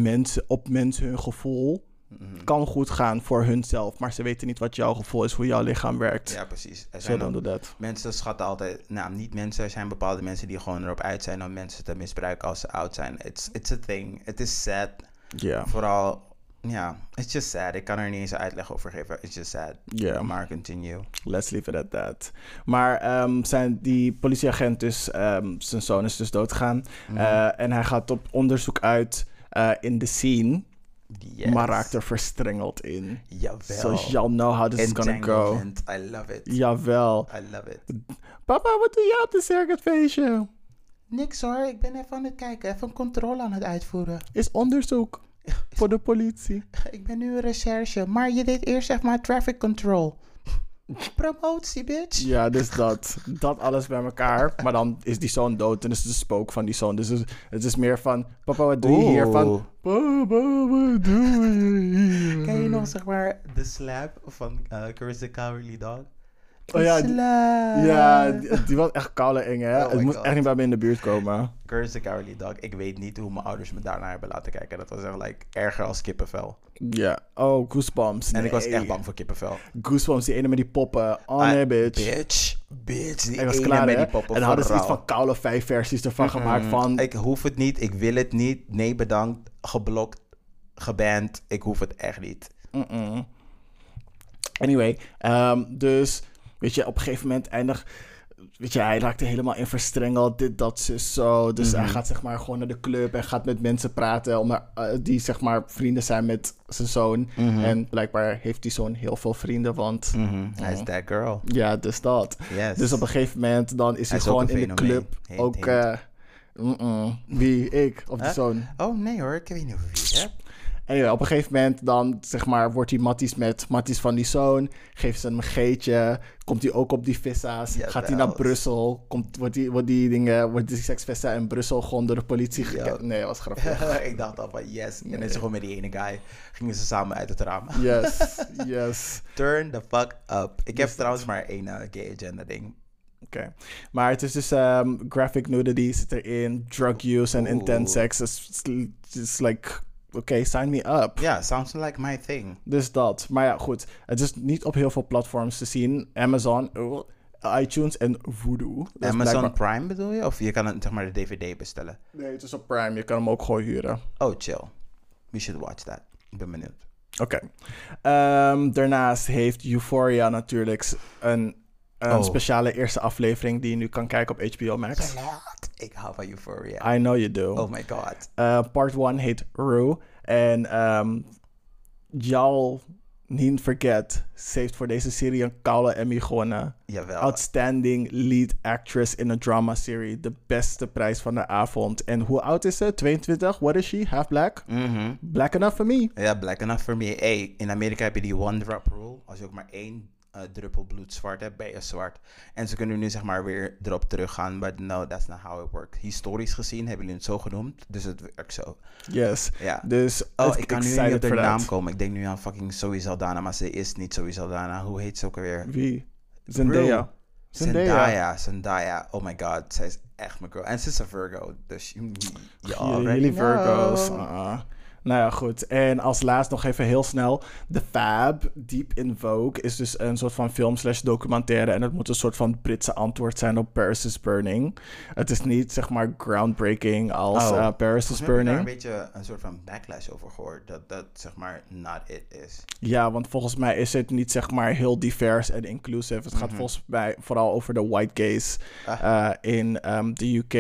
Mensen, op mensen hun gevoel Mhm. kan goed gaan voor hunzelf, maar ze weten niet wat jouw gevoel is, hoe jouw lichaam werkt. Ja, precies. Er Zo zijn dan ook- doe dat. mensen schatten altijd, nou niet mensen, er zijn bepaalde mensen die gewoon erop uit zijn om mensen te misbruiken als ze oud zijn. It's, it's a thing. Het is sad. Ja, Vooral, ja, it's just sad. Ik kan er niet eens een uitleg over geven. It's just sad. Ja. Maar continue. let's leave it at that. Maar ehm, zijn die politieagent dus, ehm, zijn zoon is dus doodgegaan. Mhm. Eh, en hij gaat op onderzoek uit eh, in de scene, Yes. maar raakt er verstrengeld in. Jawel. So y'all know how this is gonna go. Entanglement. I love it. Jawel. I love it. Papa, wat doe jij op de circuitfeestje? Niks hoor, ik ben even aan het kijken. Even een controle aan het uitvoeren. Is <laughs> onderzoek voor de politie. Ik ben nu een recherche. Maar je deed eerst zeg maar traffic <laughs> control. Promotie, bitch. Ja, dus dat. Dat alles bij elkaar. Maar dan is die zoon dood en is het een spook van die zoon. Dus het is- het is meer van, papa, wat doe je hier? Oeh. Van, papa, wat doe je hier? Ken je nog zeg maar de slap van eh Carissa Cowardly Dog? Oh ja, die- Sla. ja, die, die was echt koude eng, hè? Oh het my moest God. echt niet bij me in de buurt komen. Curse the Cowardly Dog. Ik weet niet hoe mijn ouders me daarna hebben laten kijken. Dat was echt like, erger als kippenvel. Ja. Oh, Goosebumps. En ik was nee. echt bang voor kippenvel. Goosebumps, die ene met die poppen. Oh nee, Ah, bitch. Bitch. Bitch. Die Ik was ene klaar, met hè? die En poppen dan hadden ze voor iets rauw. van koude vijf versies ervan gemaakt van... Ik hoef het niet. Ik wil het niet. Nee, bedankt. Geblokt. Geband. Ik hoef het echt niet. Mm-mm. Anyway, ehm, dus weet je, op een gegeven moment eindig. Weet je, hij raakte helemaal in verstrengeld, dit, dat, zus, zo. Dus Mhm. hij gaat zeg maar gewoon naar de club en gaat met mensen praten om, eh, die zeg maar vrienden zijn met zijn zoon. Mhm. En blijkbaar heeft die zoon heel veel vrienden, want Hij Mhm. is that girl. ja, dus dat. Mhm. Yes. Dus op een gegeven moment dan is hij, is ook gewoon een in de fenomeen. club. Heet- ook, heet. eh, mm-mm. wie, ik of die Huh? zoon. Oh nee hoor, ik weet niet over wie je hebt. Anyway, op een gegeven moment dan, zeg maar, wordt hij matties met matties van die zoon. Geeft ze hem een geetje. Komt hij ook op die vissa's. Ja, gaat hij naar wel. Brussel. Komt, wordt, die, wordt die dingen, wordt die seksvissa in Brussel gewoon door de politie Ja. geke- Nee, dat was grappig. <laughs> ik dacht al van yes. En dan is ze gewoon met die ene guy. Gingen ze samen uit het raam. Yes, yes. <laughs> Turn the fuck up. Ik Dus- heb trouwens maar één eh, gay agenda ding. Oké. Maar het is dus ehm, graphic nudity zit erin. Drug use en Oeh. intense sex. It's, it's like, oké, sign me up. Ja, sounds like my thing. Dus dat. Maar ja, goed. Het is niet op heel veel platforms te zien. Amazon, oh, iTunes en Voodoo. Dus Amazon blijkbaar- Prime bedoel je? Of je kan het, zeg maar de DVD bestellen. Nee, het is op Prime. Je kan hem ook gewoon huren. Oh chill. We should watch that. Ik ben benieuwd. Oké. Ehm, daarnaast heeft Euphoria natuurlijk een, een Oh. speciale eerste aflevering die je nu kan kijken op HBO Max. Ik hou van Euphoria. I know you do. Oh my god. Eh, part 1 heet Rue. En ehm y'all niet verget, ze heeft voor deze serie een koude Emmy gewonnen. Jawel. Outstanding lead actress in a drama serie. De beste prijs van de avond. En hoe oud is ze? 22? What is she? Half black? Mhm. Black enough for me. Ja, black enough for me. Hey, in Amerika heb je die one drop rule. Als je ook maar één eh, druppel bloed zwart hebt, ben je zwart. En ze kunnen nu zeg maar weer erop teruggaan. But no, that's not how it works. Historisch gezien hebben jullie het zo genoemd. Dus het werkt zo. Yes. Ja. Dus Oh, het- ik kan nu niet excited op de for that. naam komen. Ik denk nu aan fucking Zoe Saldana, maar ze is niet Zoe Saldana. Hoe heet ze ook alweer? Wie? Zendaya. Zendaya. Zendaya. Zendaya. Oh my god, zij is echt mijn girl. En ze is een Virgo, dus je- je Jullie, already jullie Virgo's. know. Ah. Nou ja, goed. En als laatst nog even heel snel. The Fab, Deep in Vogue, is dus een soort van film slash documentaire. En het moet een soort van Britse antwoord zijn op Paris is Burning. Het is niet, zeg maar, groundbreaking als Oh. eh, Paris is Volgens mij heb ik daar een Burning. beetje een soort van backlash over gehoord. Dat dat zeg maar not it is. Ja, want volgens mij is het niet zeg maar heel divers en inclusive. Het gaat volgens mij vooral over de white gays Ah. eh, in ehm, de UK,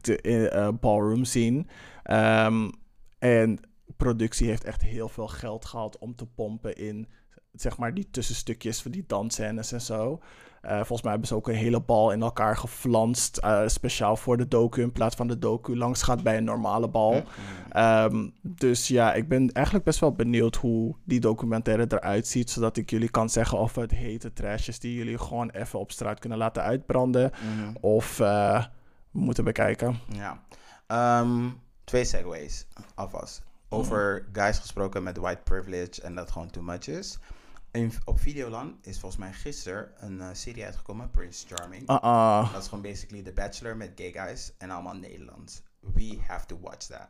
de eh, eh, ballroom scene. Ehm, en productie heeft echt heel veel geld gehad om te pompen in zeg maar die tussenstukjes van die dansscènes en zo. Eh, volgens mij hebben ze ook een hele bal in elkaar geflanst. eh, speciaal voor de docu. In plaats van de docu langs gaat bij een normale bal. Ehm, dus ja, ik ben eigenlijk best wel benieuwd hoe die documentaire eruit ziet. Zodat ik jullie kan zeggen of het hete trash is die jullie gewoon even op straat kunnen laten uitbranden. Of eh, moeten bekijken. Ja. Ehm, twee segways alvast. Over Mm-hmm. guys gesproken met white privilege en dat gewoon too much is. In, op Videoland is volgens mij gisteren een eh, serie uitgekomen, Prince Charming. Ah, ah. Dat is gewoon basically The Bachelor met gay guys en allemaal Nederlands. We have to watch that.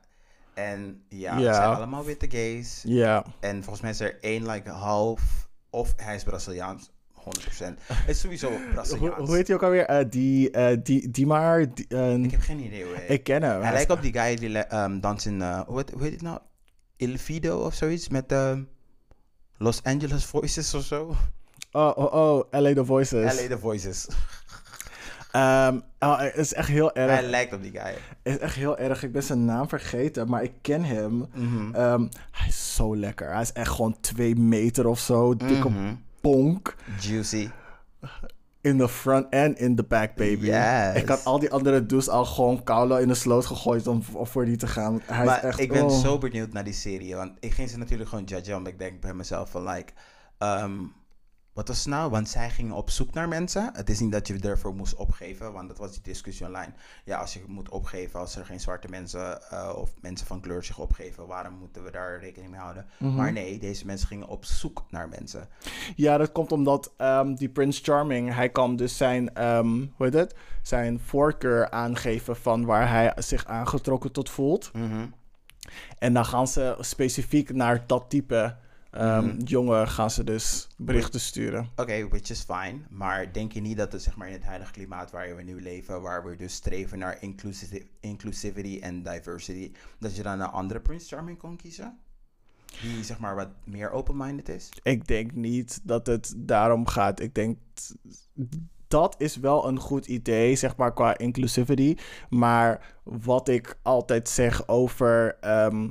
En ja, Ja. het zijn allemaal witte gays. Ja. En volgens mij is er één like half, of hij is Braziliaans, 100%. Het is sowieso Hoe, Braziliaans. hoe heet die ook alweer? Eh, die, eh, die, die maar. die, eh, Ik heb geen idee hoe hij ik ken hem. Hij lijkt op die guy die le- ehm danst in, eh, hoe, heet, hoe heet het nou? Il Fido of zoiets met ehm, Los Angeles Voices of zo. Oh, oh, oh, LA The Voices. LA The Voices. Ehm, oh, het is echt heel erg. Hij lijkt op die guy. Het is echt heel erg. Ik ben zijn naam vergeten, maar ik ken hem. Mhm. Ehm, hij is zo lekker. Hij is echt gewoon twee meter of zo. Dikke Mhm. bonk. Juicy. In de front en in de back, baby. Yes. Ik had al die andere dudes al gewoon koude in de sloot gegooid om om voor die te gaan. Want Hij is maar echt, ik ben oh. zo benieuwd naar die serie. Want ik ging ze natuurlijk gewoon judgen. Want ik denk bij mezelf van like... ehm, Wat was het nou? Want zij gingen op zoek naar mensen. Het is niet dat je ervoor moest opgeven, want dat was die discussie online. Ja, als je moet opgeven, als er geen zwarte mensen eh, of mensen van kleur zich opgeven, waarom moeten we daar rekening mee houden? Mhm. Maar nee, deze mensen gingen op zoek naar mensen. Ja, dat komt omdat ehm, die Prince Charming, hij kan dus zijn, ehm, hoe heet het? Zijn voorkeur aangeven van waar hij zich aangetrokken tot voelt. En dan gaan ze specifiek naar dat type ehm, jongen gaan ze dus berichten sturen. Oké, which is fine. Maar denk je niet dat het zeg maar, in het huidige klimaat waarin we nu leven, waar we dus streven naar inclusivi- inclusivity en diversity, dat je dan een andere Prince Charming kon kiezen? Die zeg maar wat meer open-minded is? Ik denk niet dat het daarom gaat. Ik denk t- dat is wel een goed idee, zeg maar, qua inclusivity. Maar wat ik altijd zeg over. ehm,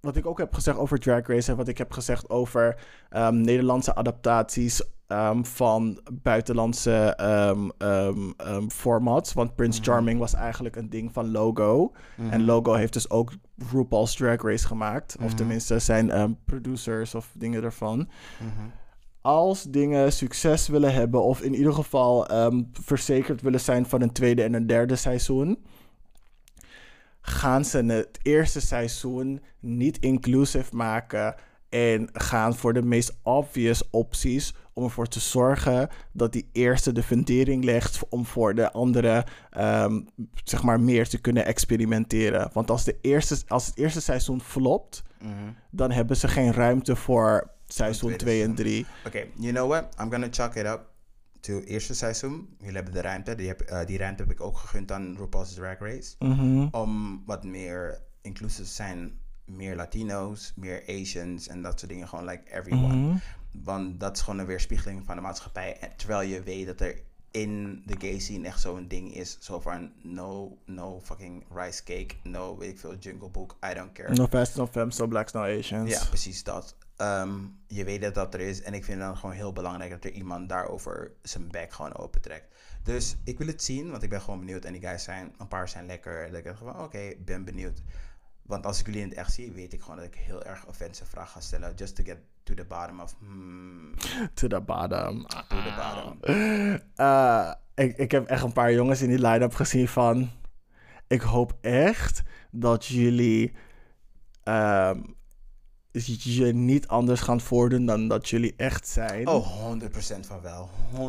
wat ik ook heb gezegd over Drag Race en wat ik heb gezegd over ehm, Nederlandse adaptaties ehm, van buitenlandse ehm, ehm, ehm, formats. Want Prince Charming was eigenlijk een ding van Logo. En Logo heeft dus ook RuPaul's Drag Race gemaakt. Of tenminste zijn ehm, producers of dingen ervan als dingen succes willen hebben, of in ieder geval ehm, verzekerd willen zijn van een tweede en een derde seizoen, gaan ze het eerste seizoen niet inclusief maken en gaan voor de meest obvious opties om ervoor te zorgen dat die eerste de fundering legt om voor de andere ehm, zeg maar meer te kunnen experimenteren. Want als, de eerste, als het eerste seizoen flopt, dan hebben ze geen ruimte voor seizoen Mhm. tweede 2 en seizoen. 3. Oké, you know what? I'm gonna chalk it up to eerste seizoen. Jullie hebben de ruimte. Die, heb, eh, die ruimte heb ik ook gegund aan RuPaul's Drag Race. Om wat meer inclusief te zijn. Meer Latino's, meer Asians en dat soort dingen. Gewoon like everyone. Want dat is gewoon een weerspiegeling van de maatschappij. En terwijl je weet dat er in de gay scene echt zo'n ding is. Zo van no, no fucking rice cake. No, weet ik veel, jungle book. I don't care. No fast, no femmes, no blacks, no Asians. Ja, precies dat. Ehm, je weet dat dat er is. En ik vind het dan gewoon heel belangrijk dat er iemand daarover zijn bek gewoon opentrekt. Dus ik wil het zien, want ik ben gewoon benieuwd. En die guys zijn, een paar zijn lekker. Dat ik dacht van, oké, ik ben benieuwd. Want als ik jullie in het echt zie, weet ik gewoon dat ik heel erg offensive vragen ga stellen. Just to get to the bottom of, hmm, To the bottom. to the bottom. Eh, ik, ik heb echt een paar jongens in die line-up gezien van... Ik hoop echt dat jullie ehm, je niet anders gaan voordoen dan dat jullie echt zijn. Oh, 100% van wel. 100%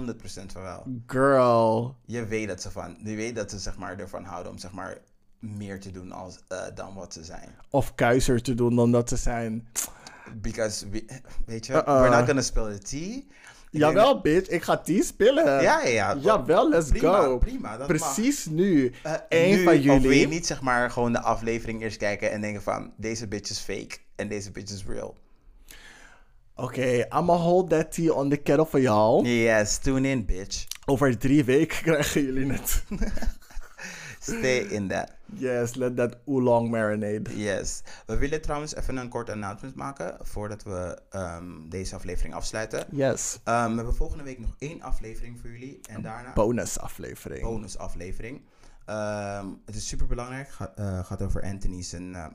van wel. Girl. Je weet dat ze van, je weet dat ze zeg maar ervan houden om zeg maar meer te doen als, eh, dan wat ze zijn. Of kuiser te doen dan dat ze zijn. Because, we, weet je, Uh-uh. we're not gonna spill the tea. Ik denk- Jawel, bitch. Ik ga die spillen. Ja, ja, ja. Jawel, let's Prima, go. prima, dat mag. Precies nu. Eh, Eén nu, van Of wil je jullie... niet zeg maar gewoon de aflevering eerst kijken en denken van, deze bitch is fake en deze bitch is real. Oké, I'ma hold that tea on the kettle for y'all. Yes, tune in bitch. Over drie weken <laughs> krijgen jullie het. Stay in that. Yes, let that oolong marinade. Yes. We willen trouwens even een kort announcement maken voordat we ehm, deze aflevering afsluiten. Yes. Ehm, we hebben volgende week nog één aflevering voor jullie en daarna... Bonusaflevering. bonusaflevering. Ehm, het is super belangrijk. gaat over Anthony's en, ehm,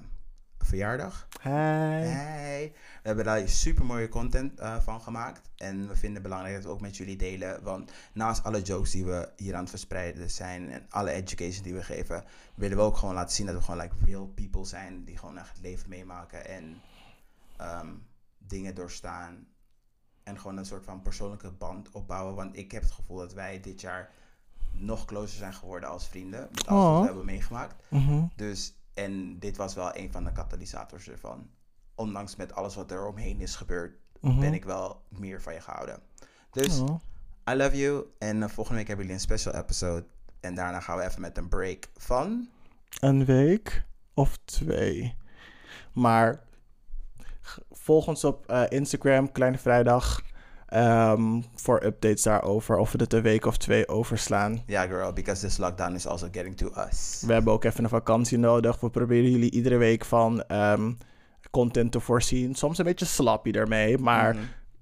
verjaardag. Hey. Hey. We hebben daar super mooie content eh, van gemaakt. En we vinden het belangrijk dat we ook met jullie delen. Want naast alle jokes die we hier aan het verspreiden zijn en alle education die we geven, willen we ook gewoon laten zien dat we gewoon like real people zijn die gewoon echt het leven meemaken en ehm, dingen doorstaan. En gewoon een soort van persoonlijke band opbouwen. Want ik heb het gevoel dat wij dit jaar nog closer zijn geworden als vrienden. Met alles wat Oh. we hebben meegemaakt. Mhm. Dus, en dit was wel een van de katalysators ervan. Ondanks met alles wat er omheen is gebeurd, ben ik wel meer van je gehouden. Dus, Mhm. Oh. I love you. En eh, volgende week hebben jullie een special episode. En daarna gaan we even met een break van... Een week of twee. Maar g- volg ons op eh, Instagram, Kleine Vrijdag. ehm, voor updates daarover. Of we het een week of twee overslaan. Ja, girl, because this lockdown is also getting to us. We hebben ook even een vakantie nodig. We proberen jullie iedere week van ehm, content te voorzien. Soms een beetje slappy ermee, maar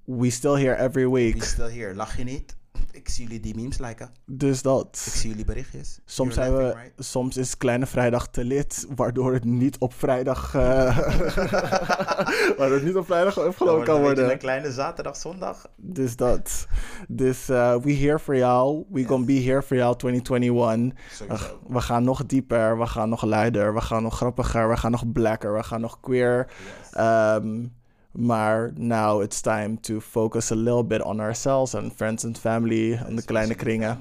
we still here every We week. still here. Lach je niet? Ik zie jullie die memes liken. Dus Ik dat. zie jullie berichtjes. Soms, You're zijn we, <laughs> laughing, right? soms is Kleine Vrijdag te lid, waardoor het niet op vrijdag. eh, <laughs> waardoor het niet op vrijdag opgelopen kan Dan wordt het een beetje worden. Een kleine zaterdag, zondag. Dus dat. Dus eh, we here for jou. We gonna be here for jou 2021. Sowieso. We gaan nog dieper, we gaan nog luider, we gaan nog grappiger, we gaan nog blacker, we gaan nog queer. Ehm, maar now it's time to focus a little bit on ourselves and friends and family, en de kleine kringen.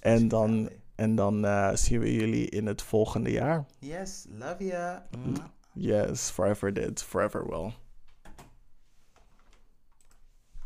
En dan, en dan eh, zien we jullie in het volgende jaar. Yes, love ya. Yes, forever did, forever will.